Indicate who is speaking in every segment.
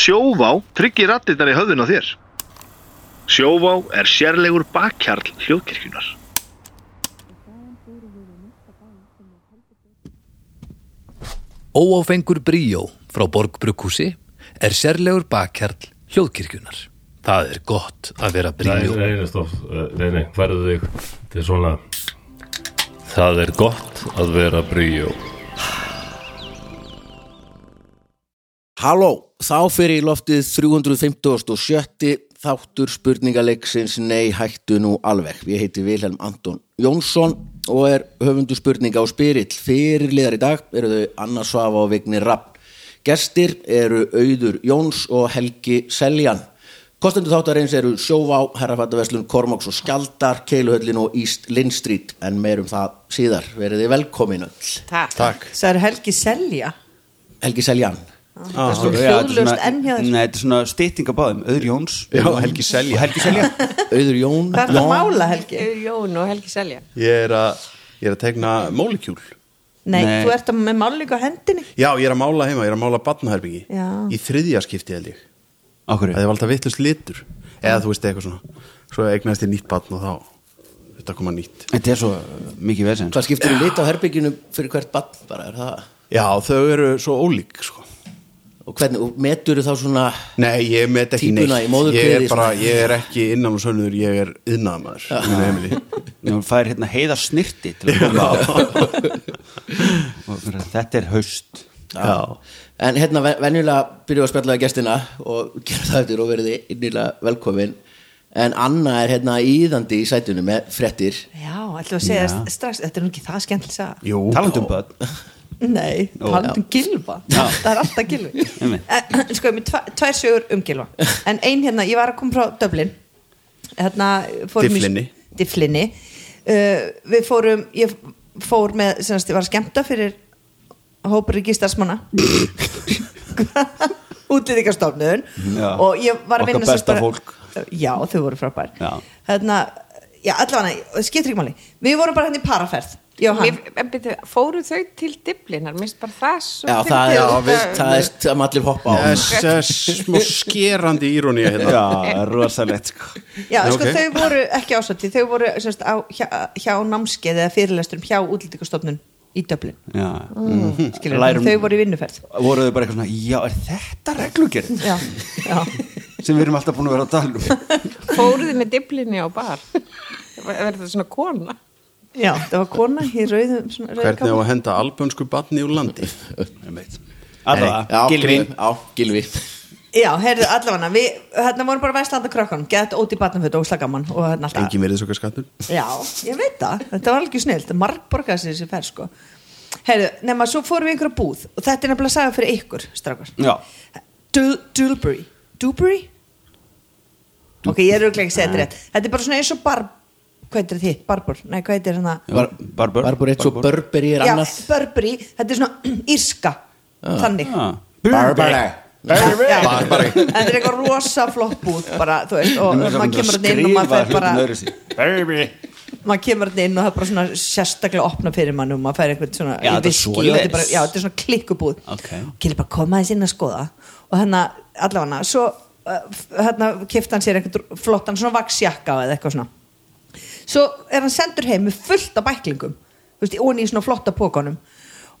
Speaker 1: Sjóvá tryggir rattirnar í höfðun á þér. Sjóvá er sérlegur bakkjarl hljóðkirkjunar.
Speaker 2: Óáfengur bríó frá Borgbrukkúsi er sérlegur bakkjarl hljóðkirkjunar. Það er gott að vera
Speaker 3: Nei,
Speaker 2: bríó.
Speaker 3: nei, nei, stopp, Eh, nei, nei, færðu þig til svona Það er gott að vera bríjó
Speaker 4: Halló, þá fyrir í loftið 357. þáttur spurningaleiksins Nei, hættu nú alveg. Ég heiti Vilhelm Anton Jónsson og er höfundu spurninga á spyrill. Fyrirliðar í dag eru þau Anna Svafa og Vigni Rapp. Gestir eru Auður Jóns og Helgi Seljan. Kostendur þáttarins eru Sjóvá, Herrafattarveslun, Kormáks og Skjaldar, Keiluhöllin og East Linn Street. En meir um það síðar. Veriði velkomin öll.
Speaker 5: Takk. Takk. Það er Helgi Selja.
Speaker 4: Helgi Seljan.
Speaker 5: Það er svona
Speaker 6: Ah, Já, þetta er
Speaker 5: hljóðlust
Speaker 6: svona-
Speaker 5: enn hjá þér.
Speaker 6: Nei, þetta er svona stytting af báðum Öður Jóns
Speaker 4: Já,
Speaker 6: og
Speaker 4: Helgi Selja.
Speaker 6: og Helgi Selja
Speaker 4: Auður Jón.
Speaker 5: Hvað er það að mála, Helgi?
Speaker 7: Jón og Helgi Selja
Speaker 6: Ég er að
Speaker 8: Ég er að tegna mólekjúl
Speaker 5: Nei,
Speaker 6: Nei.
Speaker 5: þú ert að með málingu á hendinni.
Speaker 8: Já, ég er að mála heima, ég er að mála batnaherbyggi
Speaker 5: Já.
Speaker 8: Í þriðja skipti held ég
Speaker 6: Okkur
Speaker 8: Það er alltaf vittlust litur Eða þú veist eitthvað svona Svo eignast ég nýtt batn og þá Þetta koma nýtt
Speaker 6: Þetta er svo mikið vesend
Speaker 4: Hvað skiptir þú lit á herbygginu fyrir hvert bann bara, er það?
Speaker 8: Já, þau eru svo ólík sko
Speaker 4: Og hvernig, og metur þá svona
Speaker 8: Nei, ég met ekki
Speaker 4: Típuna í
Speaker 8: neitt
Speaker 4: móðurkviði,
Speaker 8: Ég er
Speaker 4: sko.
Speaker 8: bara, ég er ekki innan og sönnur Ég er yðnaðamaður Minn Emily.
Speaker 6: Nú fær hérna heiða snirti til að koma á Og fyrir að Þetta er haust
Speaker 8: Já.
Speaker 4: En hérna, ven- venjulega byrjuðu að spjalla við gestina og gera það eftir og verði innilega velkomin En Anna er hérna íðandi í sætunum með frettir
Speaker 5: Já, ætlum við að segja þér strax, þetta er nú ekki það skemmtileg saga.
Speaker 8: Jú,
Speaker 6: Talandum um börn
Speaker 5: Nei, talandum gilva. Það er alltaf gilvi.
Speaker 6: Einmitt.
Speaker 5: En, sko, ég er með tva- tvær sögur um gilva. En ein hérna, ég var að koma frá Dublin. Hérna, fórum í-
Speaker 8: Dyflinni.
Speaker 5: Dyflinni. Uh, við fórum, ég fór með, sem sagt, ég var að skemmta fyrir hópur ekki starfsmanna. Útlýðingastofnun.
Speaker 6: Já.
Speaker 5: Og ég var að
Speaker 6: Okkar
Speaker 5: vinna sem sagt
Speaker 6: besta
Speaker 5: bara-
Speaker 6: fólk.
Speaker 5: Já, þau voru frábær
Speaker 6: Já.
Speaker 5: Þarna, já, allavega, það skiptir ekki máli Við vorum bara hérna í paraferð Ég og hann,
Speaker 7: Mér- en byrju, Fóru þau til diblinar Minnst bara það svo
Speaker 4: Já,
Speaker 7: fyndið.
Speaker 4: það er,
Speaker 7: Þetta-
Speaker 4: við, það er það maður allir hoppa á
Speaker 8: Þess, þess, smá skerandi írónía hérna
Speaker 6: Já, rosalegt sko
Speaker 5: já,
Speaker 8: Já,
Speaker 5: sko
Speaker 8: ok.
Speaker 5: þau voru ekki ásvætti Þau voru semst, á, hjá, hjá námskeið eða fyrirlesturum hjá útlýtingastofnun í Dublin
Speaker 6: Já mm.
Speaker 5: Skilur, þau voru í vinnuferð
Speaker 6: Voruðu bara eitthvað svona Já, er þetta reglugerð
Speaker 5: Já, já
Speaker 6: sem við erum alltaf búin að um. vera á dalnum
Speaker 7: Fóruð þið með diblinni á bar Verður það svona kona
Speaker 5: Já, það var kona í rauðum svona, rauðu
Speaker 8: Hvernig á
Speaker 5: kápu.
Speaker 8: að henda albönsku batni úr landi
Speaker 6: Alla,
Speaker 4: Já,
Speaker 6: Gilvi
Speaker 4: Já, Gilvi
Speaker 5: Já, heyrðu, allavega, við hérna vorum bara væslanda krökkunum, gett óti í batnafötu, óslagamann og hérna alltaf
Speaker 8: Engi verið svo skattur
Speaker 5: Já, ég veit það, þetta var alveg snilt margborgað sér þessi fer sko Herðu, nema svo fórum við í einhverja búð og þetta er nefnilega að sagja fyrir ykkur, strákar
Speaker 6: Já,
Speaker 5: Du- Dulbury Dulbury? Ok, ég er auðvitað ekki að segja þetta rétt Þetta er bara svona eins og bar hvað heitir þitt, barbur, nei hvað heitir hérna
Speaker 6: Bar- Barber
Speaker 4: Barbur eitt svo Burberry er
Speaker 5: Já,
Speaker 4: annað Ah.
Speaker 5: Burberry, þetta er svona írska þannig
Speaker 6: Já.
Speaker 4: Burberry
Speaker 5: Já.
Speaker 8: Burberry.
Speaker 5: En Þetta er eitthvað rosa flott búð bara, þú veist, og
Speaker 6: Nema
Speaker 5: maður kemur
Speaker 6: svona
Speaker 5: hérna inn og maður
Speaker 6: skrifa
Speaker 5: fær bara
Speaker 6: hlutin öðruvísi. Barber.
Speaker 5: maður kemur hann inn og það er bara svona sérstaklega opna fyrir mann og maður fær eitthvað svona
Speaker 6: Já,
Speaker 5: í
Speaker 6: þetta er
Speaker 5: viskí og
Speaker 6: svoleiðis.
Speaker 5: þetta er bara, já, þetta er svona klikkubúð
Speaker 6: Ok.
Speaker 5: og kemur bara koma þess inn að skoða og hann að, allavega svo uh, hérna kifti hann sér eitthvað flottan svona vaksjakka eða eitthvað svona svo er hann sendur heim með fullt af bæklingum þú veist, onni í svona flotta pókanum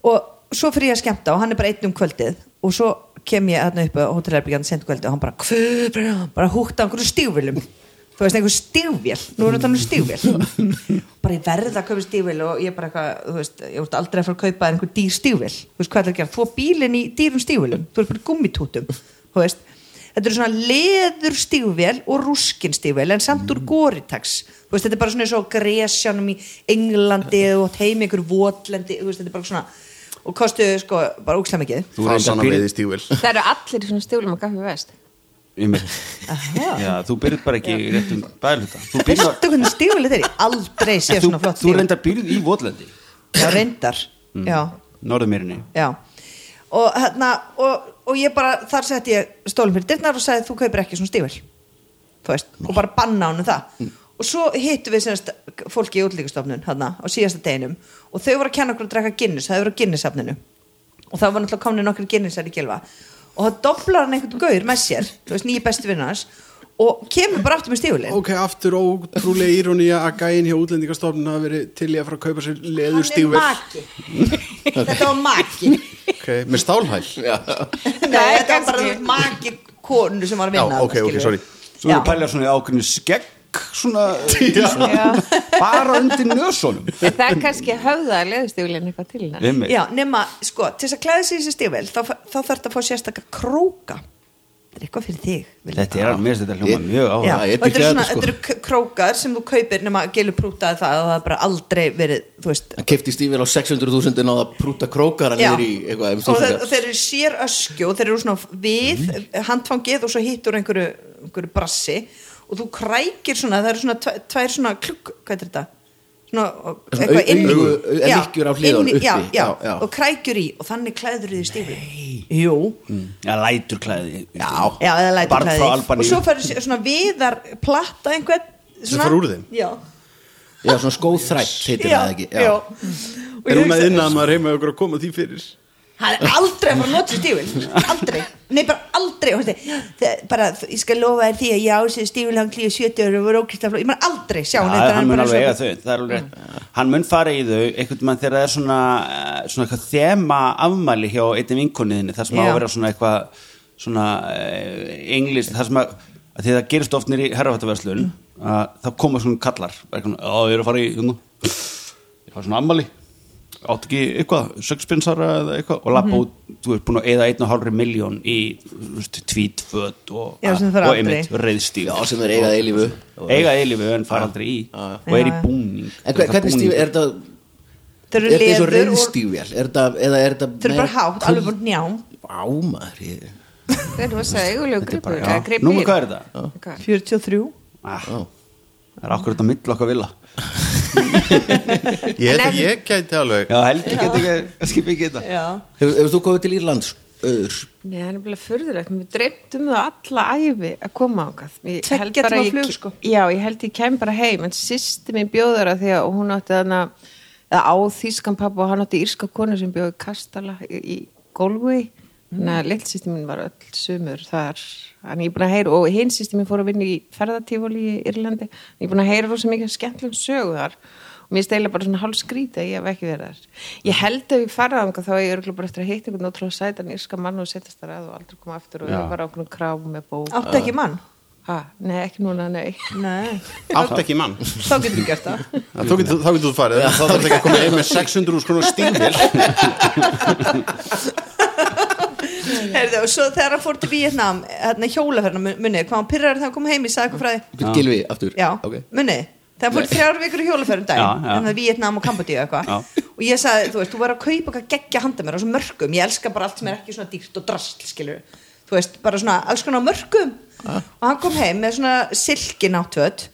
Speaker 5: og svo fyrir ég að skemmta og hann er bara einn um kvöldið og svo kem ég hérna upp á hótelherbyggjan sent kvöldið og hann bara, "Hvað er það?" bara húkta einhverju stígvélum þú veist, einhverju stígvél, nú er þetta nú stígvél bara ég verða að kaupa stígvél og ég bara eitthvað, þú veist, ég voru aldrei að fara að kaupa þér einhver dýr stígvél, þú veist hvað það er að gera þú er bílinn í dýrum stígvélum, þú er bara í gummitútum þú veist, þetta eru svona leður stígvél og rúskin stígvél en samt
Speaker 6: Mm.
Speaker 5: úr Gore-Tex Þú veist, þetta er bara svona eins og gresjanum í Englandi og heim ykkur votlendi þú veist, þetta er bara svona og kostuðu sko bara úkslega mikið
Speaker 8: Þú er sann að veiði stígvel
Speaker 7: Það eru allir í svona stílum að kaffi vest
Speaker 6: Ég með- Já, þú byrð bara ekki í réttum bæðluta Þú byrð bara
Speaker 5: veistu hvernig stígvél þetta er? Ég aldrei sé
Speaker 6: þú,
Speaker 5: svona flott
Speaker 6: þú Mm.
Speaker 5: stígvél
Speaker 6: reyndar byrð í Votlendi
Speaker 5: já, reyndar. já,
Speaker 6: Norðmýrinni
Speaker 5: já og hérna og, og ég bara, þar setti ég stólum fyrir dyrnar og sagði þú kaupir ekki svona stífur þú veist, og bara banna honum það og svo hittum við semst fólki í útlíkustofnun hérna á síðasta deginum og þau voru að kenna okkur að drekka Guinness, það voru á Guinness-safninu og það var náttúrulega komin nokkur Guinnessar í gilva og þá doblar hann einhvern gaur með sér þú veist, nýju bestu vinnars og kemur bara aftur með stífulinn
Speaker 8: Ok, aftur ótrúlega írónía að gæin hjá útlendingastofnun hafa verið til í að fara að kaupa sér leðurstífur
Speaker 5: maki þetta var maki
Speaker 8: Ok, með stálhæl
Speaker 5: Nei, þetta var bara þú veist, maki konu sem var að vinna
Speaker 8: Já,
Speaker 5: þarna,
Speaker 8: ok, ok,
Speaker 5: skilurðu.
Speaker 8: sorry.
Speaker 6: Svo erum
Speaker 5: Já.
Speaker 6: við pælja svona í ákveðinu skegg svona, svona bara undir nösunum
Speaker 7: En það er kannski að höfða að leðustíflinn eitthvað til hennar.
Speaker 6: Einmitt.
Speaker 5: Já, nema, sko, til þess að klæða sig í þessi stífvel þá, þá þarf þetta að fá sérstaka króka þetta er eitthvað fyrir þig Vilhjálmur.
Speaker 6: Þetta er alveg mér þetta hljóma mjög
Speaker 5: Já,
Speaker 4: það
Speaker 6: áhuga
Speaker 4: er
Speaker 5: og þetta
Speaker 4: ekki
Speaker 5: eru
Speaker 4: að
Speaker 5: svona,
Speaker 4: þetta, sko.
Speaker 5: þetta eru k- krókar sem þú kaupir nema gelu prútaði það og það er bara aldrei verið, þú veist
Speaker 4: hann kefti stífil á 600.000 en á það prúta krókar hann
Speaker 5: Já.
Speaker 4: niður í eitthvað ef
Speaker 5: og þeir, og
Speaker 4: stúlka-
Speaker 5: þeir eru sér öskju og þeir eru svona við
Speaker 4: Mhm.
Speaker 5: handfangið og svo hittur einhverju, einhverju brassi og þú krækir svona, það eru svona tve- tvær svona klukk, hvað er þetta? Svona,
Speaker 4: Svona au-
Speaker 5: inn í-
Speaker 4: augu- au-
Speaker 5: Já,
Speaker 4: lykkjur á hliðunum
Speaker 5: inn í- já,
Speaker 4: uppi.
Speaker 5: já,
Speaker 4: Já, já.
Speaker 5: og krækjur í og þannig klæður þið í stífi Jú,
Speaker 6: Já, lætur klæði Já,
Speaker 5: já, eða lætur
Speaker 6: Mm. Barn
Speaker 5: klæði
Speaker 6: frá
Speaker 5: og
Speaker 6: Albaníu
Speaker 5: svo færðu sér svona viðar platta einhvern svona,
Speaker 8: fara úr þeim?
Speaker 5: Já,
Speaker 4: já, svona skóþrætt heitir
Speaker 5: já,
Speaker 4: það ekki
Speaker 5: já.
Speaker 4: já.
Speaker 5: Og
Speaker 8: Er
Speaker 5: ég
Speaker 8: hún að
Speaker 5: hugsa-
Speaker 8: inna að maður heima okkur að koma því fyrir?
Speaker 5: hann er aldrei að fara að nota sér stífil aldrei, nei bara aldrei Og þessi, það- bara, ég skal lofa þér því að ég á sér stífil hann klíu 70 ára og voru ókvist ég maður aldrei sjá
Speaker 6: Já,
Speaker 5: hann
Speaker 6: hann mun alveg eiga
Speaker 5: svo, Mm.
Speaker 6: þau, það er alveg rétt Hann mun fara í þau, einhvern mann þegar það er svona, eh, svona eitthvað þema afmæli hjá einnig vinkonniðinni, það sem á
Speaker 5: Já.
Speaker 6: að vera svona eitthvað svona englist, það sem að, að því það gerist oft nýri herrafættaverslun
Speaker 5: Mm.
Speaker 6: að þá koma svona kallar, bara eitthvað, já, ég er að fara í hérna, ég fara svona afmæli átt ekki eitthvað, sexpinsara eða eitthvað og
Speaker 5: Mhm.
Speaker 6: lappa út, þú ert búin að eða einn og hálfri miljón í þú veist, tvítföt og,
Speaker 5: Já, sem
Speaker 6: og
Speaker 5: þarf aldrei.
Speaker 6: einmitt reyðstíg
Speaker 4: já, sem er eigað eilífu
Speaker 6: eiga eilífu en fara aldrei í og er í búning
Speaker 4: en hver, hvernig stífil, er þetta
Speaker 5: Þeir
Speaker 4: er
Speaker 5: eru
Speaker 4: þetta eins og
Speaker 5: leður og
Speaker 4: reyðstífil er þetta, eða er þetta
Speaker 5: þeir eru bara hátt, alveg búin njám
Speaker 4: ámaður ég
Speaker 7: Það er rosa eigulegu gripur.
Speaker 6: já. Númer hvað er það?
Speaker 7: það?
Speaker 5: 43
Speaker 6: ah, það er akkur þetta mittl okkar vilja
Speaker 8: Ég held að ég gæti alveg
Speaker 6: já, Helgi getur ekki skipið ekki þetta
Speaker 5: já.
Speaker 4: Hefur, hefur þú komið til Írlands? Öður.
Speaker 7: Nei, það er bara furðulegt. Mér dreymtum það alla æfi að koma ákað. Ég
Speaker 5: Tveggja
Speaker 7: held bara
Speaker 5: tíma
Speaker 7: ég-
Speaker 5: flug, sko.
Speaker 7: Já, ég held ég kem bara heim. En sýsti mín bjóður að því að hún átti þarna, eða á þýskan pappa og hann átti írska konu sem bjóði kastala í, í Golvi. Þannig að lillsýsti mín var öll sumur þar. Þannig ég er búin að heyra, og hinn sýsti mín fór að vinna í ferðatífóli í Írlandi. Ég er búin að heyra rosa mikið skemmtlum sögu þar. Og mér steyla bara svona hálf skrítið að ég hef ekki verið þar. Ég held að ég farið þangað þá að ég örgulega bara eftir að hitta einhvern ótrúlega sætan írska mann og setjast þar að og aldrei koma aftur og ég var á einhvern kráfum með bók.
Speaker 5: áttu ekki mann
Speaker 7: Ha, nei, ekki núna, nei.
Speaker 5: Nei.
Speaker 8: Átt ekki mann
Speaker 5: þá getur þú gert það
Speaker 8: Þá getur þá getur þú farið Þá þarf ekki að koma heim með 600 skrónu stífil
Speaker 5: Herðu, og svo þegar hann fór til Vietnam hérna hjólaferna munið, hvað hann pyrrar þegar hann kom heim ég sagði eitthvað frá því
Speaker 4: Gilvi, aftur
Speaker 5: Já,
Speaker 4: Ok.
Speaker 5: munið Það fór þrjár vikur í hjólaferðum dag
Speaker 6: Já, já.
Speaker 5: en það er Vietnam og Kambodíu eitthvað
Speaker 6: Já.
Speaker 5: og ég sagði, þú veist, þú var að kaupa eitthvað geggja handa mér á svona mörgum, ég elska bara allt sem er ekki svona dýrt og drasl, skilur þú veist, bara svona alls konar á mörgum og hann kom heim með svona silkináttföt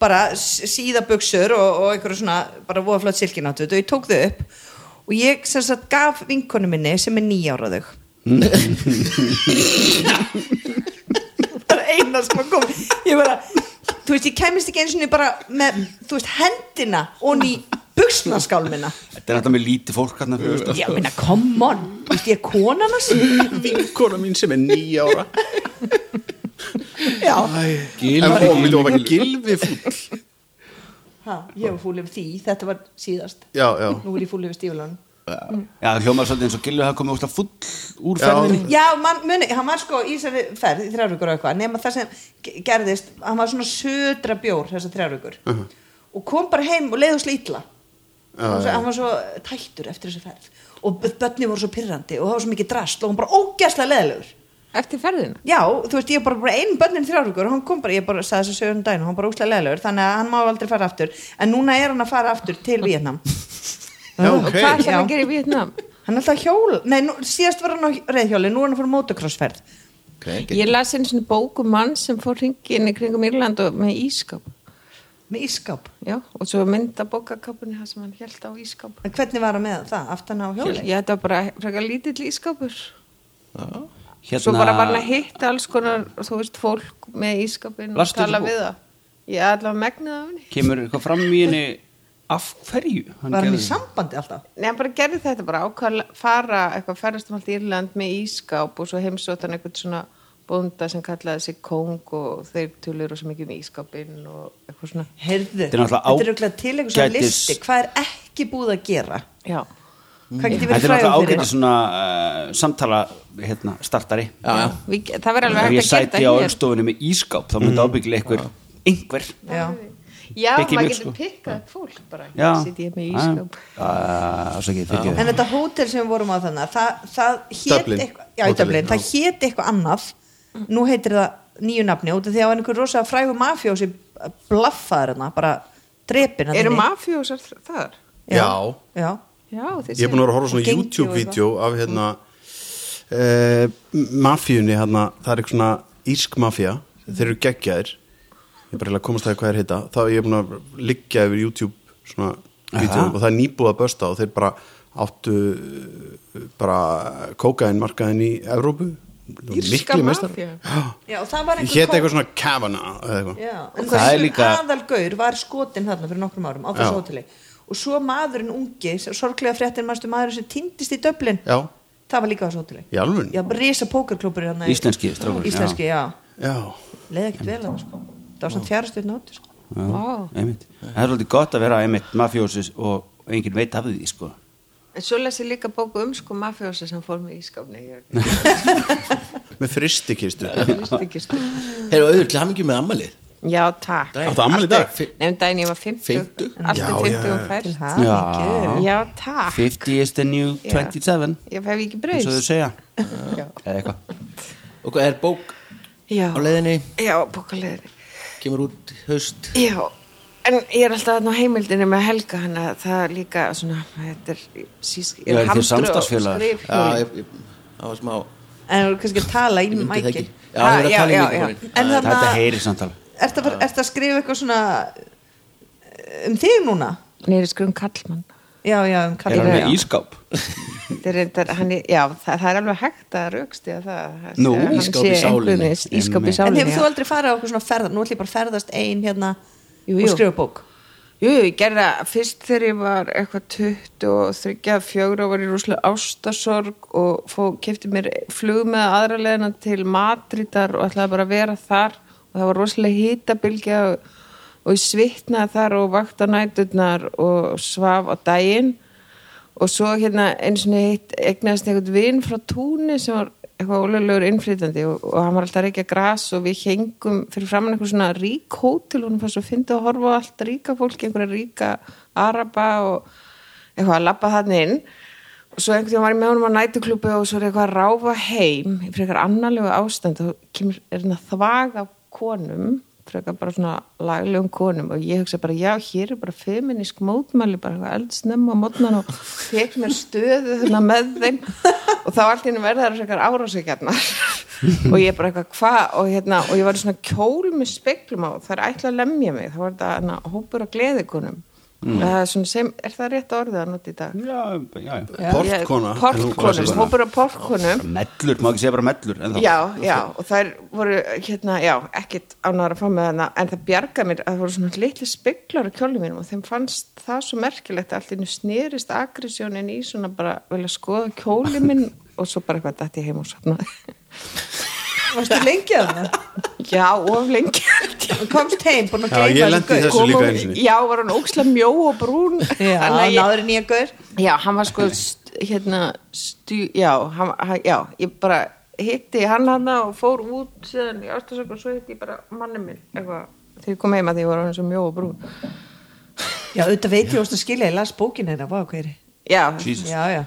Speaker 5: bara s- síðabuxur og, og einhverju svona bara voðaflöð silkináttföt og ég tók þau upp og ég sem sagt gaf vinkonu minni sem er nýjáraðug það er eina sem að kom ég bara, þú veist, ég kemist ekki eins og bara með, þú veist, hendina og ný buksnaskálmina
Speaker 6: þetta er náttúrulega með lítið fólk hérna fyrir austan.
Speaker 5: ég meina, come on, þú veist, ég er konan hans
Speaker 8: Vinkona mín sem er nýja ára
Speaker 5: já,
Speaker 8: En og við lofum að gilvi fúll
Speaker 5: ha, ég var fúlið við því þetta var síðast,
Speaker 8: Já, já
Speaker 5: nú er ég fúlið við stíflan
Speaker 6: já, hljómar svolítið eins og Gilvi hafa komið úrst að full úr
Speaker 8: Já.
Speaker 6: ferðinni
Speaker 5: já, man, muni, hann var sko í þessari ferð í þrjárvíkur og eitthvað, nema það sem ge- gerðist, hann var svona södra bjór þessar þrjárvíkur og kom bara heim og leiðust lítla
Speaker 8: Já,
Speaker 5: hann,
Speaker 8: já.
Speaker 5: svo, hann var svo tættur eftir þessu ferð og bönni voru svo pyrrandi og það var svo mikið drast og hann bara ógæslega leðilegur
Speaker 7: Eftir ferðina.
Speaker 5: Já, þú veist, ég er bara, bara einn bönnin þrjárvíkur og hann kom bara, ég bara sagði þessu sögum daginn og hann bara óslega leðilegur, þannig að hann má aldrei fara aftur en núna er hann að fara aftur til Vietnam
Speaker 8: Já,
Speaker 7: Og
Speaker 8: ok
Speaker 7: hvað ætlar hann
Speaker 5: Já.
Speaker 7: að gera í Vietnam?
Speaker 5: Hann er alltaf hjól, nei, nú, síðast var hann á reyðhjóli nú er hann að fara motocrossferð
Speaker 4: okay gegn-
Speaker 7: Ég las einu svona bókum mann sem fór hringin í kringum Írland og með ískap.
Speaker 5: með ískáp,
Speaker 7: Já, og svo mynda bókakapunni það sem hann held á ískap.
Speaker 5: en hvernig var hann með það aftan á hjóli?
Speaker 7: Já, þetta var bara frekar lítill ískapur.
Speaker 6: hérna,
Speaker 7: Svo bara var hann að hitta alls konar, þú veist, fólk með ískapin og
Speaker 6: Lastu
Speaker 7: tala
Speaker 6: þessa bók?
Speaker 7: við það. Ég ætla að megna það af henni.
Speaker 6: kemur eitthvað fram í henni af hverju
Speaker 5: Var
Speaker 6: hann
Speaker 5: hann
Speaker 6: gerði
Speaker 5: í
Speaker 6: þetta?
Speaker 5: sambandi alltaf?
Speaker 7: Nei, hann bara gerði þetta bara ákvæða fara eitthvað ferðast um allt Írland með ískáp og svo heimsóttan einhvern svona bónda sem kallaði sig kóng og þeir tölur og svo mikið um ískápinn og eitthvað svona
Speaker 5: Heyrðu,
Speaker 6: er náttúrulega
Speaker 5: þetta er auðvitað til eitthvað svona
Speaker 6: ágætis-
Speaker 5: listi Hvað er ekki búið að gera?
Speaker 7: Já,
Speaker 5: Hvað getur
Speaker 6: Mm. Þetta
Speaker 5: verið
Speaker 6: er náttúrulega
Speaker 5: fræðum fyrir?
Speaker 6: ágætið svona uh, samtala hérna, startari
Speaker 4: já, já.
Speaker 7: Við, það
Speaker 6: Ef
Speaker 7: verður alveg
Speaker 6: ég
Speaker 7: hægt að
Speaker 6: sæti á
Speaker 7: gera hér
Speaker 6: öllstofunni með ískáp þá myndi ábyggilega einhver einhver
Speaker 5: Já.
Speaker 7: Já,
Speaker 6: Biggie
Speaker 7: maður
Speaker 6: Mix,
Speaker 7: getur
Speaker 6: sko.
Speaker 7: pikkað upp fólk bara hérna
Speaker 6: Já
Speaker 7: Sitt ég með ískáp
Speaker 6: Ásakið, fyrir
Speaker 5: En þetta hótel sem við vorum á þannig það, það hét
Speaker 8: Dublin.
Speaker 5: eitthvað Já, í
Speaker 8: Hótelið,
Speaker 5: Dublin, það hét eitthvað annað Nú heitir það nýju nafni út af því að það var einhver rosa frægu mafjósi blaffaður hérna, bara drepin þarna
Speaker 7: Eru
Speaker 5: inni.
Speaker 7: mafjósar þar?
Speaker 8: Já.
Speaker 5: Já,
Speaker 7: Já,
Speaker 8: Ég er búin að vera að horfa á svona
Speaker 7: Gengi og
Speaker 8: YouTube-vídeó af hérna uh, mafíunni hérna, það er eitthvað svona ísk mafía, þeir eru geggjaðir ég er bara heila að komast að því hvað þeir heita þá er ég búin að liggja yfir YouTube svona vídeo og það er nýbúið að börsta og þeir bara áttu eh, bara kókaðin markaðin í Evrópu
Speaker 7: Írska
Speaker 8: Miklir meistarar.
Speaker 7: mafía.
Speaker 8: Já.
Speaker 5: já og það var
Speaker 8: Ég
Speaker 5: einhver
Speaker 8: hétt eitthvað svona Kavanaugh eða eitthvað
Speaker 5: Já, en
Speaker 6: Það er
Speaker 5: þessu
Speaker 6: líka-
Speaker 5: aðalgaur var skotin þarna fyrir nokkrum árum á
Speaker 8: Já.
Speaker 5: þessu hóteli og svo maðurinn ungi, sorglega fréttin mannstu maðurinn sem týndist í Dublin
Speaker 8: Já.
Speaker 5: það var líka á þessu hóteli
Speaker 8: Í alvörunni?
Speaker 5: Já, bara risa pókerklubur hérna í-
Speaker 6: Íslenski strákurinn,
Speaker 5: Íslenski, já,
Speaker 8: Já,
Speaker 5: leið ekkert vel hann sko það var svona fjárastöðn áttur sko.
Speaker 7: Vá.
Speaker 6: einmitt Það er svolítið gott að vera einmitt mafjósis og enginn veit af því sko
Speaker 7: En svo les ég líka bóku um sko mafjósa sem fór með ískápni Ég
Speaker 8: með fristikistu
Speaker 7: veist ekki sko
Speaker 4: Heyrðu, auður, til hamingjum með ammalið
Speaker 7: Já, takk
Speaker 8: Áttu ammali í dag?
Speaker 7: Nefn daginn ég var 50
Speaker 4: 50?
Speaker 7: Alltaf
Speaker 8: Já,
Speaker 7: 20
Speaker 8: já,
Speaker 7: og fært
Speaker 5: til hann
Speaker 7: Já, takk
Speaker 6: 50 is the new
Speaker 7: Já.
Speaker 6: 27
Speaker 7: Ég hef ekki
Speaker 6: eins og þau
Speaker 7: breyst
Speaker 6: segja
Speaker 7: Já.
Speaker 6: eða eitthvað
Speaker 4: Og hvað er bók
Speaker 7: Já,
Speaker 4: á leiðinni,
Speaker 7: já bókaleðinni
Speaker 4: kemur út í haust
Speaker 7: Já, en ég er alltaf þarna á heimildinu með Helga hann að það er líka svona, þetta er sísk,
Speaker 6: Já, eru þið samstarfsfélagar?
Speaker 4: Já, ég, ég, það var smá
Speaker 5: en það var kannski að tala í
Speaker 4: Ég myndi það
Speaker 5: mæki
Speaker 4: ekki
Speaker 5: en
Speaker 4: Já, það er að
Speaker 7: Já,
Speaker 4: tala í
Speaker 7: já,
Speaker 4: mikrofonin
Speaker 5: þannig að
Speaker 6: Þetta heyri samtala
Speaker 5: ertu að, fara- ertu að skrifa eitthvað svona eh, um þig núna?
Speaker 7: Nýri skrum Kallmann
Speaker 5: Já, já, um
Speaker 6: Er hann
Speaker 5: kallið
Speaker 6: með ískáp?
Speaker 7: Þetta er reyndar, hann er, já, það, það er alveg hægt að raukstja það að
Speaker 6: Nú,
Speaker 7: hann
Speaker 4: ískáp
Speaker 7: sé
Speaker 4: í sálinni.
Speaker 7: einhvernig- Ískáp í
Speaker 6: Einmitt.
Speaker 5: En
Speaker 7: sálinni,
Speaker 5: hefur þú
Speaker 7: já.
Speaker 5: aldrei farið á okkur svona ferðar? Nú ætlum ég bara að ferðast ein hérna
Speaker 7: Jú,
Speaker 5: og
Speaker 7: jú.
Speaker 5: skrifa bók.
Speaker 7: Jú, jú, ég gerði það fyrst þegar ég var eitthvað 23, 4 og var í rúslega ástasorg og fó, kefti mér flug með aðra leðina til Madridar og ætlaði bara að vera þar og það var rosalega hýtabilgja og, og ég svitnaði þar og vakti á næturnar og svaf á daginn og svo hérna eins og neitt egnaðist einhvern vin frá túnni sem var eitthvað ólegulegur innflytandi og, og hann var alltaf að reykja gras og við hengum fyrir framann einhver svona rík hótel og hann fannst svo fyndi að horfa á allt ríka fólki einhverja ríka araba og eitthvað að labba þannig inn og svo einhvern veginn var ég með honum á nætuklubbi og svo er eitthvað að ráfa heim í frekar annarlegu ástand og kemur, er hann að þvaga af konum frekar bara svona laglegum konum og ég hugsa bara já, hér er bara feminísk mótmæli, bara eitthvað eldsnemma á mótnan og fekk mér stöðu þarna með þeim og þá allt í henni verða þar frekar árásegjarnar og ég bara eitthvað hvað og, hérna, og ég var í svona kjól með speklum á það er ætla að lemja mig, þá var þetta hana, hópur af gleðikonum það er, svona sem, er það rétt orðið að nota í dag?
Speaker 6: Já, já, já
Speaker 8: Portkona,
Speaker 7: Ég-
Speaker 8: en hún
Speaker 7: portkonum,
Speaker 8: klassíska.
Speaker 7: hópur af portkonum
Speaker 6: Mellur, má ekki segja bara mellur en þá-
Speaker 7: já, já, og þær voru hérna, já, ekkit ánáður að fá með hana en það bjargaði mér að það voru svona litli speglar á kjólum mínum og þeim fannst það svo merkilegt að allt innu snerist agressjónin í svona bara velja skoða kjólum minn og svo bara eitthvað dætti heim og sopnaði
Speaker 5: Varstu lengi að það?
Speaker 7: já, of lengi held ég.
Speaker 5: Komst heim, búin að
Speaker 8: Já, ég
Speaker 5: gleyma þessum
Speaker 8: lenti í
Speaker 5: gaur.
Speaker 8: þessu
Speaker 7: Kom
Speaker 8: líka
Speaker 7: og-
Speaker 8: einu sinni.
Speaker 7: já, var hann ókslega mjó og brún
Speaker 5: Já,
Speaker 7: Þannig að ég-
Speaker 5: náður nýja gaur.
Speaker 7: Já, hann var sko st, hérna, stu, já, hann, hann, já, ég bara hitti hann hann og fór út síðan í ástasöku og svo hitti ég bara manni minn eitthvað, þegar ég kom heima því ég var hann svo mjó og brún
Speaker 5: Já, auðvitað veit ég óst að skilja, ég las bókin hérna, vá, hvað er
Speaker 7: Já,
Speaker 6: Jesus.
Speaker 5: Já, já.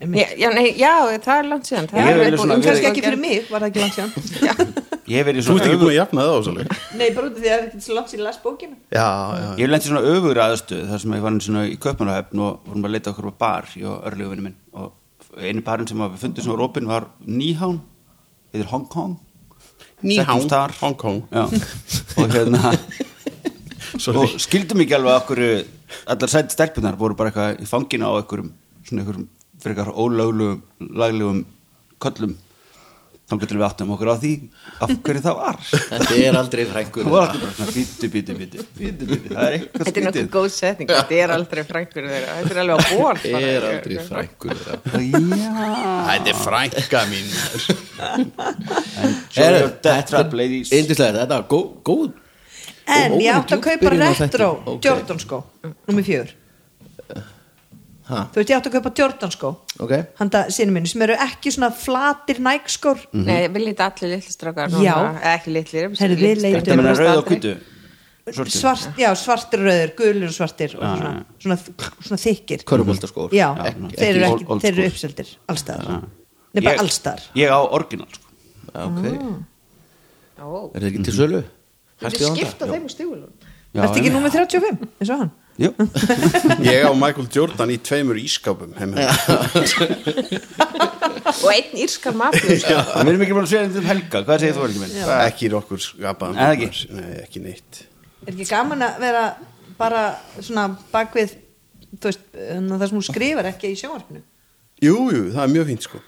Speaker 7: já, já, nei, já, það er langt síðan
Speaker 6: Ég
Speaker 7: það
Speaker 6: hef
Speaker 7: er
Speaker 6: verið svona-
Speaker 5: En
Speaker 6: Ég-
Speaker 5: kannski ekki fyrir mig, var það ekki langt síðan.
Speaker 6: Ég hef verið í
Speaker 8: Þú ert
Speaker 6: svona
Speaker 8: ekki
Speaker 6: öfugur
Speaker 8: búin að jafna það ásvöld
Speaker 5: Nei, bara út af því að það er ekki svo langt síðan ég las bókina.
Speaker 8: Já, já,
Speaker 6: Ég hef lent í svona öfugur aðstöð þar sem ég var einu sinni í Kaupmannahöfn og vorum að leita okkur á bar ég og örlegu vinnu minn og einu barinn sem við fundum sem var opinn var Nihán yfir Hong Kong Settumst þar.
Speaker 8: Hong Kong
Speaker 6: Já. og hérna og
Speaker 8: Sorry.
Speaker 6: skildum ekki alveg okkur allar sætt stelpunar voru bara eitthvað í fangina á einhverjum svona einhverjum fyrir eitthvað ólöglegum laglegum köllum þannig til við áttum okkur á því af hverju það var
Speaker 4: Þetta er aldrei frængur
Speaker 6: það var alltaf bara svona bíti, bíti, bíti, bíti, bíti það er eitthvað
Speaker 7: Þetta er
Speaker 6: skrítið
Speaker 7: nokkuð góð setning, þetta er aldrei frængur þeirra, þetta er alveg á ból
Speaker 4: Þetta er aldrei frængur Þetta er frænka mín
Speaker 6: Sure,
Speaker 4: Heyrðu,
Speaker 6: death trap, ladies.
Speaker 4: Yndislega, þetta er góð góð-
Speaker 5: En
Speaker 4: Ó,
Speaker 5: ég átti að
Speaker 4: djúp
Speaker 5: kaupa
Speaker 4: byrjun á þætti.
Speaker 5: retro
Speaker 4: Ókei.
Speaker 5: Jordan skó, nummer fjögur
Speaker 4: Ha?
Speaker 5: Þú veist, ég átti að kaupa Jordan skó
Speaker 4: Ok.
Speaker 5: Handa sinni minni, sem eru ekki svona flatir nægskór
Speaker 6: Mhm.
Speaker 7: Nei, við lítið allir litli strákar
Speaker 5: Já.
Speaker 7: núna, eða ekki litlir
Speaker 5: Heyrðu, við leitum.
Speaker 6: þetta meina rauð og
Speaker 7: aldrei.
Speaker 6: kvítu Sortu.
Speaker 5: Svart, já, svartir og rauðir, gulir og svartir og svona, svona, svona þykir
Speaker 4: Körfuboltaskór.
Speaker 5: Já,
Speaker 4: Já, ekki-
Speaker 5: þeir eru,
Speaker 6: ekki
Speaker 5: ekki,
Speaker 6: old- old
Speaker 5: þeir eru
Speaker 6: school.
Speaker 5: uppseldir allstaðar Nei, bara
Speaker 6: Ég-
Speaker 5: allstaðar
Speaker 6: ég á orginal sko.
Speaker 4: Ok,
Speaker 7: Ó,
Speaker 4: er þetta ekki til sölu?
Speaker 7: Þú
Speaker 4: Hættið á
Speaker 7: skipta
Speaker 4: þetta?
Speaker 7: þeim úr stígulum
Speaker 6: Já,
Speaker 5: Ertu ekki
Speaker 6: en-
Speaker 5: nummer 35, eins og hann
Speaker 6: Jú.
Speaker 8: Ég á Michael Jordan í tveimur ískapum heim, heim.
Speaker 7: Og einn írskan mafjus
Speaker 6: við erum ekki búin að segja þetta um helga hvað segir þú orginal?
Speaker 8: Ekki í okkur skapaðan
Speaker 6: Eða ekki?
Speaker 8: maður. Nei, ekki neitt
Speaker 5: Er ekki gaman að vera bara svona bakvið þú veist, hérna, það sem hún skrifar ekki í sjónvarpinu
Speaker 8: Jú, jú, það er mjög fínt sko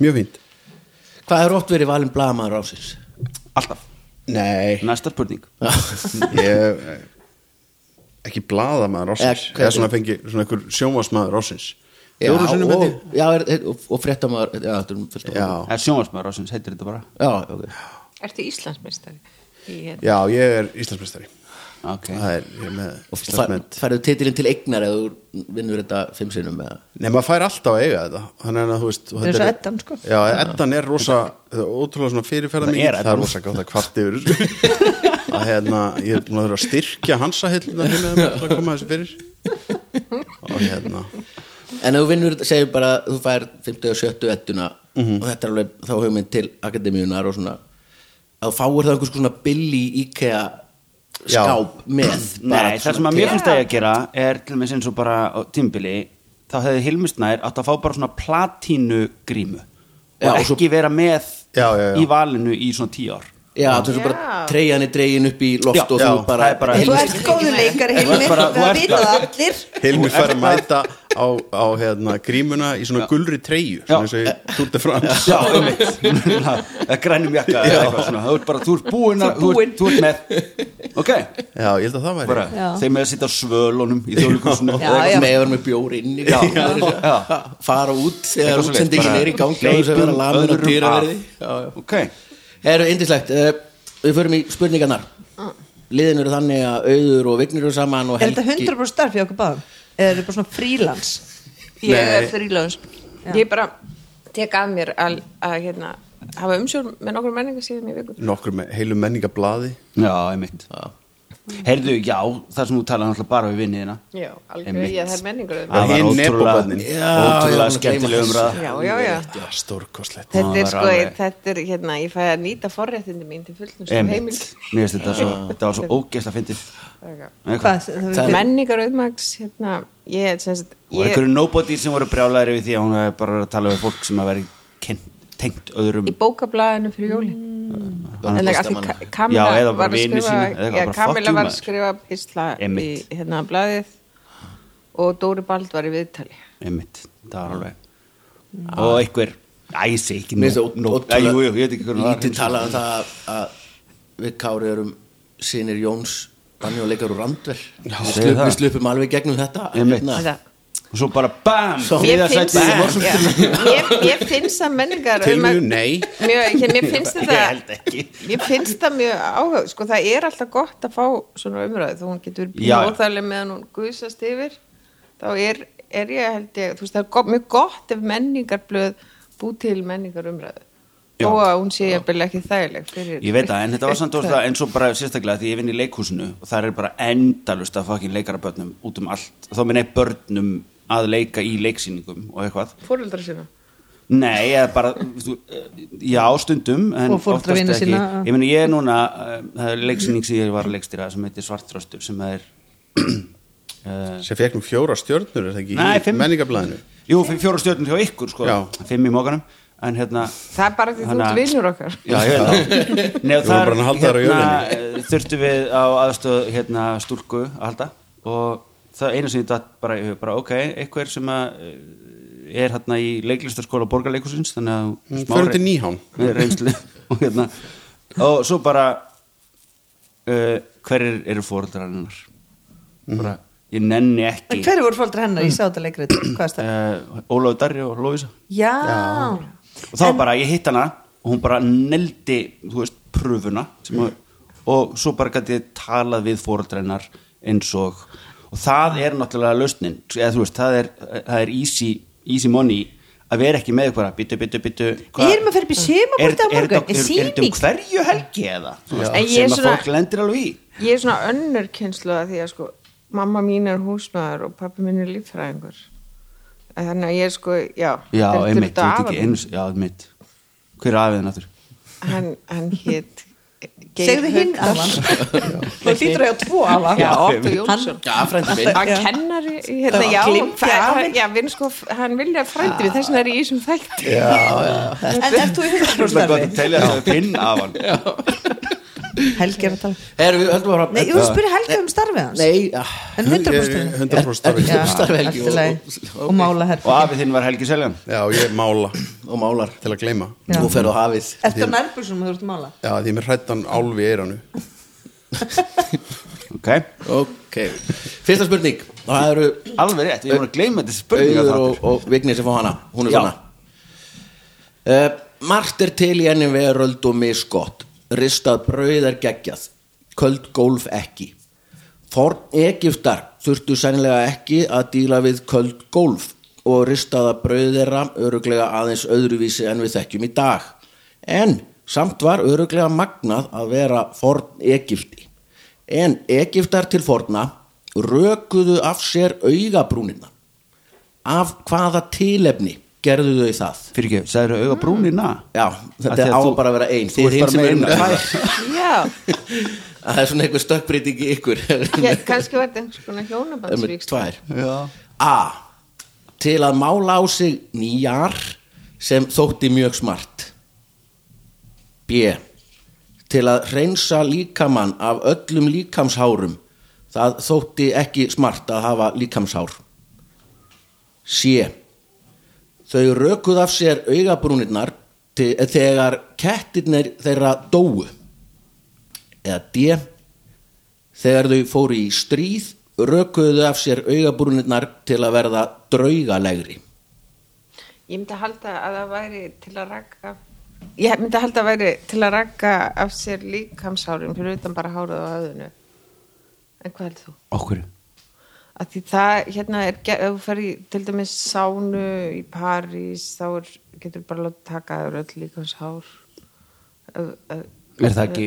Speaker 8: Mjög fínt
Speaker 4: Hvað er oft verið valin blamaður ásins?
Speaker 6: alltaf,
Speaker 8: Nei,
Speaker 6: næsta spurning
Speaker 8: ég ekki blaðamaður ásins
Speaker 4: Eða-
Speaker 8: Eða svona fengi svona einhver sjónvarsmaður ásins
Speaker 4: Já,
Speaker 8: Fjórum sinnum
Speaker 4: og,
Speaker 8: held ég.
Speaker 4: já, er, er- og, og fréttamaður Já, þetta er fullt af-
Speaker 8: Já,
Speaker 6: það er sjónvarsmaður ásins, heitir þetta bara
Speaker 4: já, ok
Speaker 7: Ertu Íslandsmeistari? Í-
Speaker 8: já, ég er Íslandsmeistari
Speaker 6: okay.
Speaker 8: Það er, ég er með
Speaker 4: Og fær,
Speaker 8: Íslandsmet
Speaker 4: færðu titilinn til eignar eða þú vinnur þetta fimm sinnum eða
Speaker 8: Nei, maður fær alltaf að eiga þetta Þannig að þú veist og
Speaker 5: Það er
Speaker 8: þetta
Speaker 5: svo Eddan, sko.
Speaker 8: Já, Eddan er rosa, það er ótrúlega svona fyrirferða
Speaker 6: Það
Speaker 8: mikið
Speaker 6: er
Speaker 8: Það er
Speaker 6: Eddan.
Speaker 8: rosa gátt að kvart yfir þessu. Að hérna, ég er búin að þurfa að styrkja hansa hérna hérna til að koma þessu fyrir Og hérna
Speaker 4: En ef þú vinnur, segjum bara þú fær 50 og 70 ettuna
Speaker 6: Mhm.
Speaker 4: og þetta er alveg þá hugmynd til akademíunar og svona að þú fáir það einhvers svona billi IKEA
Speaker 8: Já.
Speaker 4: skáp með bara
Speaker 6: Nei, það sem
Speaker 4: svona
Speaker 6: að mér
Speaker 4: til-
Speaker 6: finnst að ég að gera er til með eins og bara á tímbili þá hefði Hilmisnær átt að fá bara svona platínu grímu og
Speaker 4: Já, og
Speaker 6: ekki
Speaker 4: svo-
Speaker 6: vera með
Speaker 8: Já, já, já.
Speaker 6: í valinu í svona tíu ár
Speaker 4: Já, þú veist
Speaker 7: Já.
Speaker 4: bara treyjan er dregin upp í loft
Speaker 6: Já,
Speaker 4: og
Speaker 8: já,
Speaker 4: þú bara,
Speaker 6: það er bara-
Speaker 5: En þú
Speaker 4: Hilmir-
Speaker 5: ert góður leikari,
Speaker 6: Þú ert
Speaker 5: Hilmi
Speaker 6: bara- þú
Speaker 5: Það
Speaker 6: ert-
Speaker 5: vita það allir
Speaker 8: Hilmi fær að mæta á, á hérna, grímuna í svona gulri treyju
Speaker 6: Já.
Speaker 8: Svona eins og ég túrti fram
Speaker 6: Já, einmitt Það grænum jakka eða eitthvað svona Þú ert bara, þú ert búin að, þú ert, þú ert með Ok,
Speaker 8: Já, ég held að það væri
Speaker 6: bara,
Speaker 5: Já.
Speaker 6: þeim með að sitja á svölunum í
Speaker 5: Já,
Speaker 6: þjóðlíkursunu
Speaker 5: já.
Speaker 4: með að vera með bjóri inn í
Speaker 6: Já. Já.
Speaker 4: fara út þegar
Speaker 6: Eitthvað svoleiðis,
Speaker 4: útsendingin
Speaker 6: bara
Speaker 4: er í gangi og þess að vera
Speaker 6: hleypum
Speaker 4: lamin og
Speaker 6: öðrum
Speaker 4: dýraverði
Speaker 6: að.
Speaker 4: Já, já.
Speaker 6: Ok,
Speaker 4: Eru indislegt, uh, við förum í spurningarnar Liðin eru þannig að auður og vignir eru saman og
Speaker 5: Er
Speaker 4: helgi
Speaker 5: þetta 100% starf hjá okkur báðum? Eða er þetta bara svona frílans?
Speaker 7: Ég er frílans Ég bara tek að mér að, að hérna, hafa umsjón með nokkur menningar síðan í viku
Speaker 8: Nokkur með heilu menningablaði
Speaker 6: já, einmitt Heyrðu, já, það sem þú talaði náttúrulega bara við vinniðina
Speaker 7: Já, alveg,
Speaker 6: Einmitt.
Speaker 7: ég það er menningar
Speaker 8: Ah.
Speaker 6: Það var
Speaker 8: Hin
Speaker 6: ótrúlega,
Speaker 8: nebóbarnin.
Speaker 4: Já, ég var
Speaker 6: ótrúlega
Speaker 4: búin að gleyma
Speaker 6: skemmtileg
Speaker 4: þessu.
Speaker 6: umræða
Speaker 7: Já, já, já
Speaker 8: Já, stórkostlegt
Speaker 7: Þetta er
Speaker 6: var
Speaker 7: sko,
Speaker 6: alveg-
Speaker 7: þetta er hérna, ég fæ að nýta forréttindi mín til fullnust og heimil
Speaker 6: Einmitt, mér finnst þetta svo, þetta var svo ógeðslega fyndið
Speaker 5: Hvað?
Speaker 6: Eitthvað.
Speaker 5: Það-
Speaker 4: Það-
Speaker 7: Menningar auðmags, hérna, ég er sem sagt
Speaker 6: Og
Speaker 7: ég,
Speaker 6: einhverju nobody sem voru brjálæðir yfir því að hún hefði bara verið að tala við fólk sem að veri kynnt, tengt öðrum
Speaker 7: í bókablaðinu fyrir jólin
Speaker 6: Mm.
Speaker 7: en
Speaker 4: Annað
Speaker 7: það því
Speaker 4: listamanna.
Speaker 7: Ka- Kamilla
Speaker 6: Já, eða bara
Speaker 7: var að
Speaker 6: vini
Speaker 7: skrifa
Speaker 6: sína, eða eitthvað,
Speaker 7: já,
Speaker 6: bara fuck
Speaker 7: Kamilla
Speaker 6: you,
Speaker 7: var að
Speaker 6: maður.
Speaker 7: skrifa písla í
Speaker 6: Einmitt.
Speaker 7: hérna blaðið og Dóri Bald var í viðtali
Speaker 6: Einmitt, það var alveg Og einhver, æ, ég sé ekki
Speaker 4: Mm. Mér finnst
Speaker 6: nó-
Speaker 4: það
Speaker 6: nó- Æ, jú, jú, ég veit ekki hvernig
Speaker 4: ótrúlega lítið talað um það að- að við Kári erum sinir Jóns bannjóleikar og randver Við
Speaker 6: segðu
Speaker 4: slup-
Speaker 6: það.
Speaker 4: við slupum alveg gegnum þetta
Speaker 6: Einmitt.
Speaker 4: Hérna.
Speaker 7: Þetta-
Speaker 6: Og svo bara BAM,
Speaker 4: Svo-
Speaker 7: Mér
Speaker 6: þriðasæti
Speaker 7: finnst,
Speaker 6: í Mosfellsbæ.
Speaker 7: já, ég, ég finnst að menningar
Speaker 8: Til
Speaker 7: auðmagn-
Speaker 8: mjög nei.
Speaker 7: mjög, ég, mér finnst
Speaker 6: Ég held
Speaker 7: þetta
Speaker 6: ekki.
Speaker 7: ég finnst það mjög áhuga sko það er alltaf gott að fá svona umræðu þó hún getur
Speaker 6: Já.
Speaker 7: bjóðarlega meðan hún guðsast yfir þá er, er ég held ég þú veist það er gott, mjög gott ef menningarblöð bú til menningar umræðu
Speaker 6: Já.
Speaker 7: og að hún sé jafnvel ekki þægileg fyrir
Speaker 6: Ég veit það, en þetta var samt orða eins og bara sérstaklega því ég vinn í leikhúsinu og það er bara endalust að fokkin leikarabörnum út um allt þá minna ég börnum að leika í leiksýningum og eitthvað
Speaker 7: fóreldra sína
Speaker 6: Nei, ég er bara, þú, eh, já, stundum en
Speaker 5: Og foreldra
Speaker 6: oftast
Speaker 5: vina
Speaker 6: ekki.
Speaker 5: sína.
Speaker 6: Ég meni, ég er núna, eh, það er leiksýning sem ég var að leikstýra sem heitir Svartröstur sem það er uh,
Speaker 8: Sem fekk nú fjóra stjörnur, er það ekki?
Speaker 6: Nei,
Speaker 8: í
Speaker 6: fimm.
Speaker 8: Menningablaðinu
Speaker 6: Jú, fimm- fjóra stjórnum hjá ykkur, sko
Speaker 8: Já.
Speaker 6: Fimm í mókanum En hérna
Speaker 7: það er bara því þú
Speaker 6: Þannig
Speaker 7: ert
Speaker 6: að-
Speaker 7: vinnur okkar
Speaker 6: Já, ég veit það Nei,
Speaker 8: Við vorum
Speaker 6: þar,
Speaker 8: bara að halda þær á
Speaker 6: hérna, þurftum við á aðstöð hérna, stúlku að halda og það eina sem ég datt bara, í hug, bara ok, einhver sem að eh, er hérna í leiklistaskóla borgarleikusins þannig að
Speaker 8: Hún
Speaker 6: smá
Speaker 8: fer
Speaker 6: re-
Speaker 8: út í Mm, Nýhán.
Speaker 6: með reynslu og hérna og svo bara uh, hverjir eru fóreldrar hennar
Speaker 8: Mhm.
Speaker 6: bara, ég nenni ekki
Speaker 5: Hverju voru fólkdra hennar? Ég sá þetta leikrit Hvað er það?
Speaker 6: uh, Ólafur Darri og Lóisa
Speaker 5: Já,
Speaker 6: og þá bara, ég hitt hana og hún bara neldi, þú veist, pröfuna sem að, og svo bara gæti ég talað við fóreldrennar eins og og það er náttúrulega lausnin eða þú veist, það er, það er easy, easy money að vera ekki með eitthvað bitu, bitu, bitu
Speaker 5: Ég er maður að fara upp í sumarborðið á morgun,
Speaker 6: er, er, er, er þetta
Speaker 5: sýning.
Speaker 6: um hverju helgi eða Þú veist,
Speaker 7: En ég er
Speaker 6: sem að
Speaker 7: svona-
Speaker 6: fólk lendir alveg í
Speaker 7: Ég er svona önnur kynslu að því að sko mamma mín er húsmaður og pappi mín er líffræðingur En þannig að ég er sko, já
Speaker 6: já,
Speaker 7: þetta er
Speaker 6: einmitt,
Speaker 7: þetta
Speaker 6: þú veit
Speaker 7: afa
Speaker 6: ekki
Speaker 7: mín.
Speaker 6: eins, já, einmitt hver er afið náttúr
Speaker 7: Hann, hann hét Geir
Speaker 5: segðu hinn
Speaker 7: Haukdal.
Speaker 5: Alan Þú hlýtur að ég á tvo Alan
Speaker 7: Já, Otto Jónsson
Speaker 4: Já, frændi minn
Speaker 7: Hann
Speaker 5: Já.
Speaker 7: kennari, hérna,
Speaker 5: var
Speaker 7: já,
Speaker 5: glimt í
Speaker 7: hann-
Speaker 5: afinn.
Speaker 7: já, við erum sko, hann vilja frændi við þess vegna er ég í þessum þætti.
Speaker 5: En ert þú í
Speaker 6: það er gott að
Speaker 5: 100%
Speaker 6: telja þess að pinn af hann
Speaker 5: Helgi er að tala
Speaker 4: Heru, við höldum bara
Speaker 5: Nei, ég voru að spyrja Helgi um starfið hans
Speaker 4: Nei, ah,
Speaker 5: En 100%
Speaker 8: 100% starfið.
Speaker 5: Já,
Speaker 4: Starfið Helgi
Speaker 5: allt í lagi.
Speaker 4: og-
Speaker 5: Og mála
Speaker 6: og
Speaker 5: herfi
Speaker 6: afið þinn var Helgi Seljan
Speaker 8: Já, ég mála
Speaker 4: og málar
Speaker 8: til að gleyma
Speaker 5: Já.
Speaker 4: Nú ferðu á hafið
Speaker 5: Ertu á nærbúrsum að þú ert að mála?
Speaker 8: Já, því mér hrættan álfi í eiranu
Speaker 6: ok
Speaker 4: Ok, fyrsta spurning Það eru
Speaker 6: Alveg rétt, við erum að gleyma
Speaker 4: auður
Speaker 6: þessi spurningar
Speaker 4: og, og Vignir sem fá hana Hún er
Speaker 6: Já.
Speaker 4: svona uh, Margt er til í enni veröld og misgott Ristað brauð er geggjað Köld gólf ekki Forn Egiptar þurftu sennilega ekki að díla við köld gólf og ristaða brauð þeirra öruglega aðeins öðruvísi en við þekkjum í dag. En samt var öruglega magnað að vera forn Egipti. En Egiptar til forna rökuðu af sér augabrúnina. Af hvaða tilefni gerðu þau það?
Speaker 6: Fyrir ekki, sagður auga brúnina
Speaker 4: Já, þetta
Speaker 6: Af því
Speaker 4: á
Speaker 6: að þú-
Speaker 4: bara að vera ein.
Speaker 6: Þú
Speaker 4: Þið
Speaker 6: ert
Speaker 4: hinn sem
Speaker 6: bara
Speaker 4: erum
Speaker 6: með
Speaker 4: tvær.
Speaker 6: eina
Speaker 7: Já,
Speaker 4: Það er svona einhver stökkbreyting í ykkur.
Speaker 7: já, kannski var þetta einhvers konar
Speaker 4: er með
Speaker 7: hjónabandsvíkst.
Speaker 4: tvær A. Til að mála á sig nýjar sem þótti mjög smart B. Til að reynsa líkamann af öllum líkamshárum það þótti ekki smart að hafa líkamshár C. Þau rökuð af sér augabrúnirnar te- þegar kettirnir þeirra dóu eða D þegar þau fóru í stríð rökuðu þau af sér augabrúnirnar til að verða draugalegri
Speaker 7: Ég myndi að halda að það væri til að ragga Ég myndi að halda að væri til að ragga af sér líkamshárin fyrir utan bara hárið á höfðinu En hvað heldur þú?
Speaker 6: Okkur
Speaker 7: að því það hérna er ge- ef þú fer í til dæmis sánu í París þá er, getur bara látt taka að öll líkans hár Ef- ef-
Speaker 6: Er það ekki,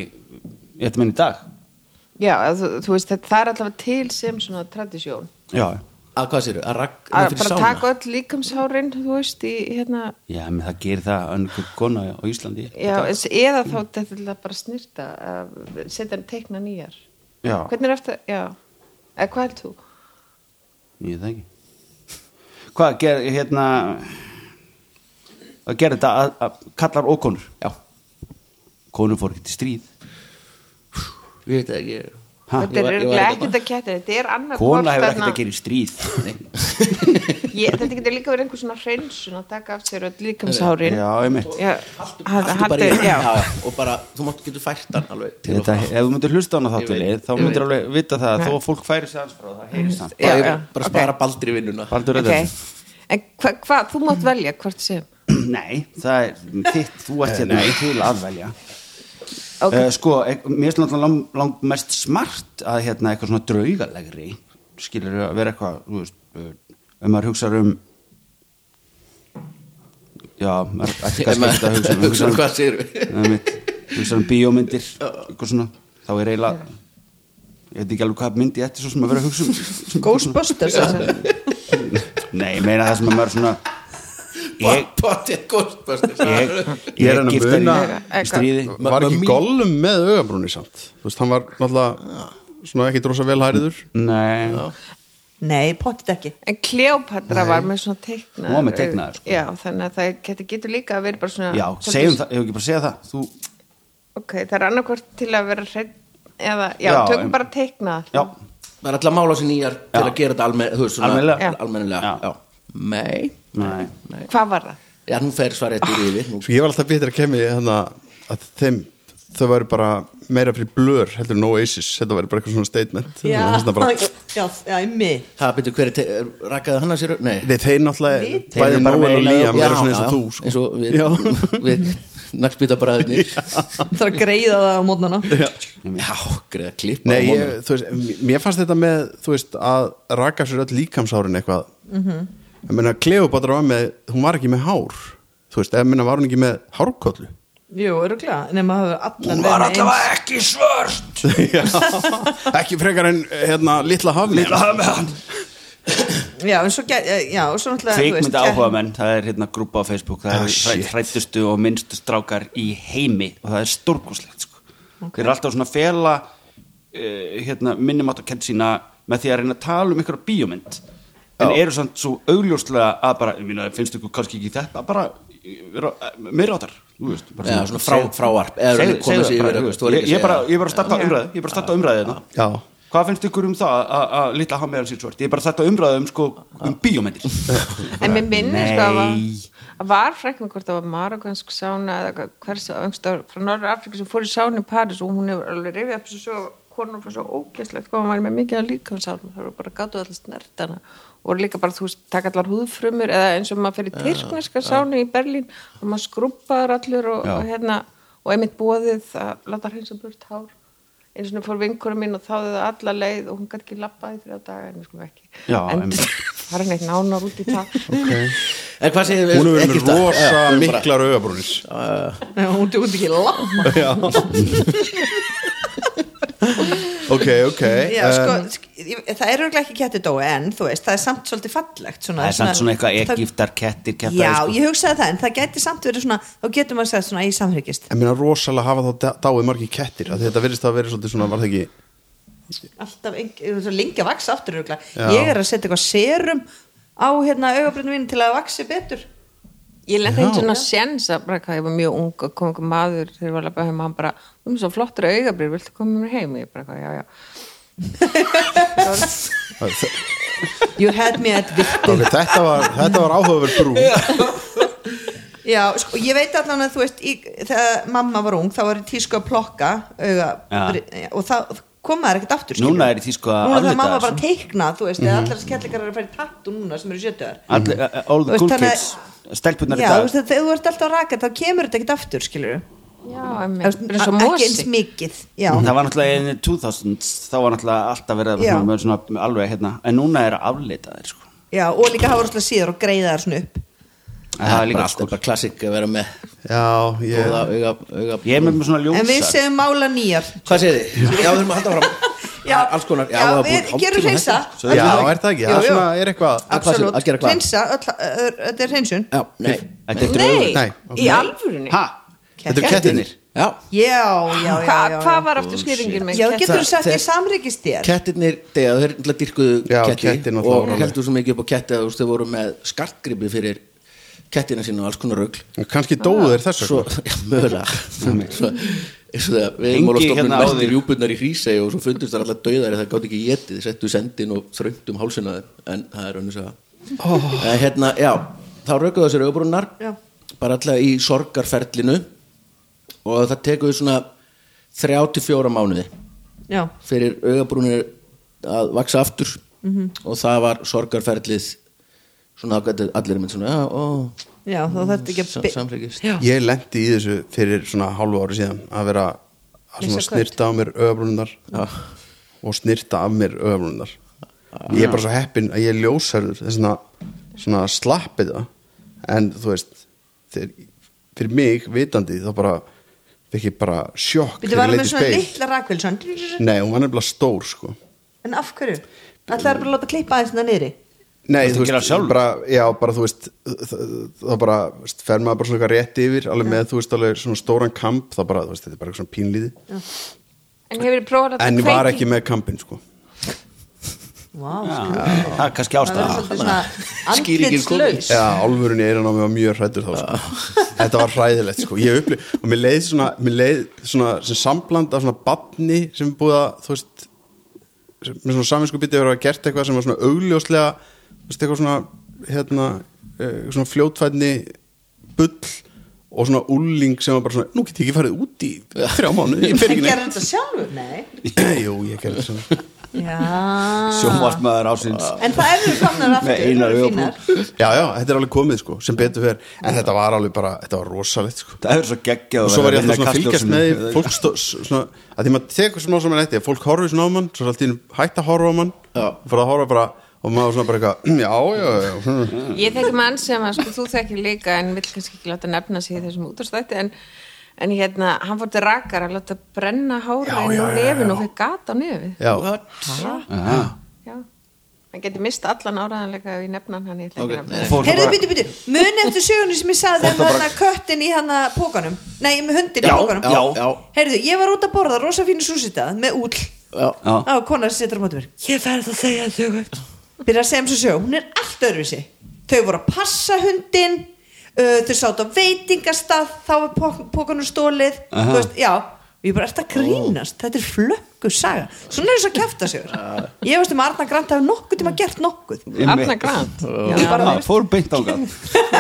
Speaker 6: ég ætti minn í dag
Speaker 7: já, ef þú, þú veist þetta, það er allavega til sem svona tradisjón
Speaker 6: Já,
Speaker 4: að hvað séru, að rak nei,
Speaker 7: að
Speaker 4: fyrir
Speaker 7: bara
Speaker 4: sána.
Speaker 7: taka öll líkamshárin þú veist í hérna
Speaker 6: já, menn það gerir það önnur kona á Íslandi
Speaker 7: já, eins- eða þá þetta er bara snýrta að setja hann teikna nýjar
Speaker 6: Já,
Speaker 7: hvernig er eftir, já eða hvað heldur þú?
Speaker 6: ég veit það ekki Hvað, ger, hérna Að gera þetta að, að kallar og konur
Speaker 4: já,
Speaker 6: Konur fór ekki til stríð
Speaker 4: við veit það ekki
Speaker 6: Ha,
Speaker 7: þetta
Speaker 4: ég
Speaker 7: er
Speaker 4: var- ég var
Speaker 7: örugglega
Speaker 4: ekki
Speaker 7: ekkert að kæta þetta er annað
Speaker 6: hérna
Speaker 7: hvort
Speaker 6: Kona hefur ekkert
Speaker 7: þarna-
Speaker 6: að gera í stríð Nei.
Speaker 7: Ég, þetta getur líka verið einhver svona hreinsun að taka af sér öll líkamshárin
Speaker 6: Já, einmitt
Speaker 7: Já, hal-
Speaker 4: Haltu bara
Speaker 7: haltu,
Speaker 4: í-
Speaker 7: já.
Speaker 4: já, og bara, þú mátt getur fært hann alveg til
Speaker 6: Þetta,
Speaker 4: þetta,
Speaker 6: ef þú myndir hlusta á hana þáttunni þá
Speaker 7: ég
Speaker 6: myndir
Speaker 7: veit.
Speaker 6: alveg vita það að þó að fólk færi sér hans frá það heyrist hann
Speaker 4: bara,
Speaker 7: Já,
Speaker 4: já,
Speaker 7: já,
Speaker 4: bara
Speaker 7: ok.
Speaker 4: spara baldri vinnuna
Speaker 6: Baldur
Speaker 7: ok
Speaker 6: Röðarsson
Speaker 7: en hvað, hva, þú mátt velja hvort sem
Speaker 6: Nei, það er þitt, þú ert hérna til að velja
Speaker 7: Ok.
Speaker 6: okay. Sko, ek- mér er svona lang, lang mest smart að hérna eitthvað svona draugalegri skilur að vera eitthvað þú veist, eh, ef maður hugsa um já, maður ætti
Speaker 4: Ef
Speaker 6: kannski
Speaker 4: maður-
Speaker 6: ekki að hugsa um
Speaker 4: hugsa um hvað segirðu?
Speaker 6: Nei, mitt, hugsa um bíómyndir eitthvað svona, þá er eiginlega ég veit ekki alveg hvað myndi ég ætti svo sem að vera að hugsa um
Speaker 5: Ghostbusters
Speaker 6: Nei, ég meina það sem að maður svona ég,
Speaker 4: potið ghostbusters
Speaker 6: ég,
Speaker 8: Ég er
Speaker 6: ég
Speaker 8: hann að
Speaker 6: gifta
Speaker 8: muna-
Speaker 6: henni í stríði
Speaker 8: Var
Speaker 4: Mamma
Speaker 8: ekki
Speaker 4: mía.
Speaker 8: gollum með augabrúni samt Þú veist, hann var náttúrulega svona ekki drosa vel hæriður
Speaker 6: Nei,
Speaker 5: Nei, pottit ekki
Speaker 7: en Kleopatra var með svona teiknaðar
Speaker 6: Hún var með teiknaðar, sko.
Speaker 7: já, þannig að það getur, getur líka að vera bara svona
Speaker 6: já, segjum það, hefur ekki bara segjað það Þú,
Speaker 7: ok, það er annarkvort til að vera hrein eða, já,
Speaker 6: Já,
Speaker 7: tökum
Speaker 6: em-
Speaker 7: bara teiknaðar
Speaker 6: já,
Speaker 4: það er alltaf að mála á sig nýjar til
Speaker 6: Já.
Speaker 4: að gera þetta almen, þú veist, svona,
Speaker 6: almennilega
Speaker 7: Já.
Speaker 4: almennilega já.
Speaker 6: Já.
Speaker 4: Nei,
Speaker 6: Nei.
Speaker 4: nei
Speaker 7: Hvað var það?
Speaker 4: Já, nú fer svarið eftir yfir nú.
Speaker 8: Sko ég var alltaf betur að kemja þannig að, að þeim þau væri bara meira fyrir blur heldur en Oasis, þetta væri bara eitthvað svona statement
Speaker 5: já,
Speaker 8: Þannig að bara,
Speaker 5: já, já, mig
Speaker 4: Það byrju hver er te- er- rakaði hann að sér Nei,
Speaker 8: Nei, þeir náttúrulega,
Speaker 4: Þeir
Speaker 8: bæði
Speaker 4: eru bara
Speaker 8: Noel og
Speaker 4: meira-
Speaker 8: Liam
Speaker 4: Já,
Speaker 8: eru svona eins og
Speaker 4: já,
Speaker 8: þú
Speaker 4: eins
Speaker 8: sko.
Speaker 4: og við, við naglbítabræðinir
Speaker 5: Það er að greiða það á mótnana
Speaker 4: Já, greið að klippa
Speaker 8: Nei,
Speaker 4: á
Speaker 8: ég,
Speaker 4: honum.
Speaker 8: þú veist, m- mér fannst þetta með þú veist, að raka sér öll líkamsárin eitthvað ég meina, Kleopatra var með hún var ekki með hár þú veist, eða meina var hún ekki með hárkollu
Speaker 5: Jú, öruglega, nema hafa allan verið með eins
Speaker 6: ekki svört
Speaker 8: Já, ekki frekar en hérna, litla hafni
Speaker 5: Já, en svo, gæ- já, og svo náttúrulega þú veist,
Speaker 6: Kveikmynda áhuga menn, það er hérna grúpa á Facebook
Speaker 8: Ah,
Speaker 4: Oh,
Speaker 6: Það
Speaker 8: shit.
Speaker 6: er hrættustu og minnstu strákar í heimi og það er stórkoslegt sko. Þeir eru alltaf svona að fela uh, hérna, minnimáttakennt sína með því að reyna að tala um ykkur bíómynd en eru samt svo augljóslega að bara, ég meina, finnst ykkur kannski ekki þetta bara, eh, vera, meira áttar
Speaker 4: Já, svona frá- frávarp, eða
Speaker 6: segðu,
Speaker 4: komið
Speaker 6: segðu
Speaker 4: sig yfir
Speaker 6: bara,
Speaker 4: eitthvað,
Speaker 6: þú veist,
Speaker 4: þú er
Speaker 6: ég,
Speaker 4: ekki að
Speaker 6: ég bara,
Speaker 4: segja.
Speaker 6: ég bara starta umræði ég bara starta umræði þetta
Speaker 8: Já,
Speaker 6: Hvað finnst ykkur um það að- að litla hamiðan sér svart? Ég er bara þetta umræða um sko um bíómyndir
Speaker 7: En mér minnir sko að var,
Speaker 6: Nei.
Speaker 7: að var frækna hvort það var marokkansk sána eða hvað- hversu öngstar frá Norður Afrika sem fór í sána í Paris og hún hefur alveg rifið upp svo svo konur frá svo ógæslegt hvað hún var með mikið að líka sána það voru bara gátu allir snertana og voru líka bara þú veist taka allar húðfrumur eða eins og maður fyrir tyrkneska sána í Berlín og maður skrúpaður allir og, og hérna og einmitt bóðið að láta hreinsa burt hár eins og fór vinkurum mín og þáði það alla leið og hún gæti ekki lappaði þrjá daga en við skulum ekki
Speaker 6: Já,
Speaker 7: en
Speaker 6: einmitt.
Speaker 7: það er neitt nánar út í það
Speaker 4: En hvað segir við?
Speaker 8: hún hefur verið
Speaker 4: Egypta?
Speaker 8: með
Speaker 4: Já,
Speaker 8: rosa
Speaker 4: við erum bara-
Speaker 8: miklar augabrúnis
Speaker 5: Nei, hún hún er ekki lappa
Speaker 8: Ok, ok
Speaker 5: Já,
Speaker 6: Um,
Speaker 8: eh,
Speaker 5: sko, sk- ég- það er öruglega ekki ketti dói en þú veist, það er samt svolítið fallegt svona,
Speaker 6: Það er samt svona eitthvað sko.
Speaker 5: það-
Speaker 6: Egiptar, kettir, kettar
Speaker 5: Já, ég hugsaði það, en það gæti samt verið svona þá getur maður að segja svona í samhryggist
Speaker 8: En minna rosalega hafa þá da- dáið margir kettir að þetta verðist að vera svolítið svona var það ekki
Speaker 5: alltaf, eng- þú veist, lengi að vaksa aftur öruglega
Speaker 8: Já.
Speaker 5: Ég er að setja eitthvað serum á hérna augabrunum mínu til að vaksi betur
Speaker 7: Ég lendi einn svona sens að bara hvað ég var mjög ung og kom einhver maður þegar ég var að labba heim og hann bara, þú erum svo flottur augabrýr, viltu koma með mér heim? Og Ég bara, hvað, já, já.
Speaker 5: You had me at the
Speaker 8: okay, Þetta var, þetta var áhugaverð brú
Speaker 5: Já, sko, ég veit allan að þú veist í, þegar mamma var ung, þá var í tísku að plokka auga,
Speaker 6: Já.
Speaker 5: og það kom maður ekkert aftur
Speaker 6: Núna
Speaker 5: skilurðu.
Speaker 6: er í tísku að sko.
Speaker 5: Núna
Speaker 6: aflita
Speaker 5: það mamma
Speaker 6: þessu.
Speaker 5: bara teikna, þú veist,
Speaker 6: Mhm.
Speaker 5: eða allar skellingar eru að fara í tattu núna sem eru sjötuðar
Speaker 6: All, All the
Speaker 5: Þú veist,
Speaker 6: cool
Speaker 5: þannig að-
Speaker 6: kids Stelpunar í
Speaker 5: Já, þú
Speaker 6: dag
Speaker 5: veist, þegar þú ert alltaf að raka þá kemur þetta ekkert aftur, skilur
Speaker 7: Já, emmi, það er svo
Speaker 5: ekki eins
Speaker 7: mosi.
Speaker 5: mikið Já,
Speaker 6: Það var náttúrulega in the 2000s þá var náttúrulega alltaf verið að
Speaker 5: Já.
Speaker 6: svona, með svona alveg hérna en núna er að aflita þeir sko
Speaker 5: já og líka hafa rosslega síður og greiða þær svona upp
Speaker 6: En Það er líka
Speaker 4: alltaf
Speaker 6: sko
Speaker 4: bara klassik að vera með
Speaker 8: Já, ég
Speaker 4: góða auga, auga
Speaker 6: Ég er með mér svona
Speaker 5: En við
Speaker 6: ljósar
Speaker 5: segjum mála nýjar
Speaker 4: Hvað segir þið? Já, við þurfum að halda fram
Speaker 5: Já,
Speaker 4: alls konar það
Speaker 5: já,
Speaker 4: er
Speaker 5: við
Speaker 4: búin hálftíma
Speaker 5: gerum hreinsa.
Speaker 4: þetta. Svo-
Speaker 8: Já, er það ekki?
Speaker 5: Jú,
Speaker 8: Það
Speaker 5: jú.
Speaker 8: svona er
Speaker 4: Að
Speaker 8: eitthvað
Speaker 4: hvað segirðu?
Speaker 5: Absolutt,
Speaker 4: Að gera hvað?
Speaker 5: hreinsa, öll- ö- ö- þetta er hreinsun
Speaker 4: Já, nei
Speaker 6: Þetta er draugur
Speaker 7: Nei,
Speaker 8: Nei,
Speaker 7: í alvörunni.
Speaker 6: Ha?
Speaker 8: Þetta eru kettirnir
Speaker 4: Já,
Speaker 5: Já, já, já,
Speaker 7: Hvað
Speaker 5: já,
Speaker 7: hva
Speaker 5: já.
Speaker 7: var aftur skýringin með
Speaker 5: Já, getur þú
Speaker 4: Það-
Speaker 5: sagt
Speaker 4: þeir-
Speaker 5: ég samryggist þér
Speaker 4: kettirnir, þegar þeir náttúrulega dyrkuðu
Speaker 8: Já,
Speaker 4: ketti
Speaker 8: kettir
Speaker 4: og
Speaker 8: náttúrulega voru alveg.
Speaker 4: heldur svo mikið upp á ketti að þú veist, þau voru með skartgripi fyrir kettina sína og alls konar rugl
Speaker 8: Kanski dóðu þeir þessu
Speaker 4: svo, já, mögulega svo, svo þegar við
Speaker 6: Hengi
Speaker 4: málastofnun
Speaker 6: hérna
Speaker 4: hérna
Speaker 6: á
Speaker 4: mætti
Speaker 6: þig.
Speaker 4: rjúpunar í hrísei og svo fundust þar alltaf döðari það gátt ekki getið, settu sendin og þröngt um hálsina þeim, en það er önnur saga en hérna, já, þá raukuðu þessir auðbrunnar,
Speaker 5: Já.
Speaker 4: bara alltaf í sorgarferlinu og það tekuðu svona 34 mánuði
Speaker 5: Já,
Speaker 4: fyrir augabrúnir að vaksa aftur og það var sorgarferlið svona þá gæti allir mynd svona já, ó,
Speaker 5: já þá þarf ekki að
Speaker 4: sam-
Speaker 5: by-
Speaker 4: samhryggist
Speaker 5: Já.
Speaker 8: Ég lendi í þessu fyrir svona hálfu ári síðan að vera að svona
Speaker 5: Missa kött.
Speaker 8: snirta á mér öfabrunar og snirta af mér öfabrunar Ég er bara svo heppin að ég er ljósarður þess svona, svona slappið það en þú veist þeir, fyrir mig vitandi þá bara fikk ég bara sjokk
Speaker 5: Býttu
Speaker 8: þegar
Speaker 5: var hann
Speaker 8: ég leit
Speaker 5: með
Speaker 8: í
Speaker 5: svona
Speaker 8: spegil.
Speaker 5: litla rakvél svona
Speaker 8: Nei, hún var nefnilega stór sko
Speaker 5: En af hverju? Það er bara að láta klippa aðeins hérna niðri
Speaker 8: Nei,
Speaker 6: Varstu
Speaker 8: þú
Speaker 6: að gera
Speaker 8: veist,
Speaker 6: sjálfur?
Speaker 8: bara, já, bara, þú veist það- þá bara, þú veist, fer maður bara svona eitthvað rétt yfir, alveg með, þú veist, alveg svona stóran kamp, þá bara, þú veist, þetta er bara eitthvað svona pínlíði
Speaker 7: En hefur þið prófað að
Speaker 8: en
Speaker 7: þetta
Speaker 8: ég var ekki með kampin, sko
Speaker 5: Vá,
Speaker 6: Já,
Speaker 5: sko.
Speaker 6: Það er kannski
Speaker 5: það er
Speaker 6: ástæða
Speaker 5: svolítið svona
Speaker 4: Skýringin komin.
Speaker 5: andlitslaus
Speaker 8: Já, alvörun í einan á mig var mjög hrættur þá, sko Þetta var hræðilegt, sko, ég upplif og mér leið svona, mér leið svona sem sambland af svona badni sem er búið að, þú veist sem- með svona saminsku bitið verið að hafa gert eitthvað sem var svona augljóslega, þú veist, eitthvað svona hérna, eh, svona fljótfætni bull og svona úling sem var bara svona, nú get ég ekki farið út í þrjá mánu, ég fer ekki
Speaker 5: En gerði
Speaker 8: neitt
Speaker 5: þetta sjálfur? Nei
Speaker 8: Jú, ég gerði svona
Speaker 5: Já
Speaker 6: sjónvarsmaður ásins
Speaker 5: En það eru komnar aftur
Speaker 6: Með Einar
Speaker 5: eru
Speaker 6: Ögabú.
Speaker 5: fínar.
Speaker 8: Já, já, þetta er alveg komið sko, sem betur fer en þetta var alveg bara, þetta var rosalegt sko
Speaker 6: það er svo geggjað
Speaker 8: og
Speaker 6: að
Speaker 8: svo var
Speaker 6: vera
Speaker 8: ég alltaf
Speaker 6: vinna
Speaker 8: svona að fylgjast
Speaker 6: kastljósinu.
Speaker 8: með því fólk stó, svona, að því maður tekur smá saman eftir fólk horfir svona á mann, svo er alltaf einu hætt að horfa á mann og fara að horfa bara og maður svona bara eitthvað, já, já, já hm.
Speaker 7: Ég þekki mann sem að sko, þú þekki líka en vill kannski ekki láta nefna sig í þessum útastætti en, en hérna, hann fór til rakar að láta brenna hára
Speaker 8: Já,
Speaker 7: inn
Speaker 8: já, já,
Speaker 7: á nefin
Speaker 8: já.
Speaker 7: og þau gata á nefið
Speaker 8: já,
Speaker 7: Já, hann geti mist allan áraðanleika ef ég nefna hann, ég ætla ekki að nefna
Speaker 6: Og
Speaker 7: hann.
Speaker 6: fólk
Speaker 5: Heyrðu,
Speaker 6: bara-
Speaker 5: býtu, býtu, muni eftir sögunni sem ég sagði
Speaker 6: Fólk
Speaker 5: þegar
Speaker 6: var
Speaker 5: hana köttin í hana pókanum Nei, með hundin í
Speaker 4: Já,
Speaker 5: pókanum
Speaker 4: já, já.
Speaker 5: Heyrðu, ég var út að borða rosa fínu súsitað með úl
Speaker 4: Já.
Speaker 6: Já.
Speaker 5: á kona sem setur á móti mér Ég verð að segja sögum Byrja að segja um svo sögum, hún er allt öðruvísi Þau voru að passa hundin uh, Þau sátt á veitingastað þá var pok- pókanum stólið
Speaker 6: Aha.
Speaker 5: Þú veist, Já, ég bara eftir að grínast Þetta er flöggu saga Svona er þess að kæfta sig Ég veist um að Arna Grant hafi nokkuð tíma gert nokkuð
Speaker 7: Arna Grant
Speaker 6: Já,
Speaker 7: Já.
Speaker 6: það fór beint ángað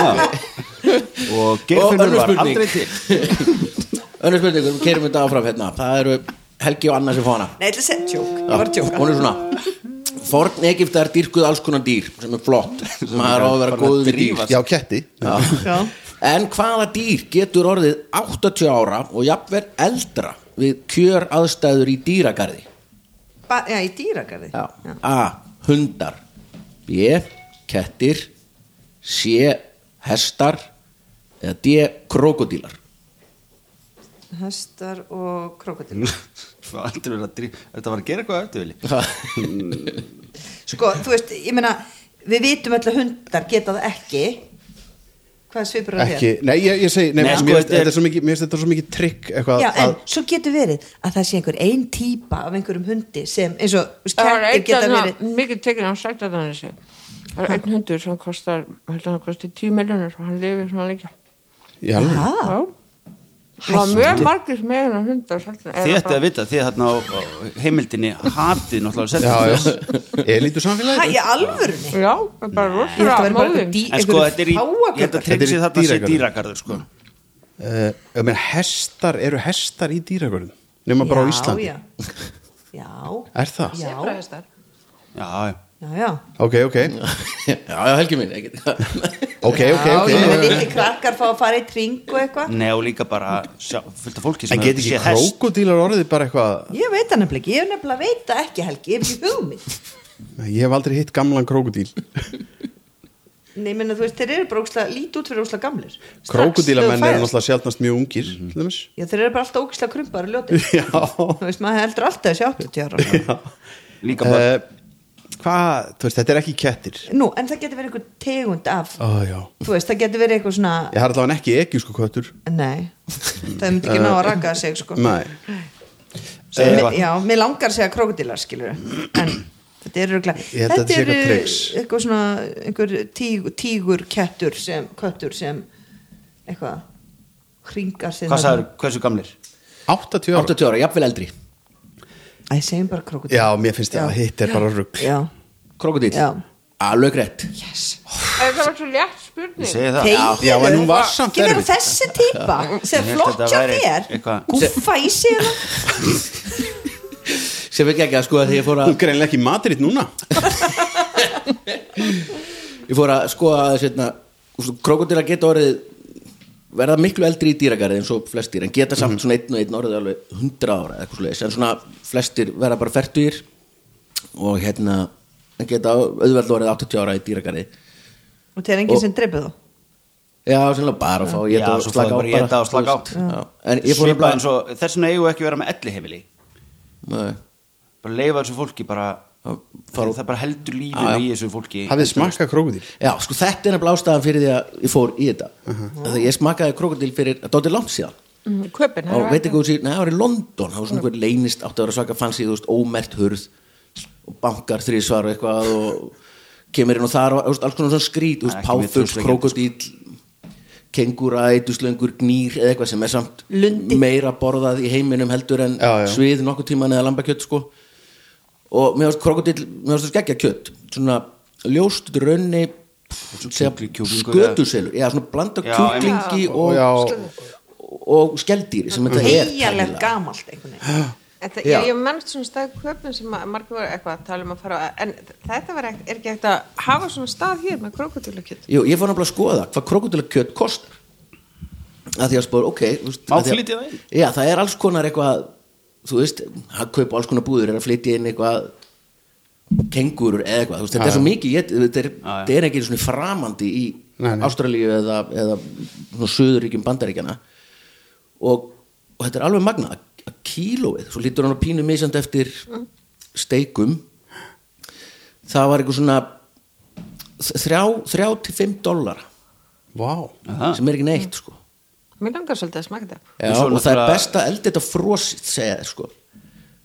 Speaker 6: og
Speaker 4: Og
Speaker 6: geirfinnur
Speaker 4: önnur
Speaker 6: var
Speaker 4: spurning.
Speaker 6: aldrei til
Speaker 4: Önnur spurning, við keirum þetta áfram hérna Það eru Helgi og Anna sem fá hana
Speaker 5: Nei, þetta er sett tjók, ég var að tjóka
Speaker 4: Hún er svona Forn Egiptar dýrkuð alls konar dýr sem er flott maður á að vera
Speaker 6: Bara
Speaker 4: góð við dýr
Speaker 6: drífa sig.
Speaker 8: já, ketti
Speaker 4: Já. En hvaða dýr getur orðið 80 ára og jafnvel eldra við kjör aðstæður í dýragarði?
Speaker 5: Ba já, í dýragarði Já.
Speaker 4: A. Hundar B. Kettir C. Hestar eða D. Krokodílar
Speaker 5: Hestar og krokodil
Speaker 6: Það var aldrei verið að drí- þetta var að gera eitthvað ölluvili
Speaker 5: Sko, þú veist, ég meina Við vitum öll að hundar geta það ekki Hvað svipur það
Speaker 8: ekki, nei, ég, ég segi, nei,
Speaker 6: Nei, sko,
Speaker 8: mér,
Speaker 6: þetta er-
Speaker 8: þetta er svo mikið mér finnst þetta svo mikið trikk eitthvað
Speaker 5: Já, en
Speaker 8: að,
Speaker 5: svo getur verið að það sé einhver ein típa af einhverjum hundi sem eins og þú veist,
Speaker 7: Það var
Speaker 5: kettir
Speaker 7: eitt hérna.
Speaker 5: geta
Speaker 7: að
Speaker 5: verið
Speaker 7: mikið tekið hann sagt að hann þessi Það er einn hundur sem kostar, heldur hann kosti 10 miljonir og hann lifið svona líka
Speaker 8: já, alveg.
Speaker 5: Ha?
Speaker 7: Já Það var mjög margir sem eiga hann hundar
Speaker 6: þið ætti að vita, þið þarna á á heimildinni hatið náttúrulega
Speaker 8: já,
Speaker 6: seldur.
Speaker 8: já, elítur
Speaker 5: Ha,
Speaker 8: samfélagi
Speaker 5: í alvörunni
Speaker 7: Já, það er bara
Speaker 5: Ég ætla að
Speaker 7: rosalega
Speaker 5: vera bara
Speaker 7: móðin
Speaker 5: einhver dý-
Speaker 6: en sko þetta er í,
Speaker 5: einhverjum
Speaker 6: ég
Speaker 5: páfagarður.
Speaker 6: held að triksi
Speaker 8: Þetta er
Speaker 6: þarna sé
Speaker 8: dýragarður.
Speaker 6: dýragarður sko
Speaker 8: uh, ég meina, hestar, eru hestar í dýragörðum nema bara á
Speaker 5: Já,
Speaker 8: Íslandi
Speaker 5: já. Já,
Speaker 8: er það?
Speaker 5: Já.
Speaker 7: Zebrahestar.
Speaker 6: já, já
Speaker 5: já, já
Speaker 8: ok, ok,
Speaker 4: Já, já, Helgi minn ekki.
Speaker 8: ok, ok,
Speaker 5: Já,
Speaker 8: ok
Speaker 5: ég meina litli krakkar fá að fara í kring og eitthvað
Speaker 6: Nei og líka bara sjá, fullt af fólki sem
Speaker 8: en get
Speaker 6: hefur
Speaker 8: ekki
Speaker 6: séð hest.
Speaker 8: krokodílar orðið bara eitthvað
Speaker 5: Ég veit það nefnilega ekki, ég hef nefnilega veit það ekki Helgi, ég hef ekki hugmynd
Speaker 8: Nei, Ég hef aldrei hitt gamlan krokodíl
Speaker 5: Nei, ég meina, þú veist, þeir eru bara ógslag, lít út fyrir ógslag gamlir Strax þegar
Speaker 8: Krokodílamenn
Speaker 5: þú
Speaker 8: eru
Speaker 5: fæðist.
Speaker 8: náttúrulega sjálfnast mjög ungir mm
Speaker 5: Já, þeir eru bara alltaf ógslag krumpaður og ljótir
Speaker 8: Já
Speaker 5: Þú veist, maður heldur alltaf þessi 80 ára
Speaker 6: líka bara
Speaker 8: uh, Hvað, þú veist, þetta er ekki kettir
Speaker 5: Nú, en það getur verið einhver tegund af
Speaker 8: Ó, já
Speaker 5: Þú veist, það getur verið eitthvað svona
Speaker 8: Ég har allavega ekki ekki sko köttur
Speaker 5: Nei, það myndi ekki ná að raka sig sko.
Speaker 8: Nei,
Speaker 6: segja
Speaker 5: Mi-
Speaker 6: eitthvað.
Speaker 5: Já, mér langar að segja krokodílar, skilur En þetta eru örugglega-
Speaker 8: Ég held að þetta sé eitthvað trix.
Speaker 5: eitthvað svona einhver tíg, tígur kettur sem, köttur sem eitthvað hringar sig
Speaker 6: hvað
Speaker 5: þarna.
Speaker 6: sagður, hversu gamlir?
Speaker 8: 80 ára
Speaker 4: 80 ára, jafnvel eldri
Speaker 5: Æ, segjum bara krokodílar
Speaker 8: Já, mér finnst það að hitt er bara rugg
Speaker 5: Já,
Speaker 4: Krokodíl
Speaker 5: Já.
Speaker 4: Alveg rétt
Speaker 5: yes
Speaker 7: En Það var svo létt spurning
Speaker 6: Ég segi það
Speaker 5: Þegiðu,
Speaker 8: já, en hún var samt
Speaker 5: ekki vera
Speaker 8: erfið.
Speaker 5: þessi típa sem
Speaker 6: Ég held að
Speaker 5: flokkja
Speaker 6: þetta væri
Speaker 5: þér
Speaker 6: eitthvað-
Speaker 5: gúfa í sig hana.
Speaker 4: Sem við ekki að sko þegar ég fór
Speaker 8: Þú
Speaker 4: að
Speaker 8: er greinlega ekki matriðt núna
Speaker 4: Ég fór að skoða aðeins hérna Krokodílar geta orðið verða miklu eldri í dýragarði eins og flestir en geta samt svona einn og einn orðið alveg 100 ára eða eitthvað svoleiðis en svona flestir verða bara færtugir og hérna en geta auðveld orðið 80 ára í dýragarði
Speaker 5: og það er enginn
Speaker 4: Og-
Speaker 5: sem dreipið þú
Speaker 4: Já, sennilega bara að fá að
Speaker 6: Já,
Speaker 4: éta og
Speaker 6: svo fá
Speaker 4: slaka
Speaker 6: þau
Speaker 4: á
Speaker 6: bara að éta og slaka á.
Speaker 4: þú veist. Já. En ég fór
Speaker 6: Svipað eins og- þess vegna eigum við ekki að vera með elli heimili
Speaker 4: Nei.
Speaker 6: bara leifa þessu fólki bara
Speaker 4: Að fara út.
Speaker 6: það bara heldur
Speaker 4: Já, já.
Speaker 6: lífinu í þessu fólki
Speaker 8: Hafið smakka krokodíl
Speaker 4: Já, sko þetta er nefnilega ástæðan fyrir því að ég fór í þetta uh Þegar ég smakaði krokodil fyrir að dóttir langt síðan
Speaker 7: Mm, Kaupin, það
Speaker 4: og
Speaker 7: var
Speaker 4: veit ekki
Speaker 7: ekki-
Speaker 4: hvað þú sér, neða, það var í London það var svona einhver leynist átti að vera svaka fann sig, þú veist, ómert hurð og bankar þrísvar og eitthvað og kemur inn og þar og þú veist, alls konar svona skrít, þú veist,
Speaker 6: Það er ekki mjög sko.
Speaker 4: páfugs,
Speaker 6: trúslegjandi,
Speaker 4: krokodil kengúra, eiturslöngur, gnýr eða eitthvað sem er samt
Speaker 5: Lundi.
Speaker 4: meira borðað í heiminum heldur en
Speaker 8: Já, já.
Speaker 4: svið nokkuð tíman eða lambakjött sko og mér varst krokodil, mér varst þess geggja kjött svona ljóst, raunni segja
Speaker 6: kjúklingur eða-
Speaker 4: skötuselur já, svona blanda
Speaker 6: Já,
Speaker 4: kjúklingi og, og, og skeldýri sem þetta er
Speaker 5: Heijalegt
Speaker 4: tækilega.
Speaker 5: gamalt einhvern veginn
Speaker 7: En það,
Speaker 4: Já.
Speaker 7: ég, ég mennst svona stað í köpun sem að margir voru eitthvað að tala um að fara á- en þetta var ekki, er ekki hægt að hafa svona stað hér með krokodilakjöt
Speaker 4: Jú, ég fór nefnilega að skoða hvað krokodilakjöt kostar að því að spóra, ok þú veist,
Speaker 6: Má
Speaker 4: af því að-
Speaker 6: flytja það inn?
Speaker 4: Já, það er alls konar eitthvað þú veist, að kaupa alls konar búður er að flytja inn eitthvað kengurur eða eitthvað, þú veist, þetta er svo mikið ég, þetta, er, þetta er ekki svona framandi í
Speaker 8: Nei, nei.
Speaker 4: Ástralíu eða, eða svona söðuríkjum bandaríkjana og, og þetta er alveg magna að að kílóið, svo lítur hann á pínu misjandi eftir steikum það var eitthvað svona þrjá, þrjá til fimm dollara
Speaker 8: Vá
Speaker 6: Aha.
Speaker 4: sem er ekki neitt sko
Speaker 7: Mér langar svolítið að smaka þetta
Speaker 4: Já,
Speaker 6: En Ah. svo
Speaker 4: og það er
Speaker 6: náttúrulega-
Speaker 4: best að elda þetta frosið segja þér sko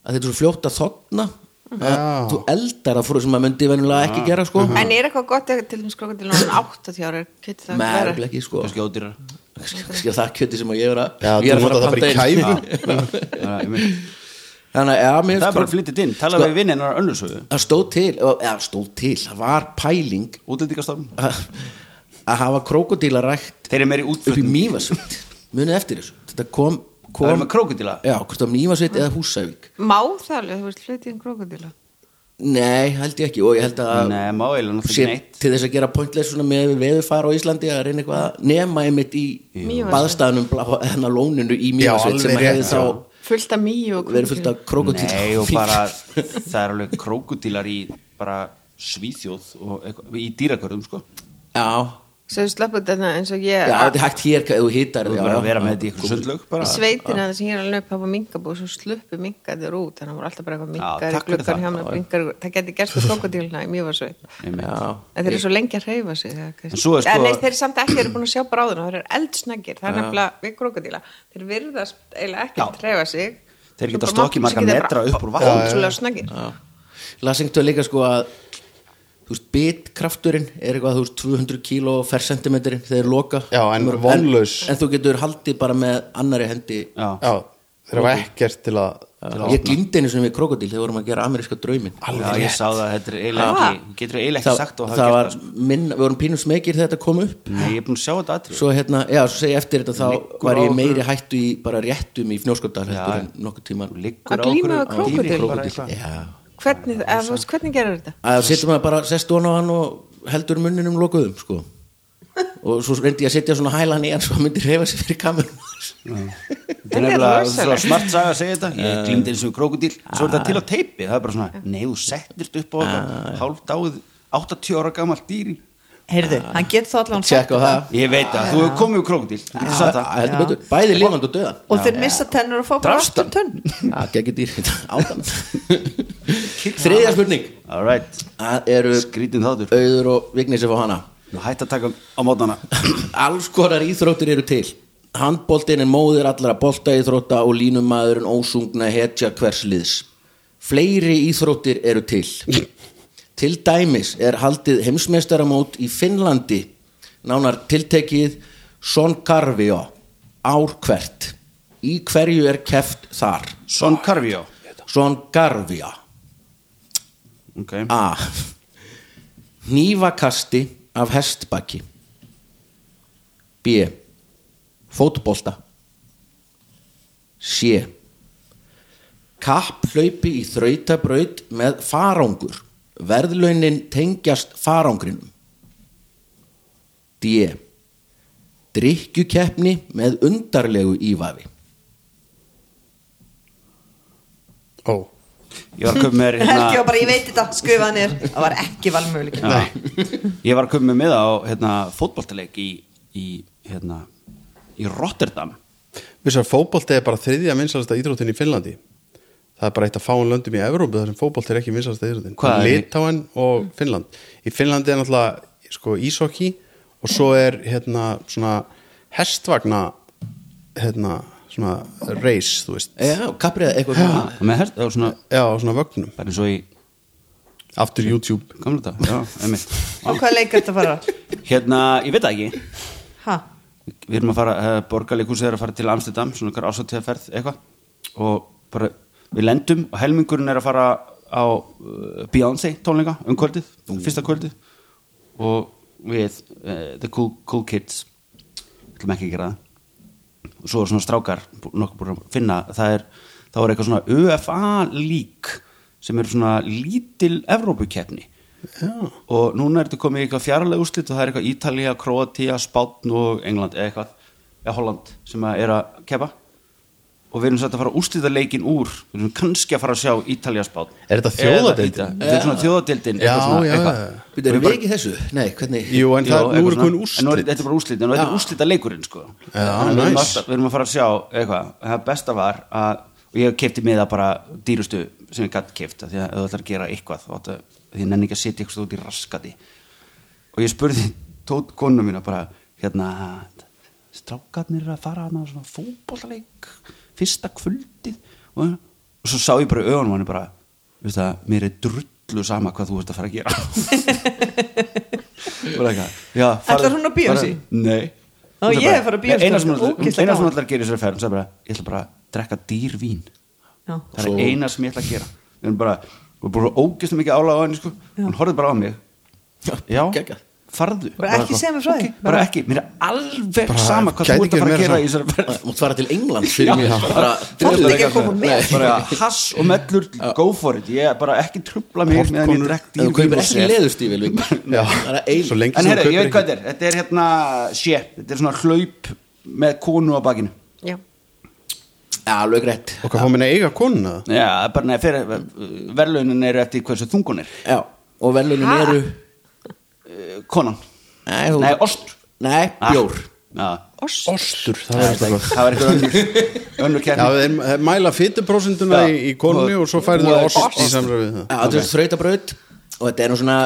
Speaker 4: að þetta er svo fljótt að þotna að
Speaker 8: Já.
Speaker 4: þú eldar að frosið sem maður myndi venjulega
Speaker 6: Ah.
Speaker 4: ekki gera
Speaker 6: Mhm.
Speaker 4: sko
Speaker 6: Mm.
Speaker 7: En er eitthvað gott að til þess krokodilunum 80 ára kjöt það
Speaker 4: með
Speaker 7: klára?
Speaker 4: ekki sko
Speaker 6: kannski ódýrar
Speaker 4: Kannski það kjöti sem ég er að
Speaker 8: Já,
Speaker 4: ég er
Speaker 8: þú notar það bara í
Speaker 4: panta inn. sko.
Speaker 6: Já, ég meina,
Speaker 4: þannig að ja, mér
Speaker 6: það er
Speaker 4: finnst
Speaker 6: bara
Speaker 4: sko-
Speaker 6: að flytja þetta inn tala við vinn hennar önnursögu
Speaker 4: það stóð til, eða stóð til það var pæling
Speaker 6: útlendingastofn
Speaker 4: að að hafa krókodíla rækt
Speaker 6: þeir eru meiri
Speaker 4: upp í
Speaker 6: útflutning
Speaker 4: mývasveit munið eftir þessu þetta kom,
Speaker 6: það eru
Speaker 4: kom
Speaker 6: með krókudíla
Speaker 4: já, hvort það mývasveit eða húsavík
Speaker 7: Má það alveg, þú veist, flytja inn krokodila
Speaker 4: nei, held ég ekki og ég held að
Speaker 6: Nei, má eiginlega
Speaker 4: Eh,
Speaker 6: náttúrulega
Speaker 4: sé
Speaker 6: ekki neitt
Speaker 4: til þess að gera pointless svona með veðurfara á Íslandi að reyna eitthvað að nema einmitt í
Speaker 7: Mývatnsveit.
Speaker 4: baðstæðanum hennar lóninu í Mývasveit
Speaker 8: alveg
Speaker 4: sem
Speaker 8: rétt,
Speaker 4: hefði
Speaker 8: já.
Speaker 4: þá
Speaker 7: Fullt af mýju og
Speaker 4: verið fullt af krokodil
Speaker 6: Nei, og bara það eru alveg krókudílar í bara svíþjóð og eitthvað, í dýrakörðum sko
Speaker 4: já,
Speaker 7: Svo þú sleppu þetta eins og ég
Speaker 4: já, þetta er hægt hér ef þú hittar
Speaker 6: þú
Speaker 4: já,
Speaker 6: verður
Speaker 4: já.
Speaker 6: að vera með þetta í eitthvað sundlaug bara
Speaker 7: sveitina þar sem ég er alveg upp hafa minkabú svo sluppu minkaðir út þannig að voru alltaf bara eitthvað minkar í
Speaker 6: takk fyrir
Speaker 7: gluggan
Speaker 6: það.
Speaker 7: hjá mér blinkar, það geti gert það krokodilna í mjög var sveit
Speaker 6: Einmitt.
Speaker 7: en þeir eru svo lengi að hreyfa sig það, kannski-
Speaker 6: En svo er sko-
Speaker 7: Eh, nei, þeir eru samt ekki þeir eru búin að sjá bráðuna, þeir eru eldsnægir það er nefnilega við krokodila þeir virðast eiginlega ekki að hreyfa sig
Speaker 6: Þeir geta
Speaker 7: Svo bara
Speaker 6: stokkið
Speaker 7: mátt- svo
Speaker 6: marga
Speaker 7: geta
Speaker 6: metra
Speaker 7: bara
Speaker 6: upp úr vatni.
Speaker 7: ótrúlega snöggir
Speaker 4: Lassingtöð líka sko að þú veist, bitkrafturinn er eitthvað þú veist, 200 kíló fer sentimenturinn þegar loka
Speaker 8: Já, en
Speaker 4: Þú verður-
Speaker 8: vonlaus.
Speaker 4: en, en þú getur haldið bara með annari hendi
Speaker 6: Já.
Speaker 8: Já, þeir hafa ekkert til að
Speaker 4: ég glýmdi einu sem við krokodil þegar vorum að gera ameríska draumin
Speaker 6: Já, ég sá það, þetta er eiginlega ekki þú getur eiginlega ekki sagt og hafa
Speaker 4: það
Speaker 6: gert
Speaker 4: var
Speaker 6: það sko.
Speaker 4: minna, við vorum pínum smekir þegar þetta kom upp
Speaker 6: Nei, ég er búin að sjá þetta sko. atrið
Speaker 4: svo hérna, já, svo segi ég eftir þetta þá
Speaker 6: Liggur
Speaker 4: var
Speaker 6: á
Speaker 4: ég
Speaker 6: okkur.
Speaker 4: meiri hættu í bara réttum í fnjóskapdal
Speaker 6: Já.
Speaker 4: heldur en nokkuð tíma
Speaker 6: Liggur
Speaker 7: Að glíma við krókódíl.
Speaker 4: krokodil já,
Speaker 7: hvernig, eða, þú veist, hvernig gerir þetta?
Speaker 4: að setjum maður bara sest ofan á hann og heldur munninum lokuðum sko og svo reyndi ég að setja svona hælan í hann svo hann myndi reyfa sig fyrir kamerun
Speaker 6: Þetta er
Speaker 7: Þetta er
Speaker 6: nefnilega
Speaker 7: rosalegt. Ah.
Speaker 6: svo smart saga að segja þetta
Speaker 4: Eh.
Speaker 6: Ég glimti eins og krókudíl Svo er þetta til á teipi, það er bara svona Nei, þú settir þetta upp á þetta Hálf dáið, 80 ára gamalt dýr í.
Speaker 5: Heyrðu, hann getur þá allan sagt
Speaker 4: tjekk á það
Speaker 6: Ég veit það, þú hefur komið úr krókudíl Þú getur sagt það
Speaker 4: heldur betur, bæði lifand og döðan
Speaker 5: Og þeir missa tennur og fá bara
Speaker 6: Drapst
Speaker 5: aftur tönn
Speaker 4: það gekk dýr átan þriðja spurning
Speaker 6: All right,
Speaker 4: það eru
Speaker 6: skrítin þáttur
Speaker 4: auður og vignir sem fá hana
Speaker 6: Nú hætt að taka á mótana
Speaker 4: alls konar íþróttir eru til handboltin er móðir allra bolta íþrótta og línumadurinn ósungna hetja hvers liðs fleiri íþróttir eru til til dæmis er haldið heimsmeistaramót í Finnlandi nánar tiltekið Sonkarvio ár hvert í hverju er keft þar
Speaker 6: Son Carvio
Speaker 4: Sonkarvio
Speaker 6: okay.
Speaker 4: A Nývakasti af hestbaki B Fótbolta C Kapphlaupi í þrautabraut með farangur Verðlaunin tengjast farangrinum D Drykkjukeppni með undarlegu ívafi
Speaker 8: Ó,
Speaker 6: Ég var að köpa mér
Speaker 5: Helgi var
Speaker 6: hérna,
Speaker 5: bara, ég veit þetta, skrifa hann er Það var ekki valmöguleik
Speaker 6: Ég var að köpa mér með á hérna, fótboltaleik í, í, hérna, í Rotterdam
Speaker 8: vissar fótbolti er bara þriðja vinsalasta íþróttin í Finnlandi Það er bara eitt að fáin löndum í Evrópu þar sem fótbolti er ekki vinsalasta íþróttin
Speaker 6: Hvað er-
Speaker 8: Litáen og Finnland Í Finnlandi er náttúrulega sko ísokki og svo er hérna svona hestvagna hérna svona reis, þú veist
Speaker 4: Já, kappriða eitthvað svona
Speaker 6: Og með hér, það var svona
Speaker 8: Já, á svona vögnum
Speaker 6: Bara eins og í
Speaker 8: Aftur YouTube
Speaker 6: gamla dag Já, einmitt
Speaker 5: Og hvað leik er þetta að fara?
Speaker 6: Hérna, ég veit það ekki
Speaker 5: Ha?
Speaker 6: við erum að fara, uh, borgarleikúsið er að fara til Amsterdam, svona okkar ásatíðaferð eitthvað og bara við lendum og helmingurinn er að eh, fara á uh, Beyoncé tónleika um kvöldið, fyrsta kvöldið og við uh, The Cool, cool Kids við ætlum ekki að gera það og svo er svona strákar bú- nokkuð búin að finna það er, þá er eitthvað svona UFA lík sem er svona lítil Evrópukeppni og núna er þetta komið í eitthvað fjarlæg úrslit og það er eitthvað Ítalía, Kroatia, Spátn og England eða eitthvað, eða Holland sem að er að keppa og við erum satt að fara að úrslita leikin úr við erum kannski að fara að sjá Ítalía, Spátn
Speaker 2: Er þetta
Speaker 6: Eða
Speaker 2: þjóðadeildin?
Speaker 6: Íta- þetta er svona þjóðadeildin eitthvað
Speaker 8: Já,
Speaker 6: svona,
Speaker 8: já,
Speaker 6: eitthvað.
Speaker 8: já.
Speaker 4: Býtu, erum við ekki í þessu? Nei, hvernig?
Speaker 8: Jú, en
Speaker 6: Já,
Speaker 8: það, nú
Speaker 6: eitthvað
Speaker 8: er
Speaker 6: svona. En nú er
Speaker 8: komin úrslit
Speaker 6: þetta er bara úrslit, en nú er þetta úrslita leikurinn sko. Þannig að við, erum
Speaker 8: nice.
Speaker 6: alltaf, við erum að fara að sjá eitthvað, það besta var að, og ég kefti miða bara dýrustu sem ég gætt keft, af því að ef þú ætlar að gera eitthvað þá áttu- því ég nenni ekki að sitja eitthvað út í raskati og ég spurði tótt konu mína bara, hérna strákarnir eru að fara að svona fótbollaleik, fyrsta kvöldið og, og svo sá ég bara í augunum hann bara, veist það, mér er drullu sama hvað þú ert að fara að gera Bara eitthvað, já, farðu-
Speaker 5: Ætlar hún á bíó
Speaker 6: farðu-
Speaker 5: sig?
Speaker 6: Nei
Speaker 5: Ó,
Speaker 6: Hún sagði
Speaker 5: ég
Speaker 6: bara-
Speaker 5: er að fara á bíó
Speaker 6: Nei, Eina sem
Speaker 5: sko,
Speaker 6: hún
Speaker 5: ógeðslega
Speaker 6: eina sem hún
Speaker 5: gaman.
Speaker 6: ætlar að gera í þessari ferð Hún sagði bara, ég ætla bara að drekka dýr vín
Speaker 5: Já.
Speaker 6: Það er eina sem ég ætla að gera Við erum bara, við erum bara ógeðslega mikið álag á henni sko. Hún horfði bara á mig Já,
Speaker 4: geggjað.
Speaker 6: farðu
Speaker 5: Bara ekki segja mér frá því.
Speaker 6: Ok, Bara ekki, mér er alveg sama hvað
Speaker 8: gæti
Speaker 6: þú ert
Speaker 8: ekki
Speaker 6: að fara að
Speaker 8: verið
Speaker 6: gera
Speaker 8: sama.
Speaker 6: í þessari ferð
Speaker 4: Mátt fara til England fyrir mér bara,
Speaker 5: Þarftu
Speaker 4: drullu-
Speaker 5: ekki að koma með?
Speaker 4: Nei.
Speaker 6: bara hass og mellur, go for it ég er bara ekki trubla mig meðan ég
Speaker 8: Popcorn-
Speaker 6: drekk
Speaker 4: Ef
Speaker 6: dýr
Speaker 4: Þú kaupir ekki leðurstífil
Speaker 8: Já.
Speaker 4: Það er eil
Speaker 8: Svo lengi
Speaker 6: En
Speaker 8: sem
Speaker 6: heyrðu,
Speaker 8: þú
Speaker 6: ég veit
Speaker 8: kaupir
Speaker 6: hvað þetta er Þetta er hérna, sé, þetta er svona hlaup með konu á bakinu
Speaker 7: já,
Speaker 4: Já, lög rétt
Speaker 8: ekki- Og hvað fá minna eiga konuna?
Speaker 6: Já, það er bara neða fyrir, verðlaunin eru eftir hversu þungun er
Speaker 4: Já, og velunin
Speaker 7: Ha?
Speaker 4: eru
Speaker 6: Eh, Konan,
Speaker 4: Nei, þú-
Speaker 6: nei, ostur
Speaker 4: Nei, bjór
Speaker 6: Já,
Speaker 7: oss
Speaker 8: Ostur, það er eitthvað
Speaker 6: það var eitthvað önnur Önnur
Speaker 8: Já,
Speaker 6: kefni
Speaker 8: þeir þeir mæla fytuprósentuna
Speaker 6: Já.
Speaker 8: í, í konu og svo færðu
Speaker 6: Og-
Speaker 8: ost í
Speaker 6: ost.
Speaker 8: samræðu við
Speaker 4: Já,
Speaker 8: það
Speaker 4: þetta er þrautabraut Og þetta er nú svona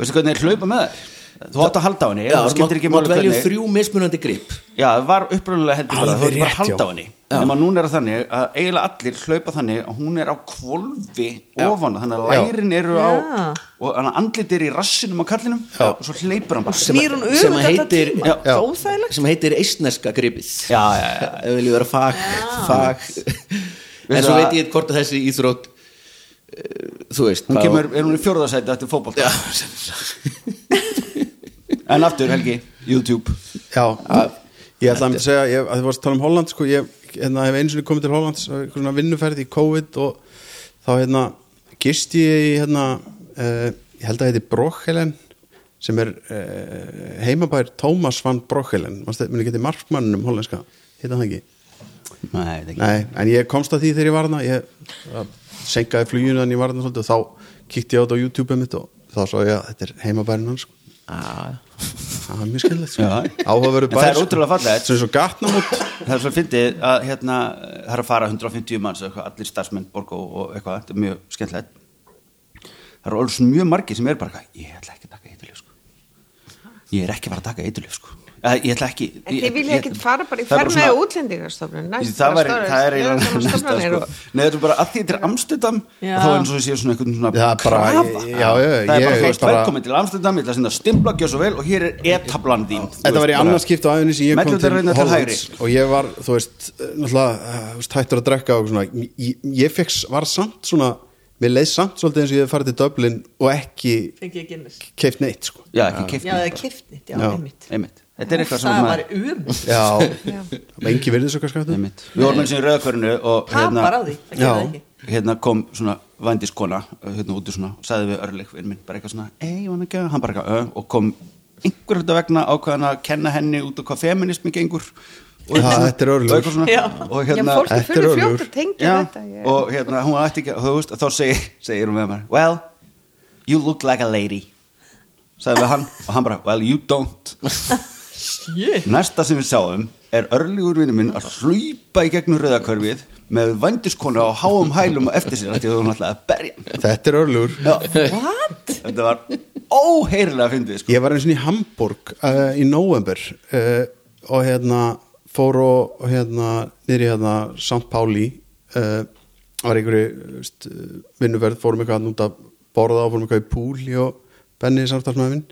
Speaker 6: Veistu hvernig þeir hlaupa með þær? Þú átt að halda á henni,
Speaker 4: Já,
Speaker 6: þú skiptir ekki máli
Speaker 4: mátt velja
Speaker 6: hvernig
Speaker 4: þrjú mismunandi grip
Speaker 6: Já, það var upprunalega heldur bara,
Speaker 8: Alveg
Speaker 6: þú átt bara
Speaker 8: rétt,
Speaker 6: að halda
Speaker 8: já.
Speaker 6: á henni Nefna núna er það þannig að eiginlega allir hlaupa þannig að hún er á kvolfi ofan Þannig að
Speaker 8: Já.
Speaker 6: lærin eru á,
Speaker 5: Já.
Speaker 6: og hann andlit er í rassinum á kallinum Og svo hleypur hann bara
Speaker 5: Snýr hún
Speaker 4: sem
Speaker 5: öfund alltaf
Speaker 4: heitir-
Speaker 5: tíma
Speaker 6: Já.
Speaker 5: Það er óþægilegt
Speaker 4: Sem heitir eistneska gripið
Speaker 6: Já, já, já
Speaker 4: Ef við viljum vera fag,
Speaker 5: Ah.
Speaker 4: fag. En
Speaker 6: Veistu
Speaker 4: svo
Speaker 6: að-
Speaker 4: veit ég ekki hvort að þessi íþrótt eh, Þú veist
Speaker 6: hún
Speaker 4: hvað-
Speaker 6: kemur, er hún í fjórðarsæti eftir fótbolt
Speaker 4: Já, sem sagt
Speaker 6: en aftur Helgi, YouTube
Speaker 8: Já, ég ætla að segja ég, að þið varst að tala um Holland sko, ég hérna, hef einu sinni komið til Hollands á einhver svona vinnuferð í COVID og þá hérna gist ég í hérna uh, ég held að heiti Brochelen sem er uh, heimabær Tómas van Brochelen minn ekki þetta markmannum hollenska hérna það ekki
Speaker 6: Nei, það
Speaker 8: Nei, en ég komst að því þegar ég var hana ég það senkaði fluginu en ég var hana svolítið og þá kíkti ég á þetta á YouTube mitt og þá svo ég að þetta er heimabærin hans sko.
Speaker 4: Ah.
Speaker 8: það er mjög skilvægt sko.
Speaker 6: Já.
Speaker 8: áhugaverðu
Speaker 6: En það er ótrúlega fallegt.
Speaker 8: sem er svo gatnamót
Speaker 6: það er svo fyndið að hérna það er að fara 150 manns og eitthvað, allir starfsmenn borga og, og eitthvað, þetta er mjög skemmtilegt það eru alls mjög margir sem er bara eitthvað, ég ætla ekki að taka eitthulíf sko. ég er ekki að fara að taka eitthulíf sko. Eh, ég ætla ekki
Speaker 7: En
Speaker 6: ég-
Speaker 7: þið viljið
Speaker 6: ég-
Speaker 7: ekki fara bara í
Speaker 6: Það er
Speaker 7: ferð
Speaker 6: svona-
Speaker 7: með útlendingarstofnun næst
Speaker 6: það,
Speaker 7: bara
Speaker 6: var,
Speaker 7: stórar-
Speaker 6: það er
Speaker 7: stórar
Speaker 6: eiginlega næsta
Speaker 7: stofnanir
Speaker 6: sko.
Speaker 7: og-
Speaker 6: Nei, þetta er bara að því þetta er Amstendam
Speaker 5: Já.
Speaker 6: þá er eins og þessi svona einhvern svona
Speaker 8: Já, bara-
Speaker 6: krafa.
Speaker 8: já, já,
Speaker 6: það
Speaker 8: já,
Speaker 6: er bara,
Speaker 8: ég-
Speaker 6: þú veist,
Speaker 8: bara-
Speaker 6: velkomin til Amstendam ég ætla að senda stimpla, gjör svo vel og hér er e-tablan þín Þú
Speaker 8: þetta
Speaker 6: veist,
Speaker 8: var í
Speaker 6: bara-
Speaker 8: annars skipt á aðunni sem ég kom
Speaker 6: Mellurnar
Speaker 8: til
Speaker 6: reyna til
Speaker 8: Hollands
Speaker 6: hægri.
Speaker 8: og ég var, þú veist, náttúrulega eh, þú veist, hættur að drekka og svona ég, ég fekk, s- var samt svona mér leið samt svolítið eins og ég hef farið til Dublin og ekki
Speaker 5: Fengi ég Guinness.
Speaker 8: keift neitt sko.
Speaker 6: já, ekki keift
Speaker 5: Já, það er kiftnit, já,
Speaker 8: Já.
Speaker 5: einmitt
Speaker 6: einmitt þetta er eitthvað sem
Speaker 5: Það
Speaker 6: maður-
Speaker 5: var um
Speaker 8: já, engi virðisökkarskaptur
Speaker 6: einmitt við vorum eins og í rauðakörinu og
Speaker 5: Tapar á því, það
Speaker 8: Já.
Speaker 5: gerði það ekki
Speaker 6: hérna kom svona vandiskona hérna úti svona, sagði við örleik vinn minn, bara eitthvað svona, ei, ég ekki hann bara eitthvað, "Ö", og kom einhver hluta vegna ákveðan að kenna henni út á hvað feminismi gengur og,
Speaker 8: Já, þetta er Örlygur.
Speaker 6: og eitthvað svona,
Speaker 5: Já.
Speaker 6: og
Speaker 7: Já,
Speaker 6: hérna
Speaker 7: fólk
Speaker 8: Þetta
Speaker 7: er
Speaker 8: er
Speaker 7: fyrir
Speaker 8: örugur.
Speaker 7: fljótt að tengja
Speaker 6: já,
Speaker 7: þetta ég-
Speaker 6: og hérna, hún ætti ekki þú veist, þá segir, segir hún með mér well, you look like a lady sagði við hann, og hann bara well, you don't næsta sem við sáum er örljúur vinnu minn að hlaupa í gegnum rauðakörfið með vandiskonu á háum hælum og eftir sér af því að hún ætlaði að berja hann.
Speaker 8: þetta er örlur
Speaker 6: já, þetta var óheirilega fyndið sko.
Speaker 8: Ég var eins og í Hamburg uh, í november uh, og hérna fór og og hérna niður í hérna St. Pauli uh, var einhverju st, vinnuverð, fórum eitthvað þarna út að borða og fórum eitthvað í púli og Benni samtalsmaður minn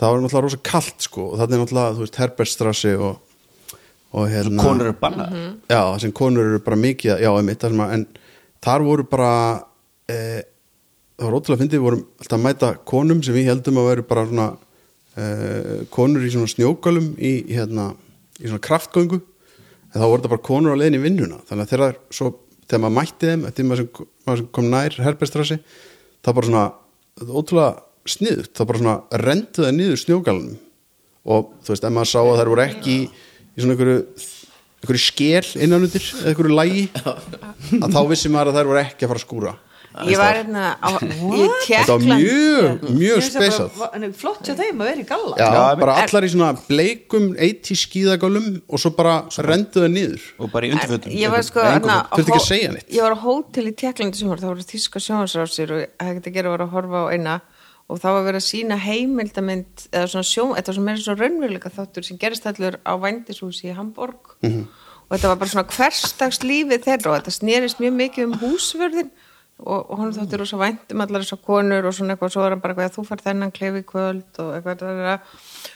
Speaker 8: það var náttúrulega rosa kalt sko og það er náttúrulega, þú veist, Herbertstrassi og, og hérna
Speaker 6: konur eru bannað
Speaker 7: Mhm.
Speaker 8: já, þar sem konur eru bara mikið já, einmitt, þar sem að, en þar voru bara e, það var ótrúlega fyndið við vorum alltaf að mæta konum sem við heldum að veru bara svona uh, konur í svona snjókölum í, hérna, í svona kraftgöngu en þá voru þetta bara konur á leiðin í vinnuna þannig að þegar, svo, þegar maður mætti þeim eftir maður sem, maður sem kom nær herberstrassi það bara svona, þetta er ótrúlega sniðut, það bara svona rendu það niður snjókalunum og þú veist, ef maður sá að þær voru ekki í, í svona einhverju einhverju skel innanundir eða einhverju lægi að þá vissi maður að þær voru ekki að fara að skúra
Speaker 7: Ég var hérna á, í
Speaker 8: þetta var
Speaker 7: Tjekkland
Speaker 8: mjög, mjög
Speaker 5: Ég veist að
Speaker 8: spesat
Speaker 5: bara- en Flott hjá þeim að vera í galla
Speaker 8: Já,
Speaker 6: Já,
Speaker 8: bara allar í svona bleikum 80 skíðagölum og svo bara rendu það niður
Speaker 6: og bara í undirfötum
Speaker 7: Ég var sko
Speaker 8: Nei, engum
Speaker 7: þarna
Speaker 8: fötum. Þurfti ekki að
Speaker 7: á hó-
Speaker 8: segja neitt.
Speaker 7: Ég var á hótel í Tjekklandi sumar Það voru þíska sjónvarsrásir og hægt að gera var að horfa á eina og það var verið að sína heimildamind eða svona sjón, þetta var svona meira svona raunveruleika þáttur sem gerist allur á vændishúsi í Hamburg
Speaker 8: Mhm.
Speaker 7: og þetta var bara svona hverstags lífið þeirra og þetta snerist mjög mikið um húsvörðin og, og honum þóttir rosa vænt um allar þessar konur og svona eitthvað svo var hann bara eitthvað að þú fær þennan klefi í kvöld og eitthvað það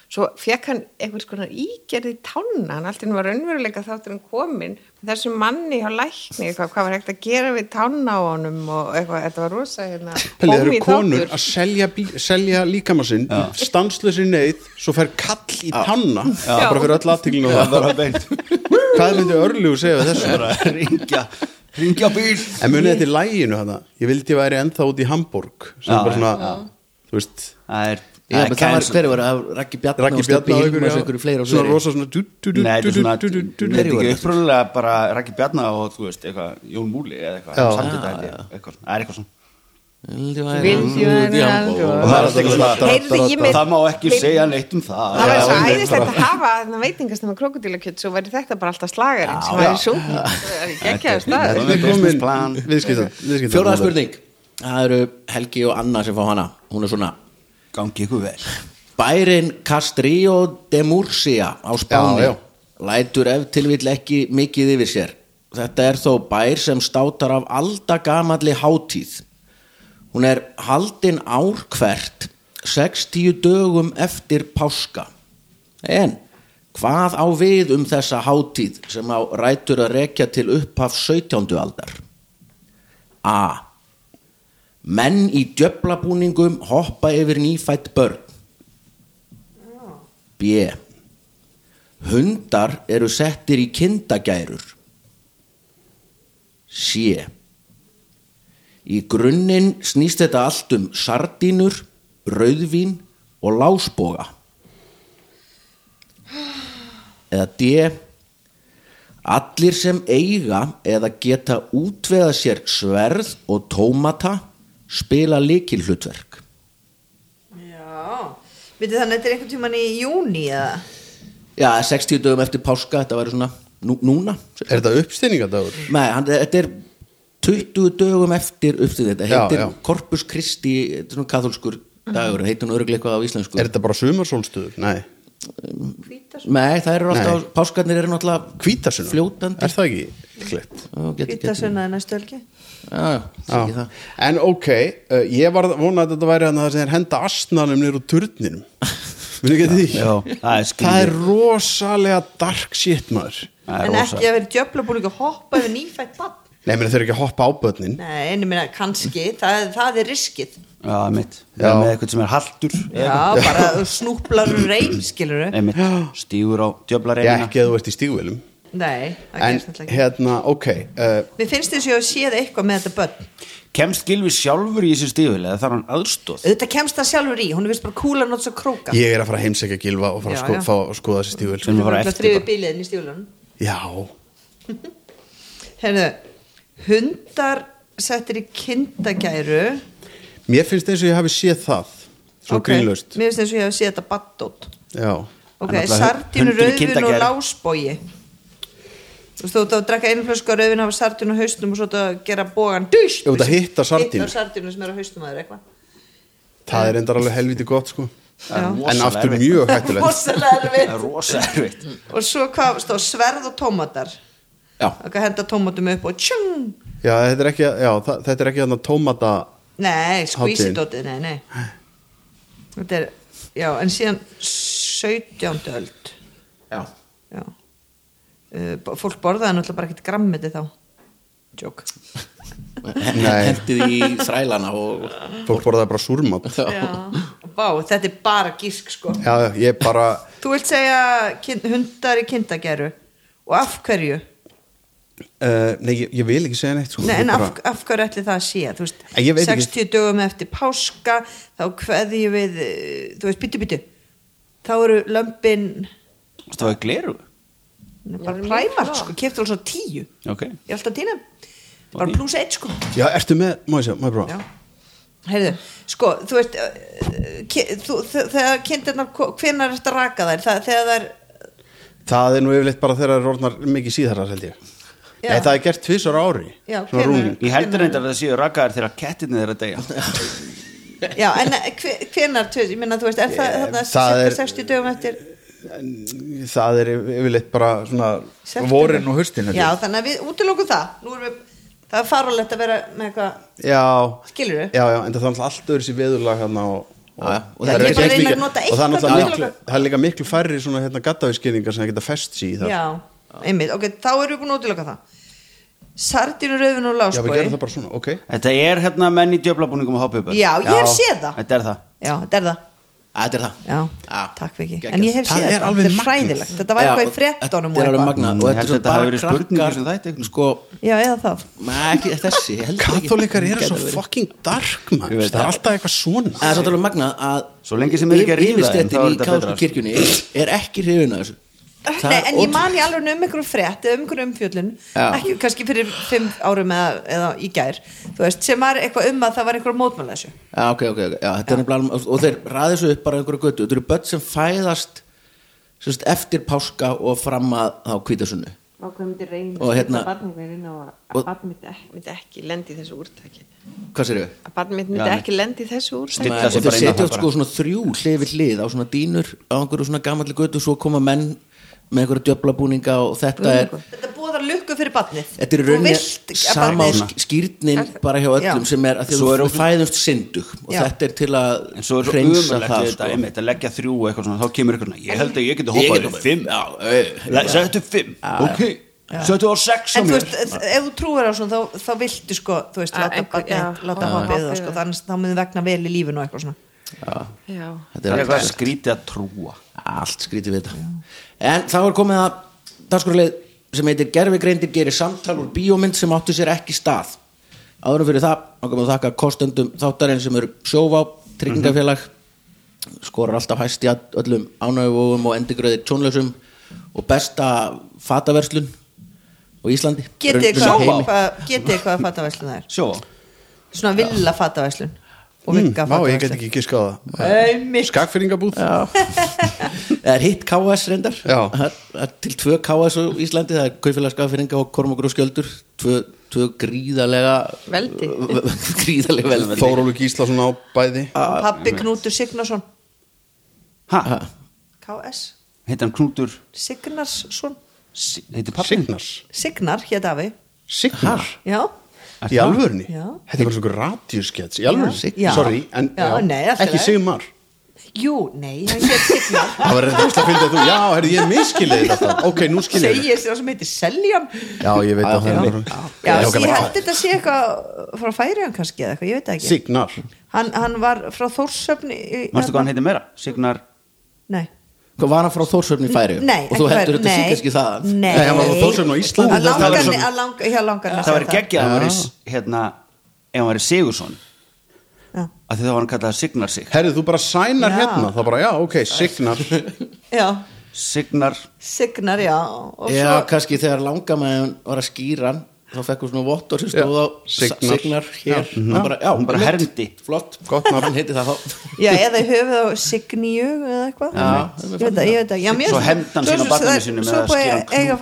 Speaker 7: svo fekk hann einhvers konar ígerð í tánna, hann alltaf var raunveruleika þátturinn komin, þessu manni hjá lækni, eitthvað, hvað var hægt að gera við tánna á honum og eitthvað, þetta var rosa hérna,
Speaker 8: Pelli, það
Speaker 7: homi
Speaker 8: eru konur
Speaker 7: þáttur.
Speaker 8: að selja, bí- selja líkamassinn stanslösi neyð, svo fer kall í tanna
Speaker 7: Já.
Speaker 8: bara fyrir öll aðtíklinu
Speaker 6: það var það beint
Speaker 8: hvað myndi örljú segja við þessu
Speaker 6: bara ringja ringja bíl
Speaker 8: en munið þetta í læginu hana ég vildi ég væri ennþá út í Hamburg sem
Speaker 6: Já,
Speaker 8: bara svona, þú veist
Speaker 6: það er
Speaker 4: Já, menn það var
Speaker 6: cancel.
Speaker 4: hverju var það, Raggi Bjarni
Speaker 8: Raggi
Speaker 4: og Stebbi
Speaker 8: Bjarni á
Speaker 4: Hilmars og einhverju fleira
Speaker 8: ykkur
Speaker 4: og
Speaker 8: svona
Speaker 4: fleiri.
Speaker 8: rosa svona du- du- du-
Speaker 6: Nei, þetta
Speaker 8: du-
Speaker 6: er
Speaker 8: du-
Speaker 6: svona
Speaker 8: du- du- du-
Speaker 6: Þetta er
Speaker 4: Hverju
Speaker 6: ekki
Speaker 4: voru þetta?
Speaker 6: uppröðulega bara Raki Bjarna og þú veist, eitthvað Jón Múli eða eitthvað
Speaker 8: Já.
Speaker 6: samtíð dæti, eitthvað, það er eitthvað svona
Speaker 4: Vildi væri-
Speaker 7: Vildi væri-
Speaker 6: og það er alltaf eitthvað svona
Speaker 7: Heyrðu, ég með-
Speaker 6: það má ekki
Speaker 7: Við-
Speaker 6: segja neitt um það
Speaker 7: Það var svo
Speaker 6: Já,
Speaker 7: æðislegt að hafa þarna veitingast með krokodilakjöt svo væri þetta bara alltaf slagarinn sem væri sungin það er geggjaður staður
Speaker 8: Við
Speaker 6: Business plan.
Speaker 8: komin viðskiptan
Speaker 4: Fjóraða spurning Það eru Helgi og Anna sem fá hana Hún er svona
Speaker 6: gangi ykkur vel
Speaker 4: Bærin Castrillo de Murcia á Spáni
Speaker 8: Já, já.
Speaker 4: Lætur ef tilvill ekki mikið yfir sér Þetta er þó bær sem státar af aldagamalli hátíð Hún er haldin ár hvert 60 dögum eftir páska En hvað á við um þessa hátíð sem á rætur að rekja til upphaf 17. aldar? A. Menn í djöflabúningum hoppa yfir nýfætt börn. B. Hundar eru settir í kindagærur. C. Í grunninn snýst þetta allt um sardínur, rauðvín og lásboga. Eða D. Allir sem eiga eða geta útveða sér sverð og tómata spila líkilhlutverk.
Speaker 5: Já, vitið þannig þetta er einhvern tíman í júni eða?
Speaker 4: Já, 60 dögum eftir páska, þetta væri svona nú, núna.
Speaker 8: Er þetta uppstýningadagur?
Speaker 4: Nei, hann, þetta er 20 dögum eftir uppstíð þetta
Speaker 8: Já,
Speaker 4: heitir
Speaker 8: já.
Speaker 4: Corpus Christi þetta er svona katholskur
Speaker 5: Mhm.
Speaker 4: dagur, heitir hún örgleik eitthvað á íslensku
Speaker 8: Er þetta bara sumarsólstuður? Nei,
Speaker 4: Nei, það eru alltaf,
Speaker 8: Nei.
Speaker 4: páskarnir eru náttúrulega
Speaker 8: hvítasunna
Speaker 4: Fljótandi.
Speaker 8: Er það ekki? Líklegt
Speaker 4: Ó, get, get, get,
Speaker 5: Vítasunnaði næstu helgi
Speaker 4: já, já,
Speaker 8: Já.
Speaker 4: já.
Speaker 8: En ok, uh, ég var að vona að þetta væri hann að það sem er henda asnanum niður úr turninum Muni getið því?
Speaker 6: Já, það er skrítið.
Speaker 8: Það er rosalega dark shit maður
Speaker 6: Það er
Speaker 5: En
Speaker 6: rosa.
Speaker 5: ekki að vera djöflabúning að hoppa yfir nýfætt bann
Speaker 8: Nei, meni þau eru ekki að hoppa á börnin
Speaker 5: Nei, en ég meina kannski, það, það er riskið
Speaker 6: já, mitt, já. með eitthvað sem er haldur
Speaker 5: Já, bara þú snúplar um reyn, skilur við
Speaker 6: einmitt, stígur á
Speaker 8: Ég
Speaker 6: djöflareimina
Speaker 8: ekki að þú ert í stígvélum
Speaker 5: Nei, það
Speaker 8: En
Speaker 5: gerst náttúrulega ekki
Speaker 8: hérna, ok uh,
Speaker 5: Mér finnst þess að ég séð eitthvað með þetta börn
Speaker 6: kemst Gilvi sjálfur í þessi stígvél eða þarf hann aðstóð
Speaker 5: Þetta kemst það sjálfur í, hún er vist bara kúlan og þess að króka
Speaker 8: Ég er að fara að heimsækja gilva og fara
Speaker 5: Já,
Speaker 8: að sko,
Speaker 5: já.
Speaker 8: fá að skoða þessi stígvél
Speaker 6: Sem
Speaker 8: sko.
Speaker 6: er bara
Speaker 5: Það
Speaker 6: eftir
Speaker 5: þrifir
Speaker 6: bara.
Speaker 5: bíliðin í stílunum
Speaker 8: Já,
Speaker 5: Herðu, hundar settir í kindagæru
Speaker 8: mér finnst eins og ég hafi séð það Svo
Speaker 5: Ok,
Speaker 8: grínlaust
Speaker 5: Mér finnst þess að ég hef séð þetta battótt
Speaker 8: Já
Speaker 5: Ok,
Speaker 6: Hann ætlaði-
Speaker 5: sardínu,
Speaker 6: hundur í
Speaker 5: rauðvin og
Speaker 6: kindagæru.
Speaker 5: lásbói Þú veist, þú ert að drekka einu flösku af rauðvin hafa sardínu á haustum og svo ert að gera bógan dush,
Speaker 8: Ef þú ert að hitta sardínu.
Speaker 5: Hitta sardínu sem er á haustum að þér eitthvað
Speaker 8: Það er endar alveg helviti gott sko
Speaker 5: Já.
Speaker 8: En
Speaker 6: Rosalega
Speaker 8: aftur
Speaker 6: erfitt.
Speaker 8: mjög hættulegt
Speaker 5: Rosalega
Speaker 6: það er
Speaker 5: erfitt.
Speaker 6: rosa erfitt
Speaker 5: Og svo hvað, stóð sverð og tómatar
Speaker 4: já,
Speaker 5: Það henda tómatum upp og tjung
Speaker 8: Já, þetta er ekki, já, það, þetta er ekki þannig tómata
Speaker 5: Nei,
Speaker 8: Hátíðin.
Speaker 5: skvísidótið, nei, nei Þetta er, já, en síðan 17. öld
Speaker 4: já.
Speaker 5: Já uh, b- Fólk borðaði náttúrulega bara ekkert grammiti þá Jók
Speaker 8: Nei.
Speaker 4: hendið í þrælana og
Speaker 8: Fólk borðaði bara súrmat
Speaker 4: já.
Speaker 5: Já, vá, þetta er bara gísk sko
Speaker 8: já, já, ég bara
Speaker 5: Þú vilt segja kin- hundar í kindageru og af hverju?
Speaker 8: uh, nei, ég, ég vil ekki segja neitt sko.
Speaker 5: Nei,
Speaker 8: Ég
Speaker 5: en
Speaker 8: bara,
Speaker 5: af, af hverju ætli það sé þú veist,
Speaker 8: En ég veit
Speaker 5: 60 dögum eftir páska þá kveðjum við eh, þú veist, býtu, býtu þá eru lömbin
Speaker 6: Það var gleru
Speaker 5: bara
Speaker 7: Já,
Speaker 5: præmar,
Speaker 7: mjög
Speaker 5: sko, keftur alveg svo tíu ég
Speaker 6: Ok
Speaker 5: er alltaf tína, bara
Speaker 6: Fín.
Speaker 5: pluss eitt sko
Speaker 8: já, ertu með, má ég segja, má ég prófa
Speaker 5: já Heyrðu, sko, þú veist eh, ki- þú- þe- þegar kindirnar hvenær er þetta raka þær, það, þegar þær
Speaker 8: það er nú yfirleitt bara þegar það er orðnar mikið síðarar held ég
Speaker 5: Já.
Speaker 8: nei, það er gert tvisar ári
Speaker 5: Já,
Speaker 8: svona
Speaker 5: hvenær-
Speaker 8: rúmling.
Speaker 6: Ég heldur reyndar að það séu rakaðar þegar kettirni þeirra degja
Speaker 5: já, en eh, hve- hvenær, tveir- ég meina, þú veist, er það, þarna,
Speaker 8: það er-
Speaker 5: cirka 60 dögum eftir
Speaker 8: það er yfirleitt bara svona
Speaker 5: September.
Speaker 8: vorin og haustin held
Speaker 5: já,
Speaker 8: ég.
Speaker 5: þannig að við útilokum það Nú erum við, það er farulegt að vera með eitthvað
Speaker 8: já,
Speaker 5: skilur við
Speaker 8: já, já, en það er náttúrulega allt öðru sér veðurlag hérna og, og,
Speaker 4: Já, já.
Speaker 8: og
Speaker 4: Ég
Speaker 8: það er
Speaker 4: er
Speaker 8: ekki
Speaker 5: bara að
Speaker 8: eins
Speaker 5: reyna að
Speaker 8: mikið-
Speaker 5: nota
Speaker 8: og það er
Speaker 5: eitthvað
Speaker 8: náttúrulega
Speaker 5: til
Speaker 8: miklu,
Speaker 5: okkar.
Speaker 8: það er líka miklu færri svona hérna gattavískýringar sem geta fest sér í það
Speaker 5: já, einmitt, ok, þá erum við búin að útiloka það sardinu, rauðinu og
Speaker 8: já, við
Speaker 5: láskói
Speaker 8: gerum það bara svona, ok
Speaker 6: Þetta er hérna menn í djöflabúningum að hoppa upp
Speaker 5: já, ég hef séð það
Speaker 6: Þetta er það
Speaker 5: já, þetta er það
Speaker 4: Þetta er það
Speaker 5: Já,
Speaker 4: Já.
Speaker 5: takk Viki
Speaker 4: Geggjað.
Speaker 5: En ég hef
Speaker 8: Það
Speaker 5: séð
Speaker 8: er
Speaker 5: þetta,
Speaker 8: alveg
Speaker 5: þetta er
Speaker 8: magnað.
Speaker 5: fræðilegt Þetta var
Speaker 4: Já,
Speaker 5: eitthvað í
Speaker 4: og-
Speaker 5: fréttonum
Speaker 4: Þetta er alveg
Speaker 5: og eitthvað.
Speaker 4: magnað
Speaker 6: Mm, Ég
Speaker 4: og
Speaker 6: held
Speaker 4: þetta er
Speaker 6: þetta hafi
Speaker 4: bara
Speaker 6: verið spurning í
Speaker 4: krakkar
Speaker 6: þessum þætti, einhvern veginn.
Speaker 4: sko,
Speaker 5: Já, eða það
Speaker 4: Nei, ekki þessi, ég held ekki
Speaker 8: katholikar eru
Speaker 4: Gæti
Speaker 8: svo
Speaker 4: verið.
Speaker 8: fucking dark man
Speaker 6: Ég veit
Speaker 8: það er
Speaker 6: það.
Speaker 8: alltaf eitthvað
Speaker 4: En það
Speaker 8: svona
Speaker 4: er svolítið magnað að
Speaker 6: Svo lengi sem þeir ekki að ríða þeim, þá er
Speaker 4: Yfirstéttin í
Speaker 6: þetta betra,
Speaker 4: Kálku
Speaker 6: sko.
Speaker 4: kirkjunni er ekki hrifin að þessu Það
Speaker 5: Nei,
Speaker 4: er
Speaker 5: en ég
Speaker 4: ótrú-
Speaker 5: man í alveg um einhverjum frétt eða um einhverjum umfjöllun
Speaker 4: Já.
Speaker 5: ekki, kannski fyrir fimm árum eða, eða í gær þú veist, sem var eitthvað um að það var einhver mótmæla þessu
Speaker 4: Já, ok, ok, ok Já, þetta er nefnilega alveg- Og þeir ræði svo upp bara einhverju götu Þetta eru börn sem fæðast sérst, eftir páska og fram að þá kvítasunnu
Speaker 7: Ákveð myndi reyna
Speaker 4: Og hérna-
Speaker 7: að barnið myndi reyna á að
Speaker 4: Og-
Speaker 7: barnið myndi ekki, myndi ekki lendi í þessu úrtaki
Speaker 4: Hvað sér ég?
Speaker 7: að barnið mitt
Speaker 6: Já,
Speaker 7: myndi
Speaker 6: nei.
Speaker 7: ekki lendi í þessu úrtaki
Speaker 4: Og
Speaker 6: Stilla sig
Speaker 4: þeir
Speaker 6: bara inn á
Speaker 4: setja
Speaker 6: það
Speaker 4: oft
Speaker 6: bara.
Speaker 4: sko svona þrjú hlið við hlið á svona dýnur á einhverju svona gamalli götu svo koma menn með einhverju djöflabúninga og þetta er
Speaker 5: Þetta búðar lukku fyrir barnið
Speaker 4: Þetta er
Speaker 5: Þú
Speaker 4: raunin
Speaker 5: vilt að
Speaker 4: sama á
Speaker 5: barnið-
Speaker 4: sk- skýrnin bara hjá öllum
Speaker 5: Já.
Speaker 4: sem er að því
Speaker 6: Svo
Speaker 4: að
Speaker 6: er
Speaker 4: þú
Speaker 6: okkur-
Speaker 4: fæðumst syndug og
Speaker 5: Já.
Speaker 4: þetta er til að
Speaker 6: En svo er svo
Speaker 4: hreinsa
Speaker 6: umurlegt
Speaker 4: það
Speaker 6: við þetta,
Speaker 4: sko.
Speaker 6: einmitt, að leggja þrjú og eitthvað svona, þá kemur eitthvað svona, ég held að ég geti
Speaker 4: Ég
Speaker 6: hoppað
Speaker 4: get
Speaker 6: upp
Speaker 4: hoppað.
Speaker 6: fimm, já, le- settu upp fimm, ok, settu á sex á
Speaker 5: En þú
Speaker 6: mér.
Speaker 5: veist, ef ef þú trúir á svona þá, þá viltu sko, þú veist,
Speaker 7: Að
Speaker 5: láta
Speaker 7: einhver-
Speaker 5: barnið
Speaker 7: Ah, já,
Speaker 5: láta
Speaker 7: já.
Speaker 5: hoppið
Speaker 7: Já.
Speaker 5: það sko, þannig þá myndi vegna vel í lífinu og eitthvað svona
Speaker 7: Já.
Speaker 4: Þetta
Speaker 6: Það er
Speaker 4: er
Speaker 6: eitthvað
Speaker 4: allt,
Speaker 6: skrítið að trúa.
Speaker 4: allt skrítið við þetta En þá er komið að dagskorleið sem heitir Gerfigreindir gerir samtal úr bíómynd sem áttu sér ekki stað Áðurum fyrir það, þá komum við að þakka kostendum þáttarinn sem eru sjóvá, tryggingafélag skorar alltaf hæst í all- öllum ánægjum og endigröðir tónlausum og besta fataverslun og Íslandi
Speaker 5: Getið
Speaker 4: Raun- raun- heimi.
Speaker 5: eitthvað Getið eitthvað að fatavæslun það er
Speaker 6: Sjó,
Speaker 5: Svona villa fatavæslun Og
Speaker 8: Mm,
Speaker 5: vinga
Speaker 8: Vá, ég get
Speaker 5: fatavæslun
Speaker 8: ekki giskað á það
Speaker 5: Einmitt.
Speaker 8: Skagfyrringabúð
Speaker 4: Það er hitt KS reyndar
Speaker 8: Já.
Speaker 4: það er, það er til tvö KS á Íslandi það er kaufélagskafyrringa og kormokur og skjöldur tvö, tvö gríðalega
Speaker 7: Veldi.
Speaker 4: gríðalega veldi
Speaker 8: Þórólu Gíslason á bæði
Speaker 5: Og pappi Knútur Signarsson
Speaker 6: hæ,
Speaker 4: Ha,
Speaker 5: KS
Speaker 6: heitir hann Knútur,
Speaker 5: Signarsson
Speaker 6: S- heitir pappin?
Speaker 8: Signars
Speaker 5: Signar hétt afi
Speaker 8: Signars
Speaker 5: Já,
Speaker 8: Í alvörni?
Speaker 5: Já.
Speaker 8: Þetta er bara svona radíuskets Í alvörni?
Speaker 5: Já.
Speaker 8: Sorry, en
Speaker 5: Já, nei, allt í
Speaker 8: ekki
Speaker 5: lagi.
Speaker 8: Sigmar
Speaker 5: jú, nei, hann hétt Signar
Speaker 8: Það var reynda að finna þú Já, herri, ég miskilið þetta Ok, nú skilið
Speaker 5: Segir sér það sem heitir Seljan
Speaker 8: Já, ég veit að það
Speaker 5: Já,
Speaker 8: er Ég
Speaker 5: ég
Speaker 8: ákveð bara-
Speaker 5: held þetta sé eitthvað frá Færiðan kannski eða eitthvað, ég veit það ekki
Speaker 8: Signar
Speaker 5: hann, hann var frá Þórssöfni
Speaker 6: Manstu hvað hann heitir meira? Signar,
Speaker 5: Nei
Speaker 4: Hvað var hann frá Þórsöfni færi?
Speaker 5: Nei,
Speaker 4: og þú
Speaker 5: ekki
Speaker 4: heldur
Speaker 5: færi-
Speaker 4: þetta
Speaker 5: nei.
Speaker 4: síkast ekki það
Speaker 5: Nei,
Speaker 8: Nei, hann var frá Þórshöfn á Íslandi.
Speaker 5: Að
Speaker 8: Það
Speaker 5: langar,
Speaker 8: væri svo-
Speaker 5: að lang, hjá langar hann að
Speaker 6: það
Speaker 5: sjá
Speaker 6: væri geggjað að hann væri, s- hérna, ef hann væri Sigursson,
Speaker 5: Já.
Speaker 6: að því þá var hann kallað Signar sig.
Speaker 8: Herri, þú bara sænar
Speaker 5: Já.
Speaker 8: hérna Þá bara, já, ok, Signar
Speaker 5: Já,
Speaker 6: Signar,
Speaker 5: Signar, já Og
Speaker 4: Já,
Speaker 5: svo,
Speaker 4: kannski þegar langamæðin var að skýra hann þá fekk hún svona vottor sem stóð
Speaker 8: Já,
Speaker 4: á
Speaker 8: Signar.
Speaker 4: signar hér
Speaker 8: Já.
Speaker 4: Hann bara, já,
Speaker 6: Hún bara
Speaker 4: einmitt.
Speaker 6: hermdi.
Speaker 4: Flott,
Speaker 8: Gott nafn.
Speaker 4: hann heiti það þá
Speaker 5: já, eða í höfið á Signíu eða eitthvað
Speaker 4: Já,
Speaker 5: Ég veit það, ég veit það já, mér-
Speaker 6: Svo hefndi hann
Speaker 5: svo-
Speaker 6: sín á
Speaker 5: svo-
Speaker 6: barninu sínu með
Speaker 5: Svo
Speaker 6: að
Speaker 5: búið
Speaker 6: skera
Speaker 5: að eiga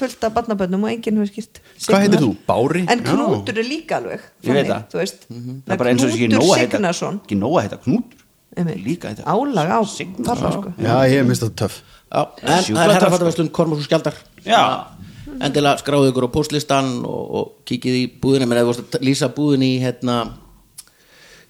Speaker 5: fullt af barnabönnum og enginn hefur skýrt
Speaker 8: Hvað heitir þú?
Speaker 5: Signar.
Speaker 8: Bári?
Speaker 5: En
Speaker 8: Já.
Speaker 5: Knútur er líka alveg
Speaker 6: Ég veit
Speaker 5: þannig,
Speaker 6: það. Mhm.
Speaker 5: Þú veist
Speaker 6: það er bara eins og þessi ekki nóg
Speaker 5: Knútur
Speaker 6: að heita,
Speaker 5: Signarsson
Speaker 6: ekki nóg að heita Knútur,
Speaker 5: einmitt,
Speaker 6: líka heita.
Speaker 5: Álag á pappa
Speaker 6: Signarsson.
Speaker 5: sko
Speaker 8: Já, ég minnst þetta töff
Speaker 4: Já, en það
Speaker 6: Sjúkla
Speaker 4: er
Speaker 6: töff,
Speaker 4: herrafattaverslun Kormáks og Skjaldar
Speaker 6: Já.
Speaker 4: Endilega skráðu ykkur á postlistan og, og kikið í búðina menn eða þú vorst að lýsa búðin í hérna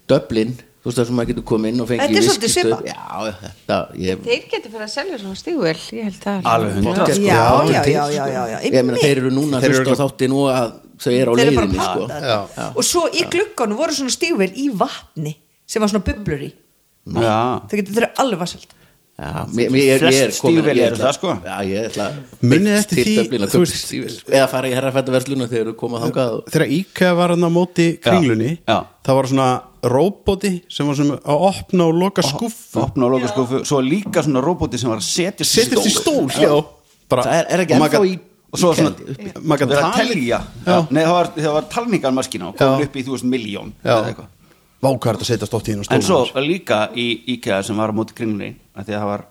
Speaker 4: Dublin þú veist það sem maður getur komið inn og fengið
Speaker 5: Þetta er svolítið
Speaker 4: viskistöð.
Speaker 5: svipað.
Speaker 4: Já, þetta ég,
Speaker 7: þeir getur fyrir að selja svona stígvel ég held það
Speaker 6: Alveg hundrað.
Speaker 4: Pottet, sko.
Speaker 5: Já,
Speaker 4: pottet,
Speaker 5: já, já,
Speaker 4: sko.
Speaker 5: já, já, já,
Speaker 4: Ég meina
Speaker 5: einmitt.
Speaker 4: þeir eru núna þeir
Speaker 8: Þeir
Speaker 4: hlusta
Speaker 8: eru
Speaker 4: á
Speaker 8: örugglega-
Speaker 4: þáttin og að þau eru á
Speaker 5: Þeir eru bara að
Speaker 4: leiðinni
Speaker 5: prata
Speaker 4: sko.
Speaker 5: þetta. og svo í glugganum voru svona stígvel í vatni sem var svona bublur í
Speaker 6: Já.
Speaker 5: þau getur þeirra alveg vassöld
Speaker 4: Já, mér, mér, ég er- ég er
Speaker 6: Flest
Speaker 4: komin-
Speaker 6: stígvél
Speaker 4: ég
Speaker 6: eru
Speaker 4: ætla-
Speaker 6: það, sko.
Speaker 4: Já, ég ætla
Speaker 8: Munið eftir því,
Speaker 4: Stígvélin,
Speaker 8: þú
Speaker 4: kaupa
Speaker 8: veist-
Speaker 4: stígvél. Eða fara í herrafættavörsluna þegar þú komað þangað og-
Speaker 8: þegar Íka var hann á móti kringlunni
Speaker 6: Já, já.
Speaker 8: það var svona róbóti sem var svona að opna og loka skuffu
Speaker 6: opna og loka skúfu svo líka svona roboti sem var að setja
Speaker 8: setjast í stól já. Bara,
Speaker 4: Það er, er ekki
Speaker 8: og maður
Speaker 4: ennþá
Speaker 8: gat-
Speaker 4: í
Speaker 6: og svo svona
Speaker 8: maður
Speaker 6: verið
Speaker 8: kann
Speaker 6: að
Speaker 8: tali
Speaker 6: telja Nei, það var, það var talningarmaskina og
Speaker 8: Já.
Speaker 6: komin upp í þú veist miljón eða
Speaker 8: já,
Speaker 6: eitthvað.
Speaker 8: vákvært að setja stótt í henn og
Speaker 6: en svo
Speaker 8: stóð
Speaker 6: líka í IKEA sem var á móti kringlunni af því að það var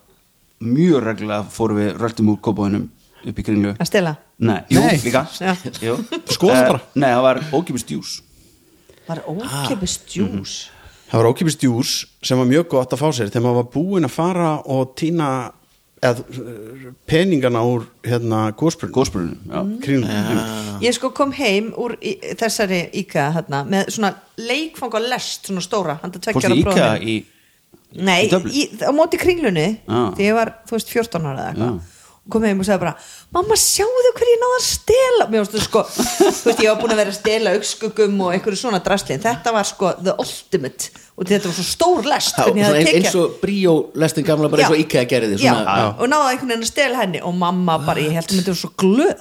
Speaker 6: mjög reglulega fórum við röltum úr kópáinum upp í kringlu
Speaker 5: að stela
Speaker 6: Nei, jú,
Speaker 8: Nei.
Speaker 6: líka
Speaker 5: Já. Sko,
Speaker 6: Jú.
Speaker 8: skoðast bara.
Speaker 6: Eh, Nei, það var ókipis djús
Speaker 5: var ókipis djús
Speaker 8: það var ókipist djús sem var mjög gott að fá sér þegar maður var búinn að fara og týna eð, peningana úr hérna gósbrunn
Speaker 6: góðspurunum já.
Speaker 5: Mm.
Speaker 8: kringlunni
Speaker 5: ég sko kom heim úr í, þessari IKEA hérna, með svona leikfanga lest svona stóra, handa
Speaker 6: Fórstu
Speaker 5: tveggjara
Speaker 6: í IKEA í
Speaker 5: Nei,
Speaker 6: Í Dublin?
Speaker 5: í, á móti kringlunni
Speaker 6: Já.
Speaker 5: því ég var, þú veist, 14 ára eða
Speaker 6: Já.
Speaker 5: eitthvað og kom heim og sagði bara mamma sjáðu hverju ég náða að stela mér varstu sko, þú veist, ég var búin að vera að stela augskugum og einhverju svona draslin þetta var sko the ultimate og þetta var svo stór lest
Speaker 4: Já,
Speaker 5: hvernig ég
Speaker 4: svona
Speaker 5: hafði
Speaker 4: ein,
Speaker 5: tekið-
Speaker 4: eins og bríó lestin gamla bara eins og
Speaker 5: Já.
Speaker 4: IKEA gerði
Speaker 5: já,
Speaker 4: svona,
Speaker 5: og náða einhvern veginn að stela henni og mamma bara, ég held að myndi var svo glöð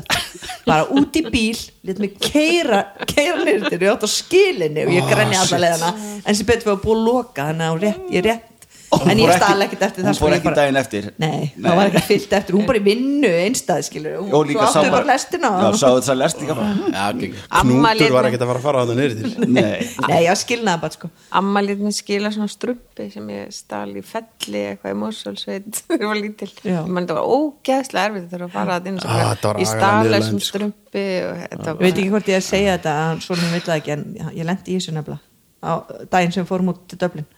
Speaker 5: bara út í bíl, let mig keira keira nýrðir, ég átt á skilinni og ég grenni alla leiðana en sem betur við að búið að loka, þannig að hún rétt, ég rétt en ég stala ekkert eftir það
Speaker 6: Hún
Speaker 5: sko,
Speaker 6: fór
Speaker 5: ég
Speaker 6: ekki
Speaker 5: bara-
Speaker 6: daginn eftir
Speaker 5: Nei, það var ekki fyllt eftir, hún bara í vinnu einstað, skilur, hún
Speaker 6: Og
Speaker 5: svo
Speaker 6: líka sá
Speaker 5: áttu bara lestina
Speaker 6: Já, sá þess að lest líka bara
Speaker 4: já, gegn-
Speaker 7: Amma lét
Speaker 8: knútur var
Speaker 7: mig-
Speaker 8: ekkert að fara að fara að það neyri til
Speaker 6: Nei
Speaker 5: Nei, já, skilnaði bara sko
Speaker 7: Amma lét mér skila svona strumpi sem ég stal í felli eitthvað í Mórsólsveit þegar ég var lítil.
Speaker 5: Já.
Speaker 7: Ég man þetta var ógeðslega erfitt þegar að fara að inn
Speaker 8: Ah, þetta var
Speaker 7: ég
Speaker 8: agalega
Speaker 7: stal
Speaker 8: niðurlæging,
Speaker 7: þessum
Speaker 8: sko.
Speaker 7: um strumpi og þetta
Speaker 5: Ég veit ekki hvort ég að segja þetta að svona hún vill það ekki en ég lendi í þessu nefnilega á daginn sem við fórum út til Dublin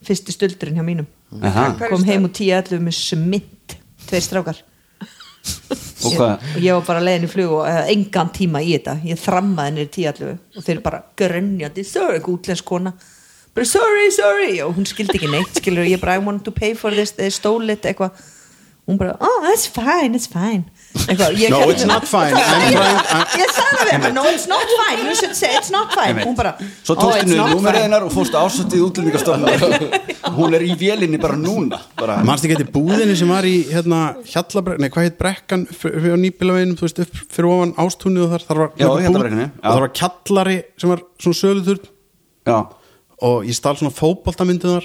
Speaker 5: fyrsti stuldurinn hjá mínum
Speaker 6: Aha.
Speaker 5: kom heim úr 10.11 með smint tveir strákar
Speaker 6: Og hvað?
Speaker 5: og ég var bara leiðin í flug og hefði engan tíma í þetta ég þrammaði henni í 10.11 og þeir bara grönjandi, þau er ekki útlensk kona bara sorry, sorry og hún skildi ekki neitt, skilur, ég bara I want to pay for this, they stole it, eitthvað hún bara, oh, that's fine, it's fine eitthvað, ég
Speaker 8: No,
Speaker 5: gerði
Speaker 8: it's
Speaker 5: svona-
Speaker 8: not fine. I'm
Speaker 5: Ég-
Speaker 8: trying-
Speaker 5: ég sagði við hana, no it's not fine you should say it's not fine hún bara, "Oh,
Speaker 6: Svo tókstu nú númeriðinar og fórstu ásattið útlendingastofnum Hún er í vélinni bara núna bara.
Speaker 8: mannst ekki eftir búðinni sem var í hérna, Hjallabrekkan, nei hvað heit brekkan f- fyrir á nýbílaveginum, þú veist, upp fyrir ofan ástúnið og þar, þar var
Speaker 6: Já,
Speaker 8: nokkur búð
Speaker 6: Hjallabrekkunni,
Speaker 8: og
Speaker 6: já.
Speaker 8: þar var kjallari sem var svona söluturn
Speaker 6: Já,
Speaker 8: og ég stal svona fótboltamyndunar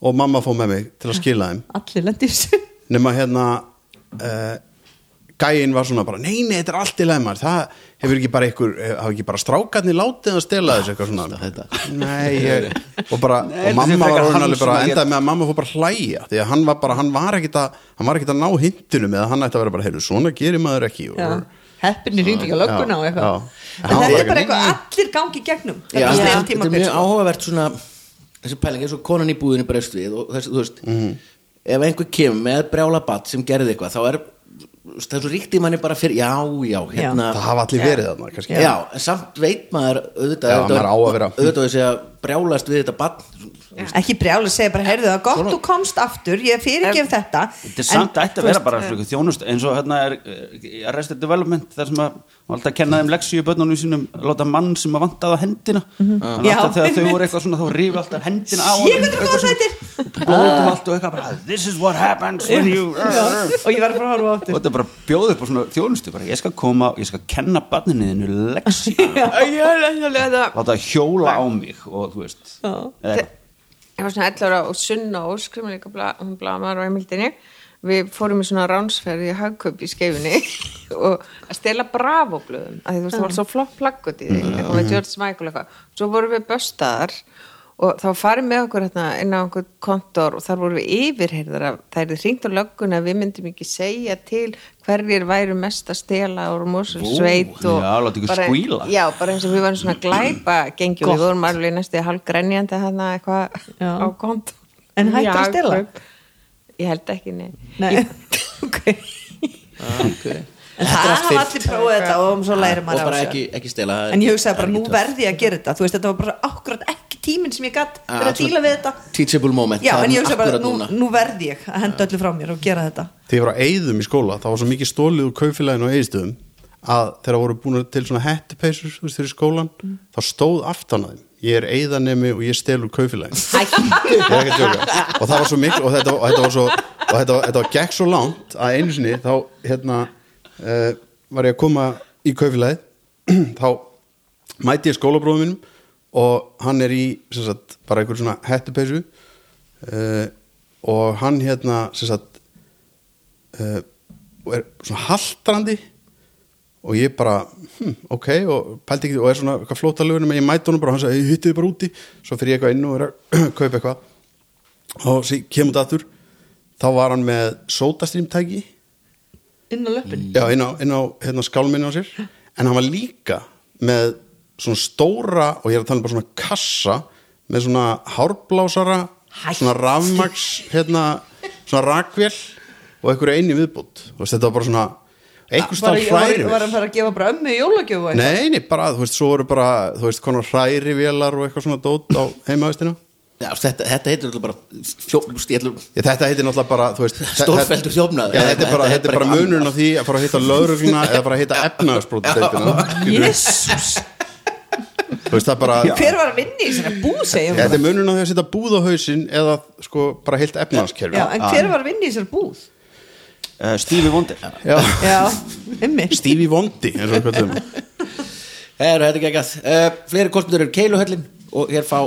Speaker 8: og mamma fóð með mig til að skila þeim
Speaker 5: allir lendi í þessu
Speaker 8: nema hérna uh, gæin var svona bara nei, nei, þetta er allt í leimar það hefur ekki bara ykkur, hafa ekki bara strákarnir látið að stela þessu eitthvað svona nei, ég, og bara
Speaker 6: Nei, þetta er
Speaker 8: og mamma var
Speaker 6: frekar hérna.
Speaker 8: orðin
Speaker 6: hann
Speaker 8: alveg bara
Speaker 6: sem að
Speaker 8: endaði með að mamma fór bara að hlæja því að hann var bara, hann var ekkit að hann var ekkit að ná hindunum eða hann ætti að vera bara heyrðu, svona gerir maður ekki og,
Speaker 5: heppinni hringinga lögguna og
Speaker 8: Já,
Speaker 5: eitthvað
Speaker 8: já.
Speaker 5: en þetta er
Speaker 8: Já.
Speaker 5: bara eitthvað allir gangi í gegnum
Speaker 4: Já,
Speaker 5: þetta
Speaker 4: þetta er-
Speaker 5: er
Speaker 4: þetta er
Speaker 5: tímabil
Speaker 4: mjög
Speaker 5: sko.
Speaker 4: áhugavert svona þessi pæling eins og konan í búðinu bregst við og þess, þú veist ef einhver kemur með brjála bat sem gerði eitthvað þá er það er svo ríkt í manni bara fyrir já, já, hérna
Speaker 8: það hafa allir verið þarna kannski
Speaker 4: já, en samt veit maður auðvitað
Speaker 8: Já,
Speaker 4: auðvitað-
Speaker 8: maður á að vera-
Speaker 4: auðvitað þessi að brjálast við þetta batn
Speaker 5: ekki brjála að segja bara, heyrðu það, gott þú komst aftur ég fyrirgef þetta
Speaker 6: þetta er
Speaker 5: en
Speaker 6: samt
Speaker 5: þú
Speaker 6: ætti að vera
Speaker 5: veist,
Speaker 6: bara slíku þjónust eins og hérna er eh, Arrested Development þar sem að hún var alltaf að kenna þeim leksíu börnunum sínum láta mann sem að vantaði á hendina þannig
Speaker 5: Mhm. Já,
Speaker 6: alltaf þegar þau
Speaker 5: einmitt.
Speaker 6: voru eitthvað svona þá rífi alltaf hendina á
Speaker 5: Sé hvað
Speaker 6: honum,
Speaker 5: þú
Speaker 6: eitthvað
Speaker 5: góð
Speaker 6: svona,
Speaker 5: sætir.
Speaker 6: og blóðum allt og eitthvað bara this is what happens when you og
Speaker 5: og ég var bara að horfa á aftur
Speaker 6: þetta er bara bjóð upp á svona þjónustu bara ég skal koma og ég skal kenna barninu þínu leksíu
Speaker 7: Ég
Speaker 6: láta það hjóla á mig og þú veist eða eitthvað.
Speaker 7: var svona 11 ára og sunna og skrum líka bla, um hún blamar á Emildinni við fórum í svona ránsferði í hagköp í skeifinni og að stela bravoblöðum að því þú veist það var svo flott plaggut
Speaker 6: Mm.
Speaker 7: í því eitthvað með George Michael eitthvað svo vorum við böstaðar og þá farið með okkur hérna inn á einhvern kontor og þar vorum við yfirheyrðar að það er hringt á lögguna að við myndum ekki segja til hverjir væru mest að stela úr Mósulsveit og
Speaker 6: já, láta ykkur
Speaker 7: bara-
Speaker 6: squeala.
Speaker 7: já, bara eins og við varum svona glæpa gengi og við vorum alveg næstu halvgrenjandi hann eitthvað
Speaker 5: Já.
Speaker 7: á kont
Speaker 5: En hættu að stela?
Speaker 7: Ég held ekki, nei,
Speaker 5: Nei.
Speaker 7: Ég, okay.
Speaker 5: en það hafa allir prófið þetta og svo læri
Speaker 4: og
Speaker 5: maður á
Speaker 4: bara
Speaker 5: þessu
Speaker 4: ekki, ekki stela það er
Speaker 5: en ég
Speaker 4: ekki-
Speaker 5: hugsaði
Speaker 4: það er
Speaker 5: bara, nú
Speaker 4: ekki töff.
Speaker 5: verði ég að gera þetta þú veist, þetta var bara akkurat ekki tíminn sem ég gatt
Speaker 4: Ah,
Speaker 5: fyrir að
Speaker 4: svona
Speaker 5: díla við þetta
Speaker 4: teachable moment,
Speaker 5: já,
Speaker 4: það er
Speaker 5: en ég hugsaði bara,
Speaker 4: akkurat
Speaker 5: nú,
Speaker 4: núna.
Speaker 5: nú verði ég að henda öllu frá mér og gera þetta
Speaker 8: þegar ég var á eyðum í skóla þá var svo mikið stólið úr kaufélaginu og eyðstöðum að þegar voru búin til svona hettupeysur þú veist, fyrir skólan þá stóð aftan að þeim ég er eigðanemi og ég stelur kaufélagin og það var svo mikil og þetta, og þetta var svo og þetta, var- þetta var gekk svo langt að einu sinni þá hérna uh, var ég að koma í kaufélagið þá mæti ég skólabróðum mínum og hann er í sem sagt, bara einhver svona hettupeysu uh, og hann hérna sem sagt uh, og er svona haltrandi og ég bara, hm, ok og pældi ekki, og er svona eitthvað flóta lögunum en ég mæti honum bara, og hann sagði, hittu þið bara úti svo fyrir ég eitthvað inn og er að kaupa eitthvað og sér kemur þetta aftur þá var hann með sótastrýmtæki
Speaker 5: inn á löpunni
Speaker 8: já, inn á, inn á hérna, skálminni á sér en hann var líka með svona stóra, og ég er að tala um bara svona kassa með svona hárblásara
Speaker 5: Hættu.
Speaker 8: svona rafmags hérna, svona rakvél og einhverju einu viðbútt og þetta var bara svona einhver
Speaker 5: var,
Speaker 8: stað
Speaker 5: var,
Speaker 8: hræri
Speaker 5: var hann fara að gefa bara ömmu í jólagjöfu og eitthvað?
Speaker 8: Nei, nei, bara, þú veist, svo eru bara þú veist, konar hrærivélar og eitthvað svona dót á heimavistina
Speaker 4: Já, þetta, þetta heitir alltaf bara fjófnust, ég ætlum
Speaker 8: Ég, þetta heitir náttúrulega bara, þú veist þe-
Speaker 4: Stórfelldur þjófnaður.
Speaker 8: Já, þetta er bara, þetta er bara
Speaker 4: eitthvað
Speaker 8: munurinn á því að fara að hitta lögregluna eða fara að hitta efnaðarsbrótadeildina
Speaker 5: Jesús,
Speaker 8: Þú veist, það er bara
Speaker 5: hver var að vinna í þessari bú segjum
Speaker 8: Þetta er munurinn á því að setja búð á hausinn eða, sko, bara heilt Ah, efnaðarskerfi
Speaker 5: Já, en hver var að vinna í þessari búð?
Speaker 6: uh, Stevie Wonder
Speaker 8: Já,
Speaker 5: Já, emmi
Speaker 8: Stevie Vondi, eins og við kallum hann.
Speaker 4: Heru, þetta Eh, er geggjað uh, Fleiri kostmyndur eru keiluhöllin og hér fá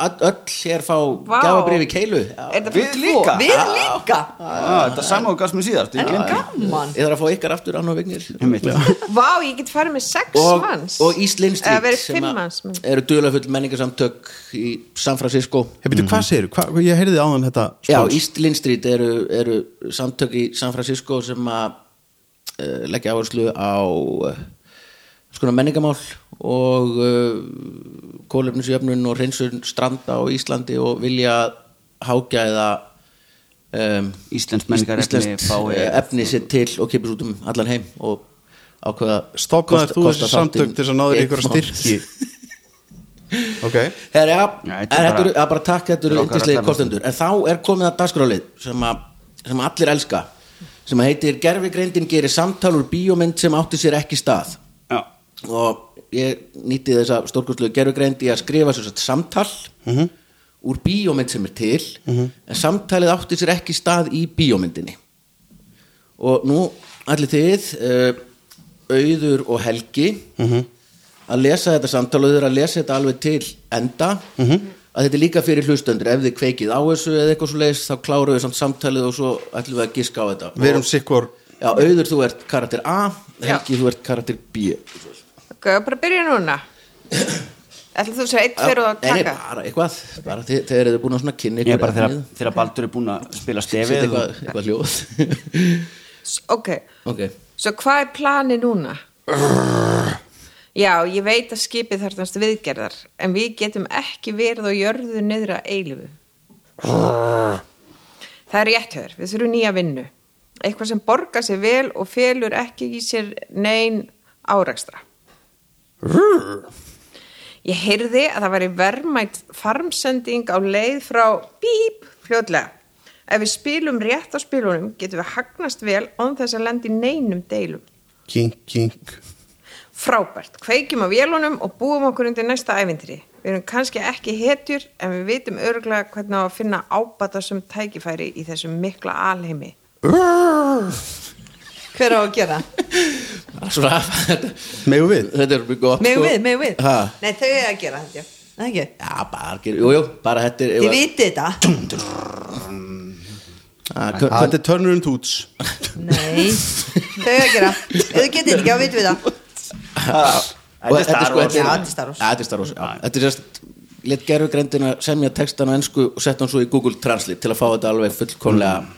Speaker 4: all, öll hér fá
Speaker 7: Vá.
Speaker 4: gáfabrif í keilu
Speaker 7: Er þetta
Speaker 6: Við
Speaker 7: bara tvo?
Speaker 6: líka
Speaker 5: Við líka,
Speaker 6: Ah, Þetta er sama og gafst mér síðast ég glemdi.
Speaker 5: gaman
Speaker 4: Ég þarf að fá ykkar aftur án og vignir
Speaker 6: Einmitt.
Speaker 7: Vá, ég get farið með sex
Speaker 4: og,
Speaker 7: manns
Speaker 4: og East Lane
Speaker 7: Eða verið
Speaker 4: Street sem
Speaker 7: fimm
Speaker 4: að
Speaker 7: manns menn.
Speaker 4: eru duðlafull menningarsamtök í San Francisco
Speaker 8: Ég byrju, hvað segir, hvað, ég heyrði áðan þetta
Speaker 4: Já,
Speaker 8: spons.
Speaker 4: East Lane Street eru, eru samtök í San Francisco sem að uh, leggja áherslu á uh, skona menningamál og uh, kólefnisjöfnun og hreinsun stranda á Íslandi og vilja hágæða um,
Speaker 6: Íslenskt menningarefni
Speaker 4: íslenskt,
Speaker 6: fái-
Speaker 4: eh, efni sér til og kipur út um allan heim og ákveða
Speaker 8: Stofnaðir
Speaker 4: kosta-
Speaker 8: þú
Speaker 4: kosta
Speaker 8: þessi samtök
Speaker 4: þáttinn
Speaker 8: til þess að náður
Speaker 4: einn
Speaker 8: ykkur
Speaker 4: mánuð.
Speaker 8: styrki Ok
Speaker 4: Herra,
Speaker 6: Nei,
Speaker 4: já, en
Speaker 6: þetta er
Speaker 4: þetta
Speaker 6: bara-
Speaker 4: eru að bara takk þetta eru
Speaker 6: Þetta er okkar
Speaker 4: yndislegir
Speaker 6: allra
Speaker 4: kostendur en þá er komið að dagskrálið sem, að, sem allir elska sem að heitir Gerfigreindin gerir samtal úr bíómynd sem átti sér ekki stað
Speaker 6: Já.
Speaker 4: og ég nýtti þessa stórkostlegu gerfigreind í að skrifa svo sagt samtal
Speaker 8: Mhm.
Speaker 4: -hmm. úr bíómynd sem er til en samtalið átti sér ekki stað í bíómyndinni og nú allir þið uh, auður og helgi
Speaker 8: Mhm.
Speaker 4: -hmm. að lesa þetta samtal og þið eru að lesa þetta alveg til enda
Speaker 8: Mhm.
Speaker 4: -hmm. að þetta er líka fyrir hlustendur ef þið kveikið á þessu eða eitthvað svo leiðis þá kláruðu við samt samtalið og svo ætlum við að giska á þetta
Speaker 8: Við erum sikkvor
Speaker 4: Já, auður þú ert karakter A, helgi þú ert karakter B
Speaker 7: Ok, bara byrja núna Ætlar þú sér eitt fyrir að
Speaker 4: Nei, nei,
Speaker 7: taka
Speaker 4: bara eitthvað bara þið, þegar þið er búin að svona kynni
Speaker 6: Ég er
Speaker 4: ykkur
Speaker 6: bara þegar,
Speaker 4: efnið,
Speaker 6: þegar Baldur er búin að spila
Speaker 4: setja
Speaker 6: stefið
Speaker 4: eitthvað,
Speaker 6: og,
Speaker 4: eitthvað hljóð
Speaker 7: S- Ok,
Speaker 4: ok,
Speaker 7: svo hvað er planið núna? Já, ég veit að skipið þarfnast viðgerðar en við getum ekki verið á jörðu niðra eilifu Það er rétt höður, við þurfum nýja vinnu eitthvað sem borgar sér vel og felur ekki í sér nein árakstra Ég heyrði að það væri verðmætt farmsending á leið frá bíp fljótlega. Ef við spilum rétt á spilunum getum við hagnast vel án þess að lendi neinum deilum.
Speaker 8: Kink, kink
Speaker 7: Frábært, kveikjum á vélunum og búum okkur undir næsta ævintri. Við erum kannski ekki hetjur en við vitum örgulega hvernig á að finna ábata sem tækifæri í þessum mikla alheimi.
Speaker 5: Hver á að gera?
Speaker 4: svona
Speaker 8: Megum við?
Speaker 4: þetta er mjög gott
Speaker 5: Megum
Speaker 4: sko.
Speaker 5: við, megum við
Speaker 4: Ha?
Speaker 5: Nei, þau er að gera þetta, já Nei, ekki
Speaker 4: já, bara, ger- jú, jú, bara þetta er
Speaker 5: Þið vitið þetta
Speaker 4: að,
Speaker 8: Ah, Þetta er Turner and Toots
Speaker 5: Nei, þau er að gera Ef þau getið þetta ekki, þá vitum við það
Speaker 4: og þetta er sko þetta
Speaker 5: Já,
Speaker 4: er-
Speaker 5: þetta er Star Wars.
Speaker 4: Já, þetta er Star Wars já. þetta er sérst let gerfugreindina semja textan á ennsku og sett hann svo í Google Translate til að fá þetta alveg fullkomlega
Speaker 8: Mm.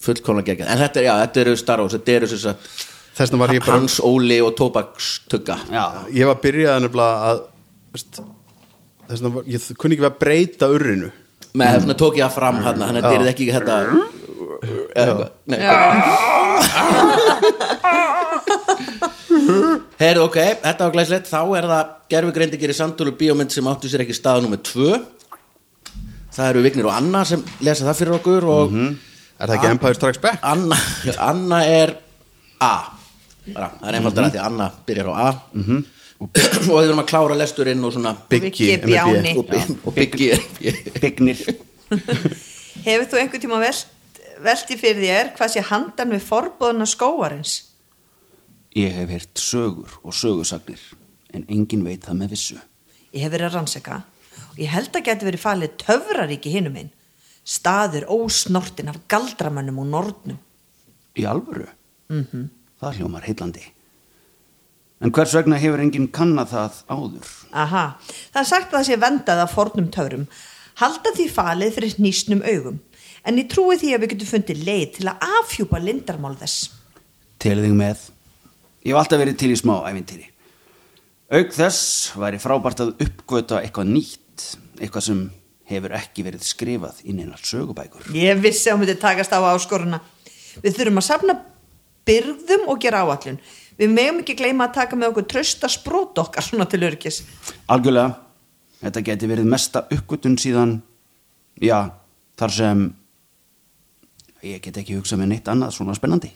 Speaker 4: fullkomlega geggjað en þetta er, já, þetta eru Star Wars þetta eru sérst
Speaker 8: Þessna var ég bara
Speaker 4: Hans Óli og Tóbakstugga
Speaker 6: Já,
Speaker 8: Ég var byrjað nefnilega að veist, Þessna var, ég kunni ekki við að breyta urrinu
Speaker 4: með hérna tók ég að fram hérna þannig að þetta er ekki þetta eða eitthvað. Nei. heyrðu ok, þetta var glæslegt þá er það gerfi greindi gerir samtölu bíómynd sem áttu sér ekki stað nummer 2 það eru Vignir og Anna sem lesa það fyrir okkur og
Speaker 8: Er það
Speaker 5: Ah.
Speaker 8: ekki Empire Strikes Back?
Speaker 4: Anna, Anna er A Bara, það er einfaldar að því að Anna byrjar á A og við erum að klára lesturinn og svona
Speaker 8: Biggie,
Speaker 5: Viggi Bjáni.
Speaker 4: og, bi- og byggi
Speaker 6: Bignir
Speaker 5: Hefur þú einhvern tíma velt, velti fyrir þér hvað sé handan við forbóðuna skóarins?
Speaker 6: Ég hef heyrt sögur og sögursagnir en engin veit það með vissu
Speaker 5: Ég hef verið að rannsaka og ég held að geti verið falið töfraríki hinum minn. Staður ósnortin af galdramönnum og nornum.
Speaker 6: Í alvöru? Það hljómar heillandi En hvers vegna hefur enginn kannað það áður?
Speaker 5: Aha, það er sagt að það sé vendað af fornum töfrum. Halda því falið fyrir nýstnum augum. En ég trúi því að við getum fundið leið til að afhjúpa lindarmál þess.
Speaker 6: Telið þig með Ég hef alltaf verið til í smá ævintýri Auk þess væri frábært að uppgöta eitthvað nýtt eitthvað sem hefur ekki verið skrifað inn einar sögubækur
Speaker 5: Ég vissi að hún myndi takast á áskoruna. Við þurfum að safna byrðum og gera áallun. Við megum ekki gleyma að taka með okkur trösta sprót okkar svona til örgis.
Speaker 6: Algjörlega, þetta geti verið mesta uppgötun síðan já, þar sem ég get ekki hugsað með neitt annað svona spennandi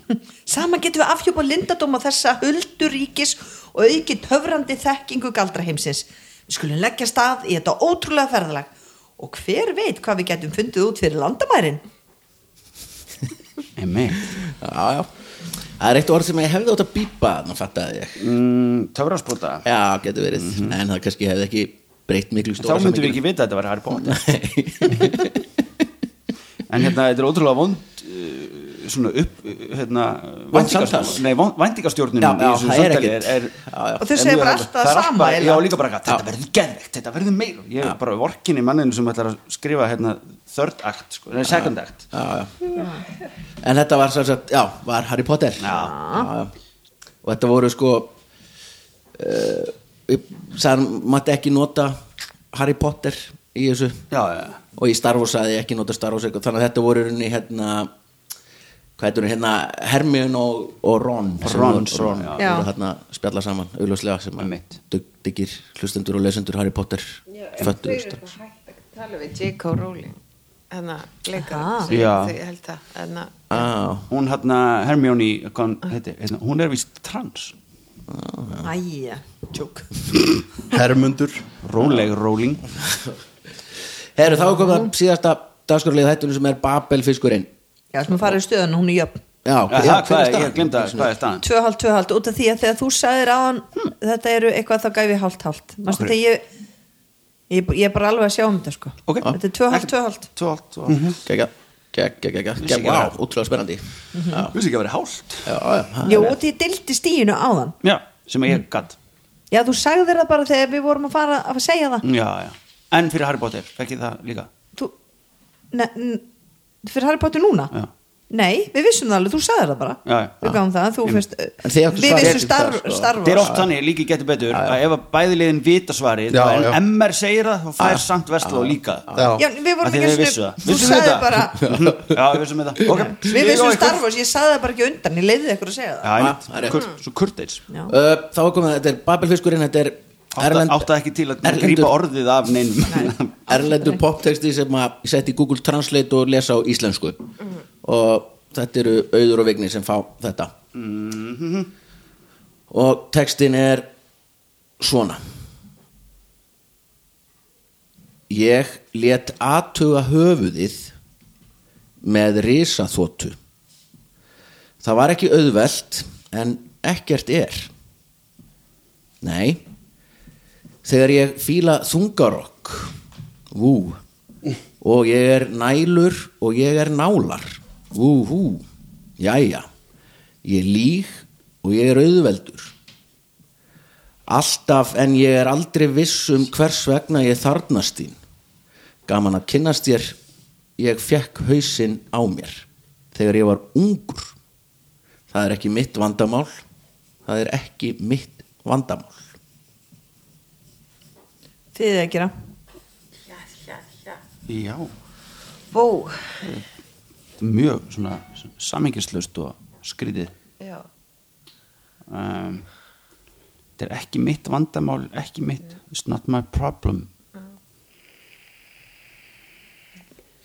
Speaker 5: Saman getum við afhjúpa lindadóma þessa hulduríkis og auki töfrandi þekkingu galdra heimsins. Við skulum leggja stað í þetta ótrúlega ferðalag og hver veit hvað við getum fundið út fyrir landamærin?
Speaker 6: Emme,
Speaker 4: já, já. það er eitt orð sem ég hefði átt að bípa þannig fattaði ég
Speaker 6: mm, töfrasprota
Speaker 4: já, getur verið, en það kannski hefði ekki breytt miklu
Speaker 6: Mhm. þá
Speaker 4: stóra
Speaker 6: myndum við ekki vita að þetta var Harry Potter
Speaker 4: ekki
Speaker 6: en hérna, þetta er ótrúlega vond uh, svona upp uh, hérna,
Speaker 4: Vond
Speaker 6: væntingastjórn-
Speaker 4: samtal.
Speaker 6: nei, vond- væntingastjórnin
Speaker 4: Já,
Speaker 6: í
Speaker 4: já,
Speaker 6: þessu
Speaker 4: það er
Speaker 6: samtali
Speaker 4: ekkert.
Speaker 6: er,
Speaker 4: Já, já.
Speaker 5: Og þau
Speaker 6: er
Speaker 5: segja
Speaker 6: mjög
Speaker 5: bara
Speaker 6: alveg-
Speaker 5: alltaf það
Speaker 6: er allt
Speaker 5: sama,
Speaker 6: bara- já,
Speaker 5: eiginlega.
Speaker 6: líka bara eitthvað, þetta verður geðvegt, þetta verður meira ég er bara vorkinni manninu sem ætlar að skrifa hérna, third act, sko, nei, second act
Speaker 4: en þetta var sem sagt, já, var Harry Potter já. já. og þetta voru sko uh, ég sagði, maður ekki nota Harry Potter í þessu
Speaker 6: já, já, já
Speaker 4: og í Star Wars sagði ég ekki nota Star Wars eitthvað, þannig að þetta voru í rauninni hérna hvað heitur hún, hérna Hermione og, og Ron sem
Speaker 6: Ron,
Speaker 4: voru- Ron
Speaker 6: já.
Speaker 5: Já.
Speaker 4: voru hérna að spjalla saman, augljóslega sem að
Speaker 6: Einmitt.
Speaker 4: dug- diggir hlustendur og lesendur Harry Potter föttu
Speaker 7: eitthvað hægt að tala við J.K. Rowling hérna
Speaker 5: Aha.
Speaker 7: leikar
Speaker 6: Já.
Speaker 7: ég held það hérna
Speaker 4: ah,
Speaker 6: hún hérna Hermione kon, heiti, hérna, hún er vist trans
Speaker 5: Æja, tjók.
Speaker 8: Hermundur
Speaker 6: róleg róling
Speaker 4: Herru, þá er komið að síðasta dagskorlega hættunum sem er Babelfiskurinn
Speaker 5: Já, sem að fara í stöðun og hún er jöfn.
Speaker 4: Já,
Speaker 6: Aha,
Speaker 4: já,
Speaker 6: hvað,
Speaker 4: hver er
Speaker 6: er-
Speaker 4: staðan?
Speaker 6: ég glemta hvað er staðan
Speaker 5: Tvöhald, tvöhald, út af því að þegar þú sagðir á hann þetta eru eitthvað þá gæfi hálft, hálft. Mástu
Speaker 6: Akkur-
Speaker 5: þegar ég, ég, ég er bara alveg að sjá um þetta sko.
Speaker 6: Ok.
Speaker 5: Þetta er tvöhald, tvöhald.
Speaker 6: tvolt, tvolt
Speaker 4: Gegga, gegga, gegga,
Speaker 6: Vissi
Speaker 4: gegga
Speaker 6: ekki
Speaker 4: Vá,
Speaker 6: það.
Speaker 4: útrúlega spennandi Já,
Speaker 6: þú veist ekki að vera hálft
Speaker 4: já, já,
Speaker 6: Ah,
Speaker 4: það
Speaker 5: Jú,
Speaker 4: er-
Speaker 5: út í dildi stíinu á þann.
Speaker 6: já, sem ég gatt
Speaker 5: Já, þú sagðir það bara þegar við vorum að fara að segja það.
Speaker 6: já, já. en fyrir Harry Potter, fekk ég það líka
Speaker 5: Þú, ne, n, fyrir Harry Potter núna?
Speaker 6: Já.
Speaker 5: Nei, við vissum það alveg, þú sagðir það bara.
Speaker 6: Já, já.
Speaker 5: Við gafum það, þú
Speaker 6: Ég-
Speaker 5: finnst,
Speaker 4: En þið áttu
Speaker 5: við
Speaker 4: svar-
Speaker 5: vissum
Speaker 4: þið-
Speaker 5: starf,
Speaker 4: það, sko.
Speaker 5: starf,
Speaker 6: þetta er oft þannig, líki getur betur að ef að bæði liðin vita svarið
Speaker 8: Já,
Speaker 6: en
Speaker 8: já.
Speaker 6: MR segir það, þá fær samt Vestló líka
Speaker 5: Já, við vorum
Speaker 6: Af því
Speaker 5: ekki
Speaker 6: þið
Speaker 5: einu
Speaker 6: vissu
Speaker 5: sinni-
Speaker 6: það.
Speaker 5: þú
Speaker 6: Vissu
Speaker 5: sagðir
Speaker 6: þetta?
Speaker 5: bara,
Speaker 6: já, við vissum þetta okay.
Speaker 5: Við vissum Star Wars, ég sagði það bara ekki undan, ég leiði ykkur að segja það.
Speaker 6: já, einmitt.
Speaker 4: Það er rétt.
Speaker 6: Kurt, svo Kurteis
Speaker 5: Já.
Speaker 4: Uh, Þá er komið að þetta er Babelfiskurinn Þetta er
Speaker 6: átta, átta ekki til að
Speaker 4: Erlendur-
Speaker 6: grípa orðið af neinum
Speaker 4: erlendur poptexti sem að ég setti í Google Translate og lesa á íslensku og þetta eru auður og vigni sem fá þetta og textin er svona Ég let aðtuga höfuðið með risaþótu Það var ekki auðvelt en ekkert er Nei Þegar ég fíla þungarokk Vú Og ég er nælur og ég er nálar Vú hú Jæja Ég líg og ég er auðveldur Alltaf en ég er aldrei viss um hvers vegna ég þarnast þín Gaman að kynnast þér Ég fekk hausinn á mér Þegar ég var ungur Það er ekki mitt vandamál Það er ekki mitt vandamál
Speaker 5: Þið eða gera.
Speaker 6: já,
Speaker 7: bó
Speaker 6: mjög svona samingislaust og skrítið
Speaker 7: já
Speaker 6: um, þetta er ekki mitt vandamál ekki mitt, it's not my problem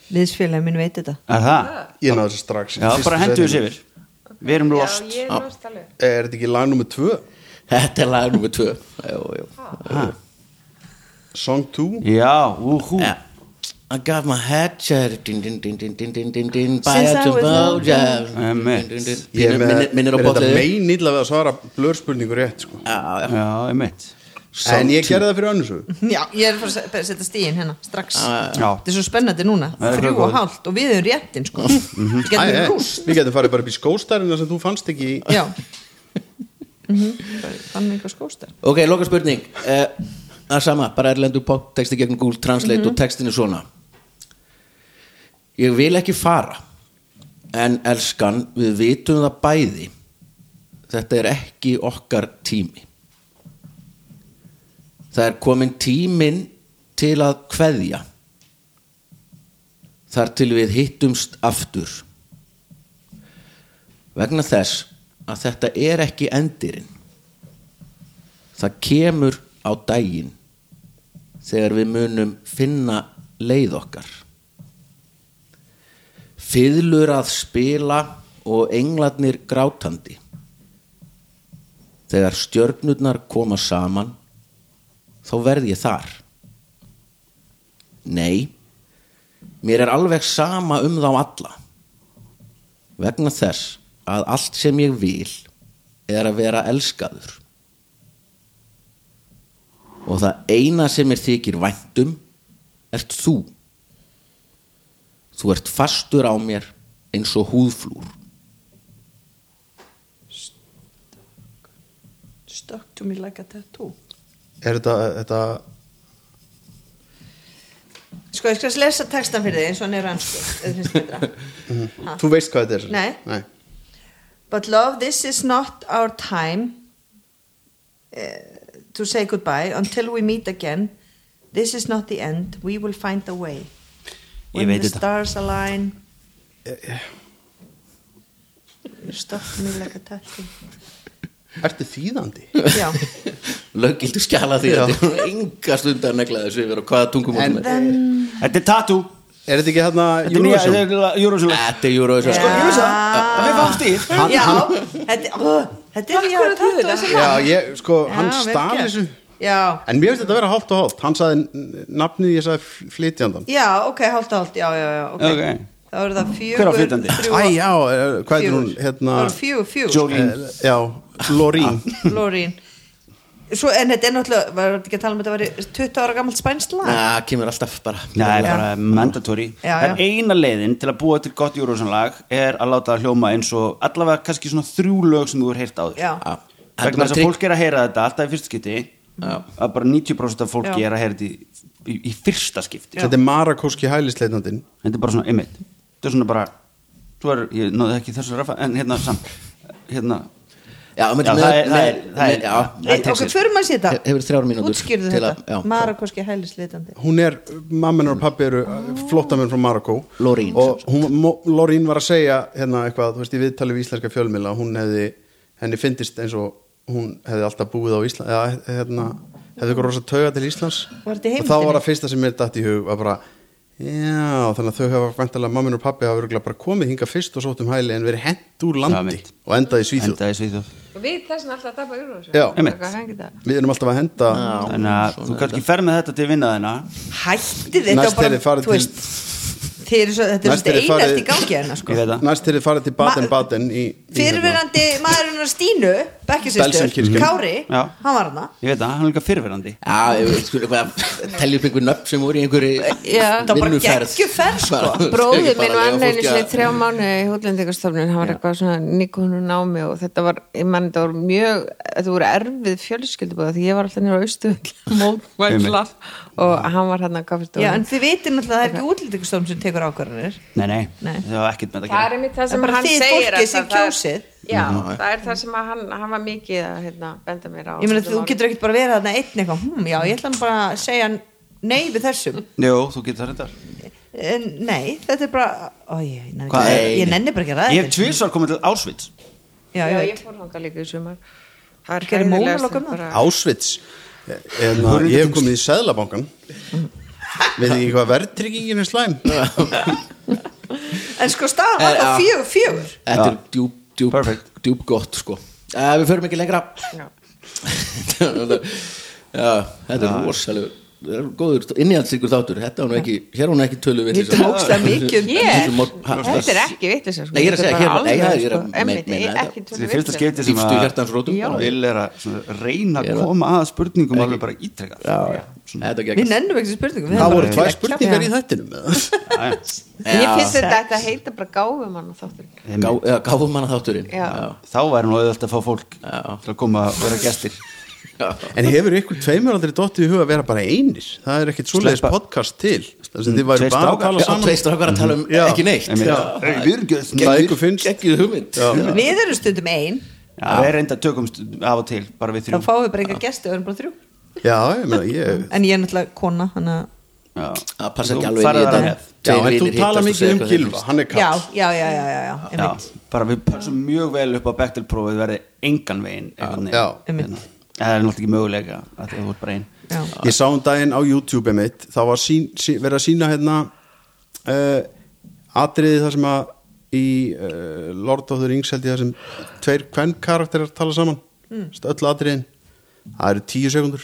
Speaker 5: Liðsfélagi minn veit þetta.
Speaker 6: er það?
Speaker 8: Ég náðu þessu strax
Speaker 6: Já, bara hendur þessu yfir við erum
Speaker 7: Já,
Speaker 6: lost
Speaker 7: ég er lost alveg
Speaker 8: Er þetta ekki lag nummer tvö?
Speaker 4: Þetta er lag nummer tvö Jú, jú
Speaker 8: Song 2
Speaker 6: Já, úhú
Speaker 4: Yeah. I got my head shattered din, din, din, din, din, din, din, din, By
Speaker 5: Since
Speaker 4: a
Speaker 5: I was
Speaker 4: tomorrow
Speaker 6: Einmitt.
Speaker 8: Ég er með
Speaker 4: Minnir á
Speaker 8: þetta
Speaker 4: bollið
Speaker 8: megin illa við að svara blörspurningu rétt sko.
Speaker 6: Já, einmitt
Speaker 8: En ég gerði það fyrir önnusögu
Speaker 5: Já, ég er að fara að se- bara setja stíin hérna strax
Speaker 6: já.
Speaker 5: Þetta er svo spennandi núna,
Speaker 6: Það er Mhm.
Speaker 5: þrjú
Speaker 6: góð.
Speaker 5: og hálft og við erum réttin sko Þetta getur
Speaker 8: Æ, æ,
Speaker 5: verið rúst
Speaker 8: Við getum farið bara upp í skóstarina sem þú fannst ekki í
Speaker 5: Já Mhm. Þannig einhver skóstar
Speaker 4: Ok, loka spurning Eh, Það er sama, bara erlendur pop texti gegn Google Translate og textin er svona Ég vil ekki fara En elskan, við vitum það bæði Þetta er ekki okkar tími Það er komin tímin til að kveðja Þar til við hittumst aftur Vegna þess að þetta er ekki endirinn það kemur á daginn þegar við munum finna leið okkar fiðlur að spila og englarnir grátandi þegar stjörnurnar koma saman þá verð ég þar nei mér er alveg sama um þá alla vegna þess að allt sem ég vil er að vera elskaður og það eina sem er þykir væntum ert þú þú ert fastur á mér eins og húðflúr
Speaker 5: Stuck to me like a tattoo
Speaker 8: Er þetta, þetta
Speaker 5: Sko, ég skal lesa textan fyrir þig eins og hann er ansku
Speaker 8: Þú veist hvað þetta er
Speaker 5: Nei.
Speaker 8: Nei.
Speaker 5: But love, this is not our time eh, to say goodbye until we meet again This is not the end, we will find a way When
Speaker 6: veit
Speaker 5: the
Speaker 6: þetta.
Speaker 5: stars align You stuck me like a tattoo
Speaker 8: Ertu þýðandi?
Speaker 5: Já
Speaker 4: löggildu skjala því að þetta er enga stund að negla þessu yfir og hvaða tungum
Speaker 8: En-
Speaker 6: Þetta er tattoo
Speaker 8: Er þetta ekki hérna
Speaker 6: Þetta er nýja-
Speaker 8: Eurovision?
Speaker 6: þetta er Eurovision lag.
Speaker 4: þetta er júruvísa
Speaker 5: Sko, ég vissi
Speaker 6: það. Það er fátt í.
Speaker 8: Hann-
Speaker 5: Já,
Speaker 8: hann-
Speaker 5: þetta ó, þetta er já, tattoo þessi
Speaker 8: Já, ég, sko, hann
Speaker 5: Já, vel
Speaker 8: stal
Speaker 5: gert.
Speaker 8: þessu
Speaker 5: Já,
Speaker 8: En mér finnst þetta að vera hálft og hálft Hann saði n- nafnið, ég saði fl- flytjandan
Speaker 5: já, ok, hálft og hálft Já, já, já, ok,
Speaker 6: Ok.
Speaker 5: Þá eru það fjögur
Speaker 6: Hver á flytjandi?
Speaker 5: þrjú-
Speaker 8: Æ, já, eh, hvað er hún,
Speaker 5: fjögur.
Speaker 8: hérna
Speaker 5: Það eru fjögur, fjögur
Speaker 6: Jolene
Speaker 8: eh, Já, Lorín
Speaker 5: Lorín Svo, en þetta er náttúrulega, var þetta ekki að tala um að þetta væri 20 ára gammalt spænsla?
Speaker 4: það kemur alltaf bara
Speaker 6: Nei, bara mandatory
Speaker 5: Já, já.
Speaker 6: En eina leiðin til að búa til gott Eurovision lag er að láta það hljóma eins og allavega kannski svona þrjú lög sem þú er heyrt á þér
Speaker 5: Já,
Speaker 4: Já. Þetta er bara
Speaker 6: vegna þess að
Speaker 4: trygg-
Speaker 6: fólk er að heyra þetta alltaf í fyrsta skipti að bara 90% af fólki
Speaker 5: Já.
Speaker 6: er að heyra þetta í, í, í fyrsta skipti
Speaker 8: Þetta er Marakóski hælisleitnandinn
Speaker 6: þetta er bara svona einmitt þetta er svona bara svo er, ég náði ekki þessu rafa en hérna samt hérna
Speaker 4: já, með,
Speaker 6: Já,
Speaker 4: með,
Speaker 6: það er- það
Speaker 4: með,
Speaker 6: er- það er-
Speaker 4: með, já,
Speaker 6: það er
Speaker 5: Nei, ok,
Speaker 6: texti, sko.
Speaker 5: förum að sé þetta
Speaker 4: He- hefur þrjár mínútur
Speaker 5: Útskýrðu
Speaker 4: til að-
Speaker 5: þetta,
Speaker 4: já.
Speaker 5: Marakoski hælislitandi
Speaker 8: hún er, mamma hennar og pappi eru flottamenn frá Marokko
Speaker 4: Lorín,
Speaker 8: og hún, Mo- Lorín var að segja hérna eitthvað, þú veist, í viðtali við íslenska fjölmila hún hefði, henni fyndist eins og hún hefði alltaf búið á Ísland eða hérna, hefði eitthvað rosa tauga til Íslands
Speaker 5: Var þetta í
Speaker 8: og þá
Speaker 5: heimildinni?
Speaker 8: var að fyrsta sem mér datt í hug var bara, já, þannig að þau hafa vantilega mamma hennar og pappi hafa örugglega bara komið hingað fyrst og sótt um hæli en verið hent úr landi
Speaker 6: einmitt.
Speaker 8: og endaði í Svíþjóð
Speaker 6: endaði svið þú
Speaker 7: Og við þessin alltaf að tapa Eurovision
Speaker 8: Já.
Speaker 6: Einmitt.
Speaker 7: Eitthvað hangið það.
Speaker 8: við erum alltaf að henda
Speaker 6: þannig að þú kannski fer með þetta til vinnaðina
Speaker 5: Hætti þetta
Speaker 8: Næst
Speaker 5: og bara,
Speaker 8: þeirri farið
Speaker 5: þú
Speaker 8: til-
Speaker 5: veist Þeir eru svo, þetta er
Speaker 8: Næst
Speaker 5: svo
Speaker 8: þeirri farið-
Speaker 5: einast í gangi hérna sko.
Speaker 6: ég veit það
Speaker 8: næst þeirri farið til Baden-Baden í, í hérna.
Speaker 5: Fyrirverandi maðurinn að Stínu Bekkisistur,
Speaker 8: Belsenkirkju.
Speaker 5: Kári
Speaker 6: Já.
Speaker 5: Hann var hana
Speaker 6: ég veit það, hann er líka fyrirverandi
Speaker 4: já, ef við skulum bara telja upp einhver nöfn sem voru í einhverju
Speaker 7: Já.
Speaker 5: Það var bara
Speaker 4: vinnuferð.
Speaker 5: geggjuferð, sko.
Speaker 4: Bara-
Speaker 7: bróðir
Speaker 4: bara
Speaker 7: minn
Speaker 4: leyfa
Speaker 7: var enn einu
Speaker 4: fólki
Speaker 7: sinni
Speaker 4: að-
Speaker 7: þrjá mánu í húllendingastofnun hann var eitthvað svona nikonu námi og þetta var, ég mann, þetta voru mjög þetta voru erfið fjölskyldubóða því ég var alltaf nýra austuðull mókvæmla og hann var hann að gafist
Speaker 5: Já, en þið veitir náttúrulega að það er ekki útlýtingustofn sem tekur ákvarðanir
Speaker 6: nei, nei,
Speaker 5: Nei.
Speaker 6: það var ekkert með þetta
Speaker 7: það
Speaker 6: að
Speaker 7: er
Speaker 6: gera
Speaker 7: einmitt það
Speaker 5: Það er
Speaker 7: sem
Speaker 5: bara
Speaker 7: hann
Speaker 5: þið
Speaker 7: segir
Speaker 5: fólkið
Speaker 7: alltaf,
Speaker 5: sem
Speaker 7: það er-
Speaker 5: kjósið.
Speaker 7: já, það er það sem að hann, hann var mikið að hérna, benda mér á
Speaker 5: Ég meina
Speaker 7: þessum
Speaker 5: þú
Speaker 7: árum.
Speaker 5: getur ekkert bara verið þarna einn eitthvað hm, Já, ég ætla nú bara að segja nei við þessum
Speaker 6: Jó, þú getur það reyndar
Speaker 5: En Eh, Nei, þetta er bara Ó, ég, nenni,
Speaker 6: Hvað?
Speaker 5: ekki- ég nenni bara ekki að ræða
Speaker 6: Ég hef
Speaker 5: þetta.
Speaker 6: tvísar komið til Ásvits
Speaker 5: Já,
Speaker 7: já,
Speaker 5: ég
Speaker 7: ég
Speaker 5: veit
Speaker 7: fór hanga líka í sumar það er
Speaker 5: Gerðu
Speaker 7: hræðilegast
Speaker 5: mónólög um það?
Speaker 7: bara-
Speaker 8: Ásvits en að Eh, hérna, ég hef komið í Seðlabankan veit ekki hvað verðtryggingin er slæm
Speaker 5: En sko staðan var
Speaker 4: Eh,
Speaker 5: það
Speaker 4: já.
Speaker 5: fjögur, fjögur
Speaker 4: þetta er djúb, djúb,
Speaker 6: Perfect.
Speaker 4: djúb gott sko. uh, við förum Eh, ekki lengra
Speaker 7: Já.
Speaker 4: þetta, já, þetta er rosalega þetta er góður, innihaldsikur þáttur þetta er hún ekki, hér er hún ekki tölu
Speaker 5: Ég tókst það mikið um-
Speaker 7: Ég, þetta er ekki vitleysa sko.
Speaker 4: Nei, ég er að segja,
Speaker 7: Þetta bara
Speaker 4: hér- nei,
Speaker 7: alveg,
Speaker 4: ég er að
Speaker 7: sko, einmitt,
Speaker 4: meina
Speaker 7: ég-
Speaker 4: þetta.
Speaker 7: ekki
Speaker 6: Þetta
Speaker 7: tölum
Speaker 6: er fyrsta
Speaker 7: vitleysa.
Speaker 6: skipti sem
Speaker 4: Dýpstu hjartans rótum.
Speaker 7: Já.
Speaker 6: Vil er að svona, reyna
Speaker 4: Ég er
Speaker 6: að
Speaker 4: að-
Speaker 6: koma að spurningum alveg bara ítrekað
Speaker 4: þetta
Speaker 5: Við
Speaker 4: gekk
Speaker 5: nennum ekki spurningum við
Speaker 8: Það
Speaker 5: erum
Speaker 8: voru
Speaker 5: bara-
Speaker 8: tvær spurningar í
Speaker 5: Já.
Speaker 8: þættinum eða?
Speaker 6: Jæja.
Speaker 7: En Ég finnst
Speaker 5: Já.
Speaker 7: þetta ætti að heita bara gáfum hann þáttur
Speaker 4: Gá, eða gáfum hana þátturinn
Speaker 7: Já.
Speaker 6: Þá væri nú auðvitað að fá fólk
Speaker 4: Já.
Speaker 6: til að koma að vera gestir
Speaker 8: En hefur ykkur tveimur aldrei dottið í huga að vera bara einir það er ekkit svoleiðis
Speaker 6: Sleppa.
Speaker 8: podcast til þess að þið væri
Speaker 6: Tveir
Speaker 8: bara að
Speaker 6: strákar.
Speaker 8: tala
Speaker 4: Já,
Speaker 8: saman
Speaker 4: tvei Mm, strákar að tala um
Speaker 8: Já.
Speaker 4: ekki neitt
Speaker 6: Einmitt.
Speaker 4: Já.
Speaker 6: Hey, við erum ekki-
Speaker 8: Það ykkur finnst
Speaker 4: Geggjuð hugmynd
Speaker 5: Við erum stundum ein
Speaker 6: Já, Við erum enda tökum stund- af og til bara við
Speaker 5: þá
Speaker 6: þrjú
Speaker 5: fáum við bara enga gesti, við erum bara þrjú
Speaker 8: Já, ég meina, ég
Speaker 5: en ég er náttúrulega kona þannig að
Speaker 6: Já.
Speaker 4: Það passa
Speaker 6: Þú
Speaker 4: ekki alveg
Speaker 6: farið
Speaker 4: inn í
Speaker 6: þarna
Speaker 4: þetta.
Speaker 6: með.
Speaker 8: Já,
Speaker 4: Tveir
Speaker 8: en þú
Speaker 4: vinir
Speaker 8: tala
Speaker 4: hittast og
Speaker 8: mikið
Speaker 4: segja
Speaker 8: um
Speaker 4: hvað þeim
Speaker 8: Gilva,
Speaker 4: finnst.
Speaker 8: hann er
Speaker 5: já,
Speaker 8: kall
Speaker 5: já, já, já, já, já,
Speaker 6: Já,
Speaker 5: einmitt.
Speaker 6: bara við passum mjög vel upp á Bechtel-prófið verði engan veginn einhvern veginn.
Speaker 8: Já.
Speaker 5: Einmitt.
Speaker 6: Hérna. það er náttúrulega ekki mögulega að það voru bara einn
Speaker 5: já.
Speaker 8: Ég sá um daginn á YouTube mitt þá var sín, sí, verið að sína hérna uh, atriði þar sem að í uh, Lord of the Rings held ég þar sem tveir kvenn karakterar tala saman mm. öll atriðin það eru tíu sekundur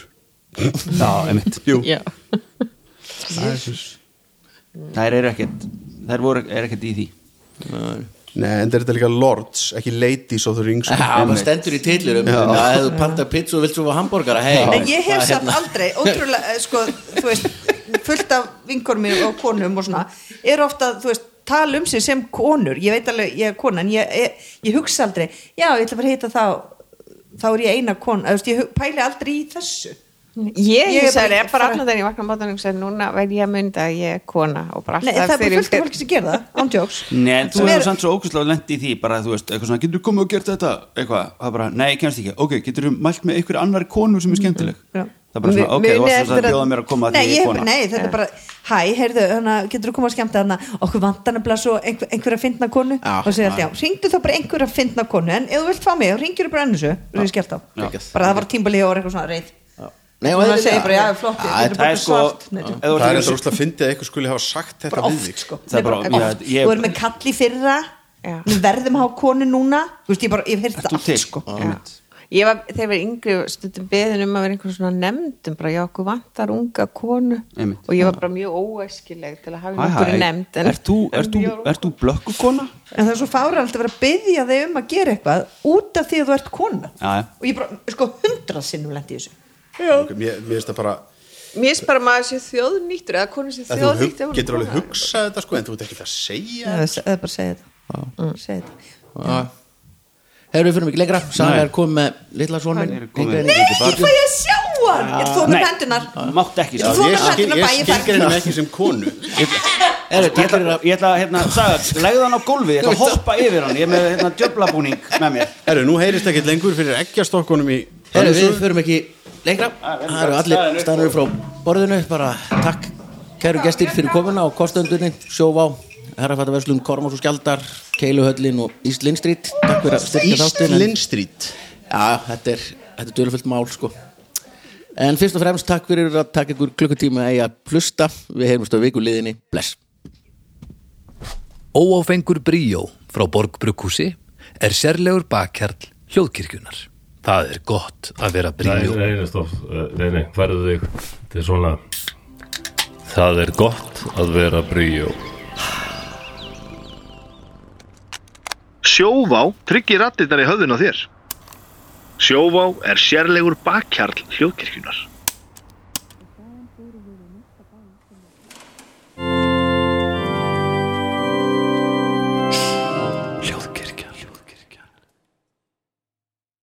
Speaker 6: Já, einmitt
Speaker 8: Jú,
Speaker 7: Já.
Speaker 6: Þær eru ekkert Þær voru er ekkert í því
Speaker 8: Nei, en þetta er líka Lords, ekki Ladies of the Rings sko.
Speaker 4: Já, maður stendur í tillurum Ef þú panta pizza og vilt svo hambúrgara hey,
Speaker 5: en ég
Speaker 4: það
Speaker 5: hef
Speaker 4: er
Speaker 5: samt
Speaker 4: hérna-
Speaker 5: aldrei ótrúlega, eh, sko, þú veist fullt af vinkonum mér og konum og svona, er ofta, þú veist tala um sig sem konur, ég veit alveg ég er kona, en ég, ég, ég hugsa aldrei já, ég ætla bara að hitta þá þá er ég eina kona, þú veist, ég hu- pæli aldrei í þessu
Speaker 7: Ég,
Speaker 5: Ég
Speaker 7: ég
Speaker 5: er
Speaker 7: sagði,
Speaker 5: bara-
Speaker 7: ég bara allan þegar ég vakna á mótan og sagði, núna verð ég að mynda að ég er kona og bara
Speaker 5: Nei,
Speaker 7: alltaf
Speaker 5: það er bara
Speaker 7: þegar ég
Speaker 5: fullt af
Speaker 7: fer-
Speaker 5: fólki sem gera það, ándjóks
Speaker 6: Nei, en þú
Speaker 5: Sem
Speaker 6: hefur
Speaker 5: er-
Speaker 6: samt svo ókvæslega lent í því bara, þú veist, eitthvað svona, getur komið og gert þetta eitthvað, það bara, nei, ég kemst ekki, ok, getur mælt með einhver annar konu sem er skemmtileg
Speaker 5: Mm, Já.
Speaker 6: það er bara svona,
Speaker 7: Mu-
Speaker 6: ok, þú
Speaker 7: muni
Speaker 6: varst þess
Speaker 7: eftir
Speaker 6: að
Speaker 7: að-
Speaker 6: bjóða mér að koma að
Speaker 5: nei,
Speaker 6: því ég
Speaker 5: ég,
Speaker 6: er kona
Speaker 5: nei, þetta er bara hæ, heyrðu, hana, getur þú koma að skemmta hana okkur vantar nefnilega svo einhver, einhver að finna konu
Speaker 4: Já.
Speaker 5: og segja alltaf, já, ringdu þá bara einhver að finna konu en ef þú vilt fá mig, þá ringjur þú bara ennusu og ég skellt á, bara það var tímbali og eitthvað svona reyð
Speaker 4: Nei, og
Speaker 5: og það
Speaker 4: eðlilega.
Speaker 5: segir bara, já,
Speaker 4: Já,
Speaker 5: flott ég
Speaker 4: þetta
Speaker 5: getur
Speaker 6: það
Speaker 5: bara
Speaker 6: er sko
Speaker 5: svart
Speaker 6: ef
Speaker 5: nei,
Speaker 6: þú
Speaker 8: Það er
Speaker 6: ert
Speaker 8: eins og
Speaker 6: í-
Speaker 8: úsla fyndið að eitthvað skuli hafa sagt þetta
Speaker 5: bara
Speaker 8: við
Speaker 5: oft,
Speaker 8: þig
Speaker 5: sko
Speaker 6: Það er bara-
Speaker 5: Nei, bara
Speaker 6: já,
Speaker 5: oft.
Speaker 6: ég-
Speaker 5: þú erum með kall í fyrra
Speaker 7: Já.
Speaker 5: við verðum að hafa konu núna þú veist, ég bara, ég hef heyrt
Speaker 6: Þú
Speaker 5: þetta
Speaker 6: til, Ah.
Speaker 5: allt, sko
Speaker 7: Já. Ég var, þegar ég var yngri stundum beðin um að vera einhvern svona nefndum bara já, okkur vantar unga konu
Speaker 6: Einmitt.
Speaker 7: og ég var bara mjög óæskileg til að hafa
Speaker 6: Hæ,
Speaker 7: einhverju
Speaker 6: hæ,
Speaker 7: nefnd en-
Speaker 6: ert þú,
Speaker 7: en
Speaker 6: ert þú,
Speaker 7: ég var-
Speaker 6: ert þú blökkukona?
Speaker 5: en það er svo fáralt að vera að byggja þig um að gera eitthvað út af því að þú ert kona
Speaker 6: Já, já.
Speaker 5: og ég bara, sko, hundra sinnum lendi í þessu
Speaker 8: Ok, Mér mér finnst það bara
Speaker 7: Mér finnst bara að maður sé þjóðnýttur eða konu sé
Speaker 8: að þú hug,
Speaker 7: þjóðnýtt ef hún er
Speaker 8: getur alveg
Speaker 7: kona.
Speaker 8: hugsað þetta sko en þú ert ekki að segja
Speaker 5: Já, það er bara að segja þetta Mm. segja þetta
Speaker 4: Herru, við fyrir mikið lengra Sara
Speaker 6: Nei.
Speaker 4: er komið með litla son minn
Speaker 6: Hann er kominn.
Speaker 4: Yngri-
Speaker 6: Nei,
Speaker 5: Ekki fæ ég að sjá hann Ég þú
Speaker 6: Nei.
Speaker 5: með hendunar
Speaker 6: mátt ekki
Speaker 5: Já,
Speaker 6: sko.
Speaker 5: þú
Speaker 8: Ég
Speaker 5: með
Speaker 8: skil-
Speaker 5: hendunar
Speaker 8: ég
Speaker 5: bæði fæ
Speaker 8: skilgreinu mig ekki sem konu
Speaker 4: Herru,
Speaker 6: ég ætla, ég ætla að, hérna, sagði, legðu hann á gólfið, ég ætla að hoppa yfir hann ég er með, hérna, djöflabúning með mér
Speaker 8: Herru, nú heyrist ekkit lengur fyrir ekki að stokkunum í
Speaker 4: Herru, við fyrir mikið lengra
Speaker 5: Ah,
Speaker 6: Já, við erum
Speaker 4: Það eru
Speaker 6: bara staðnir
Speaker 4: allir
Speaker 6: upp
Speaker 4: stannur frá borðinu Bara takk, kæru gestir, fyrir komuna og kostendunni Sjóvá, Herrafættaverslun, Kormás og Skjaldar Keiluhöllin og East Lynn Street Takk fyrir að styrka þáttin en-
Speaker 8: Íslinn Street
Speaker 4: Já, þetta er, þetta er dölufullt mál sko En fyrst og fremst takk fyrir að taka ykkur klukkutíma að eiga plusta Við heyrumst á viku liðinni, bless
Speaker 2: Óáfengur bríó frá Borgbrukhúsi er sérlegur bakkjarl hljóðkirkjunar. Það er gott að vera
Speaker 3: Nei,
Speaker 2: bríó.
Speaker 3: nei, nei, stopp, Eh, nei, nei, færðu þig Þetta er svona Það er gott að vera bríó
Speaker 1: Sjóvá tryggir rattirnar í höfðun á þér. Sjóvá er sérlegur bakkjarl hljóðkirkjunar.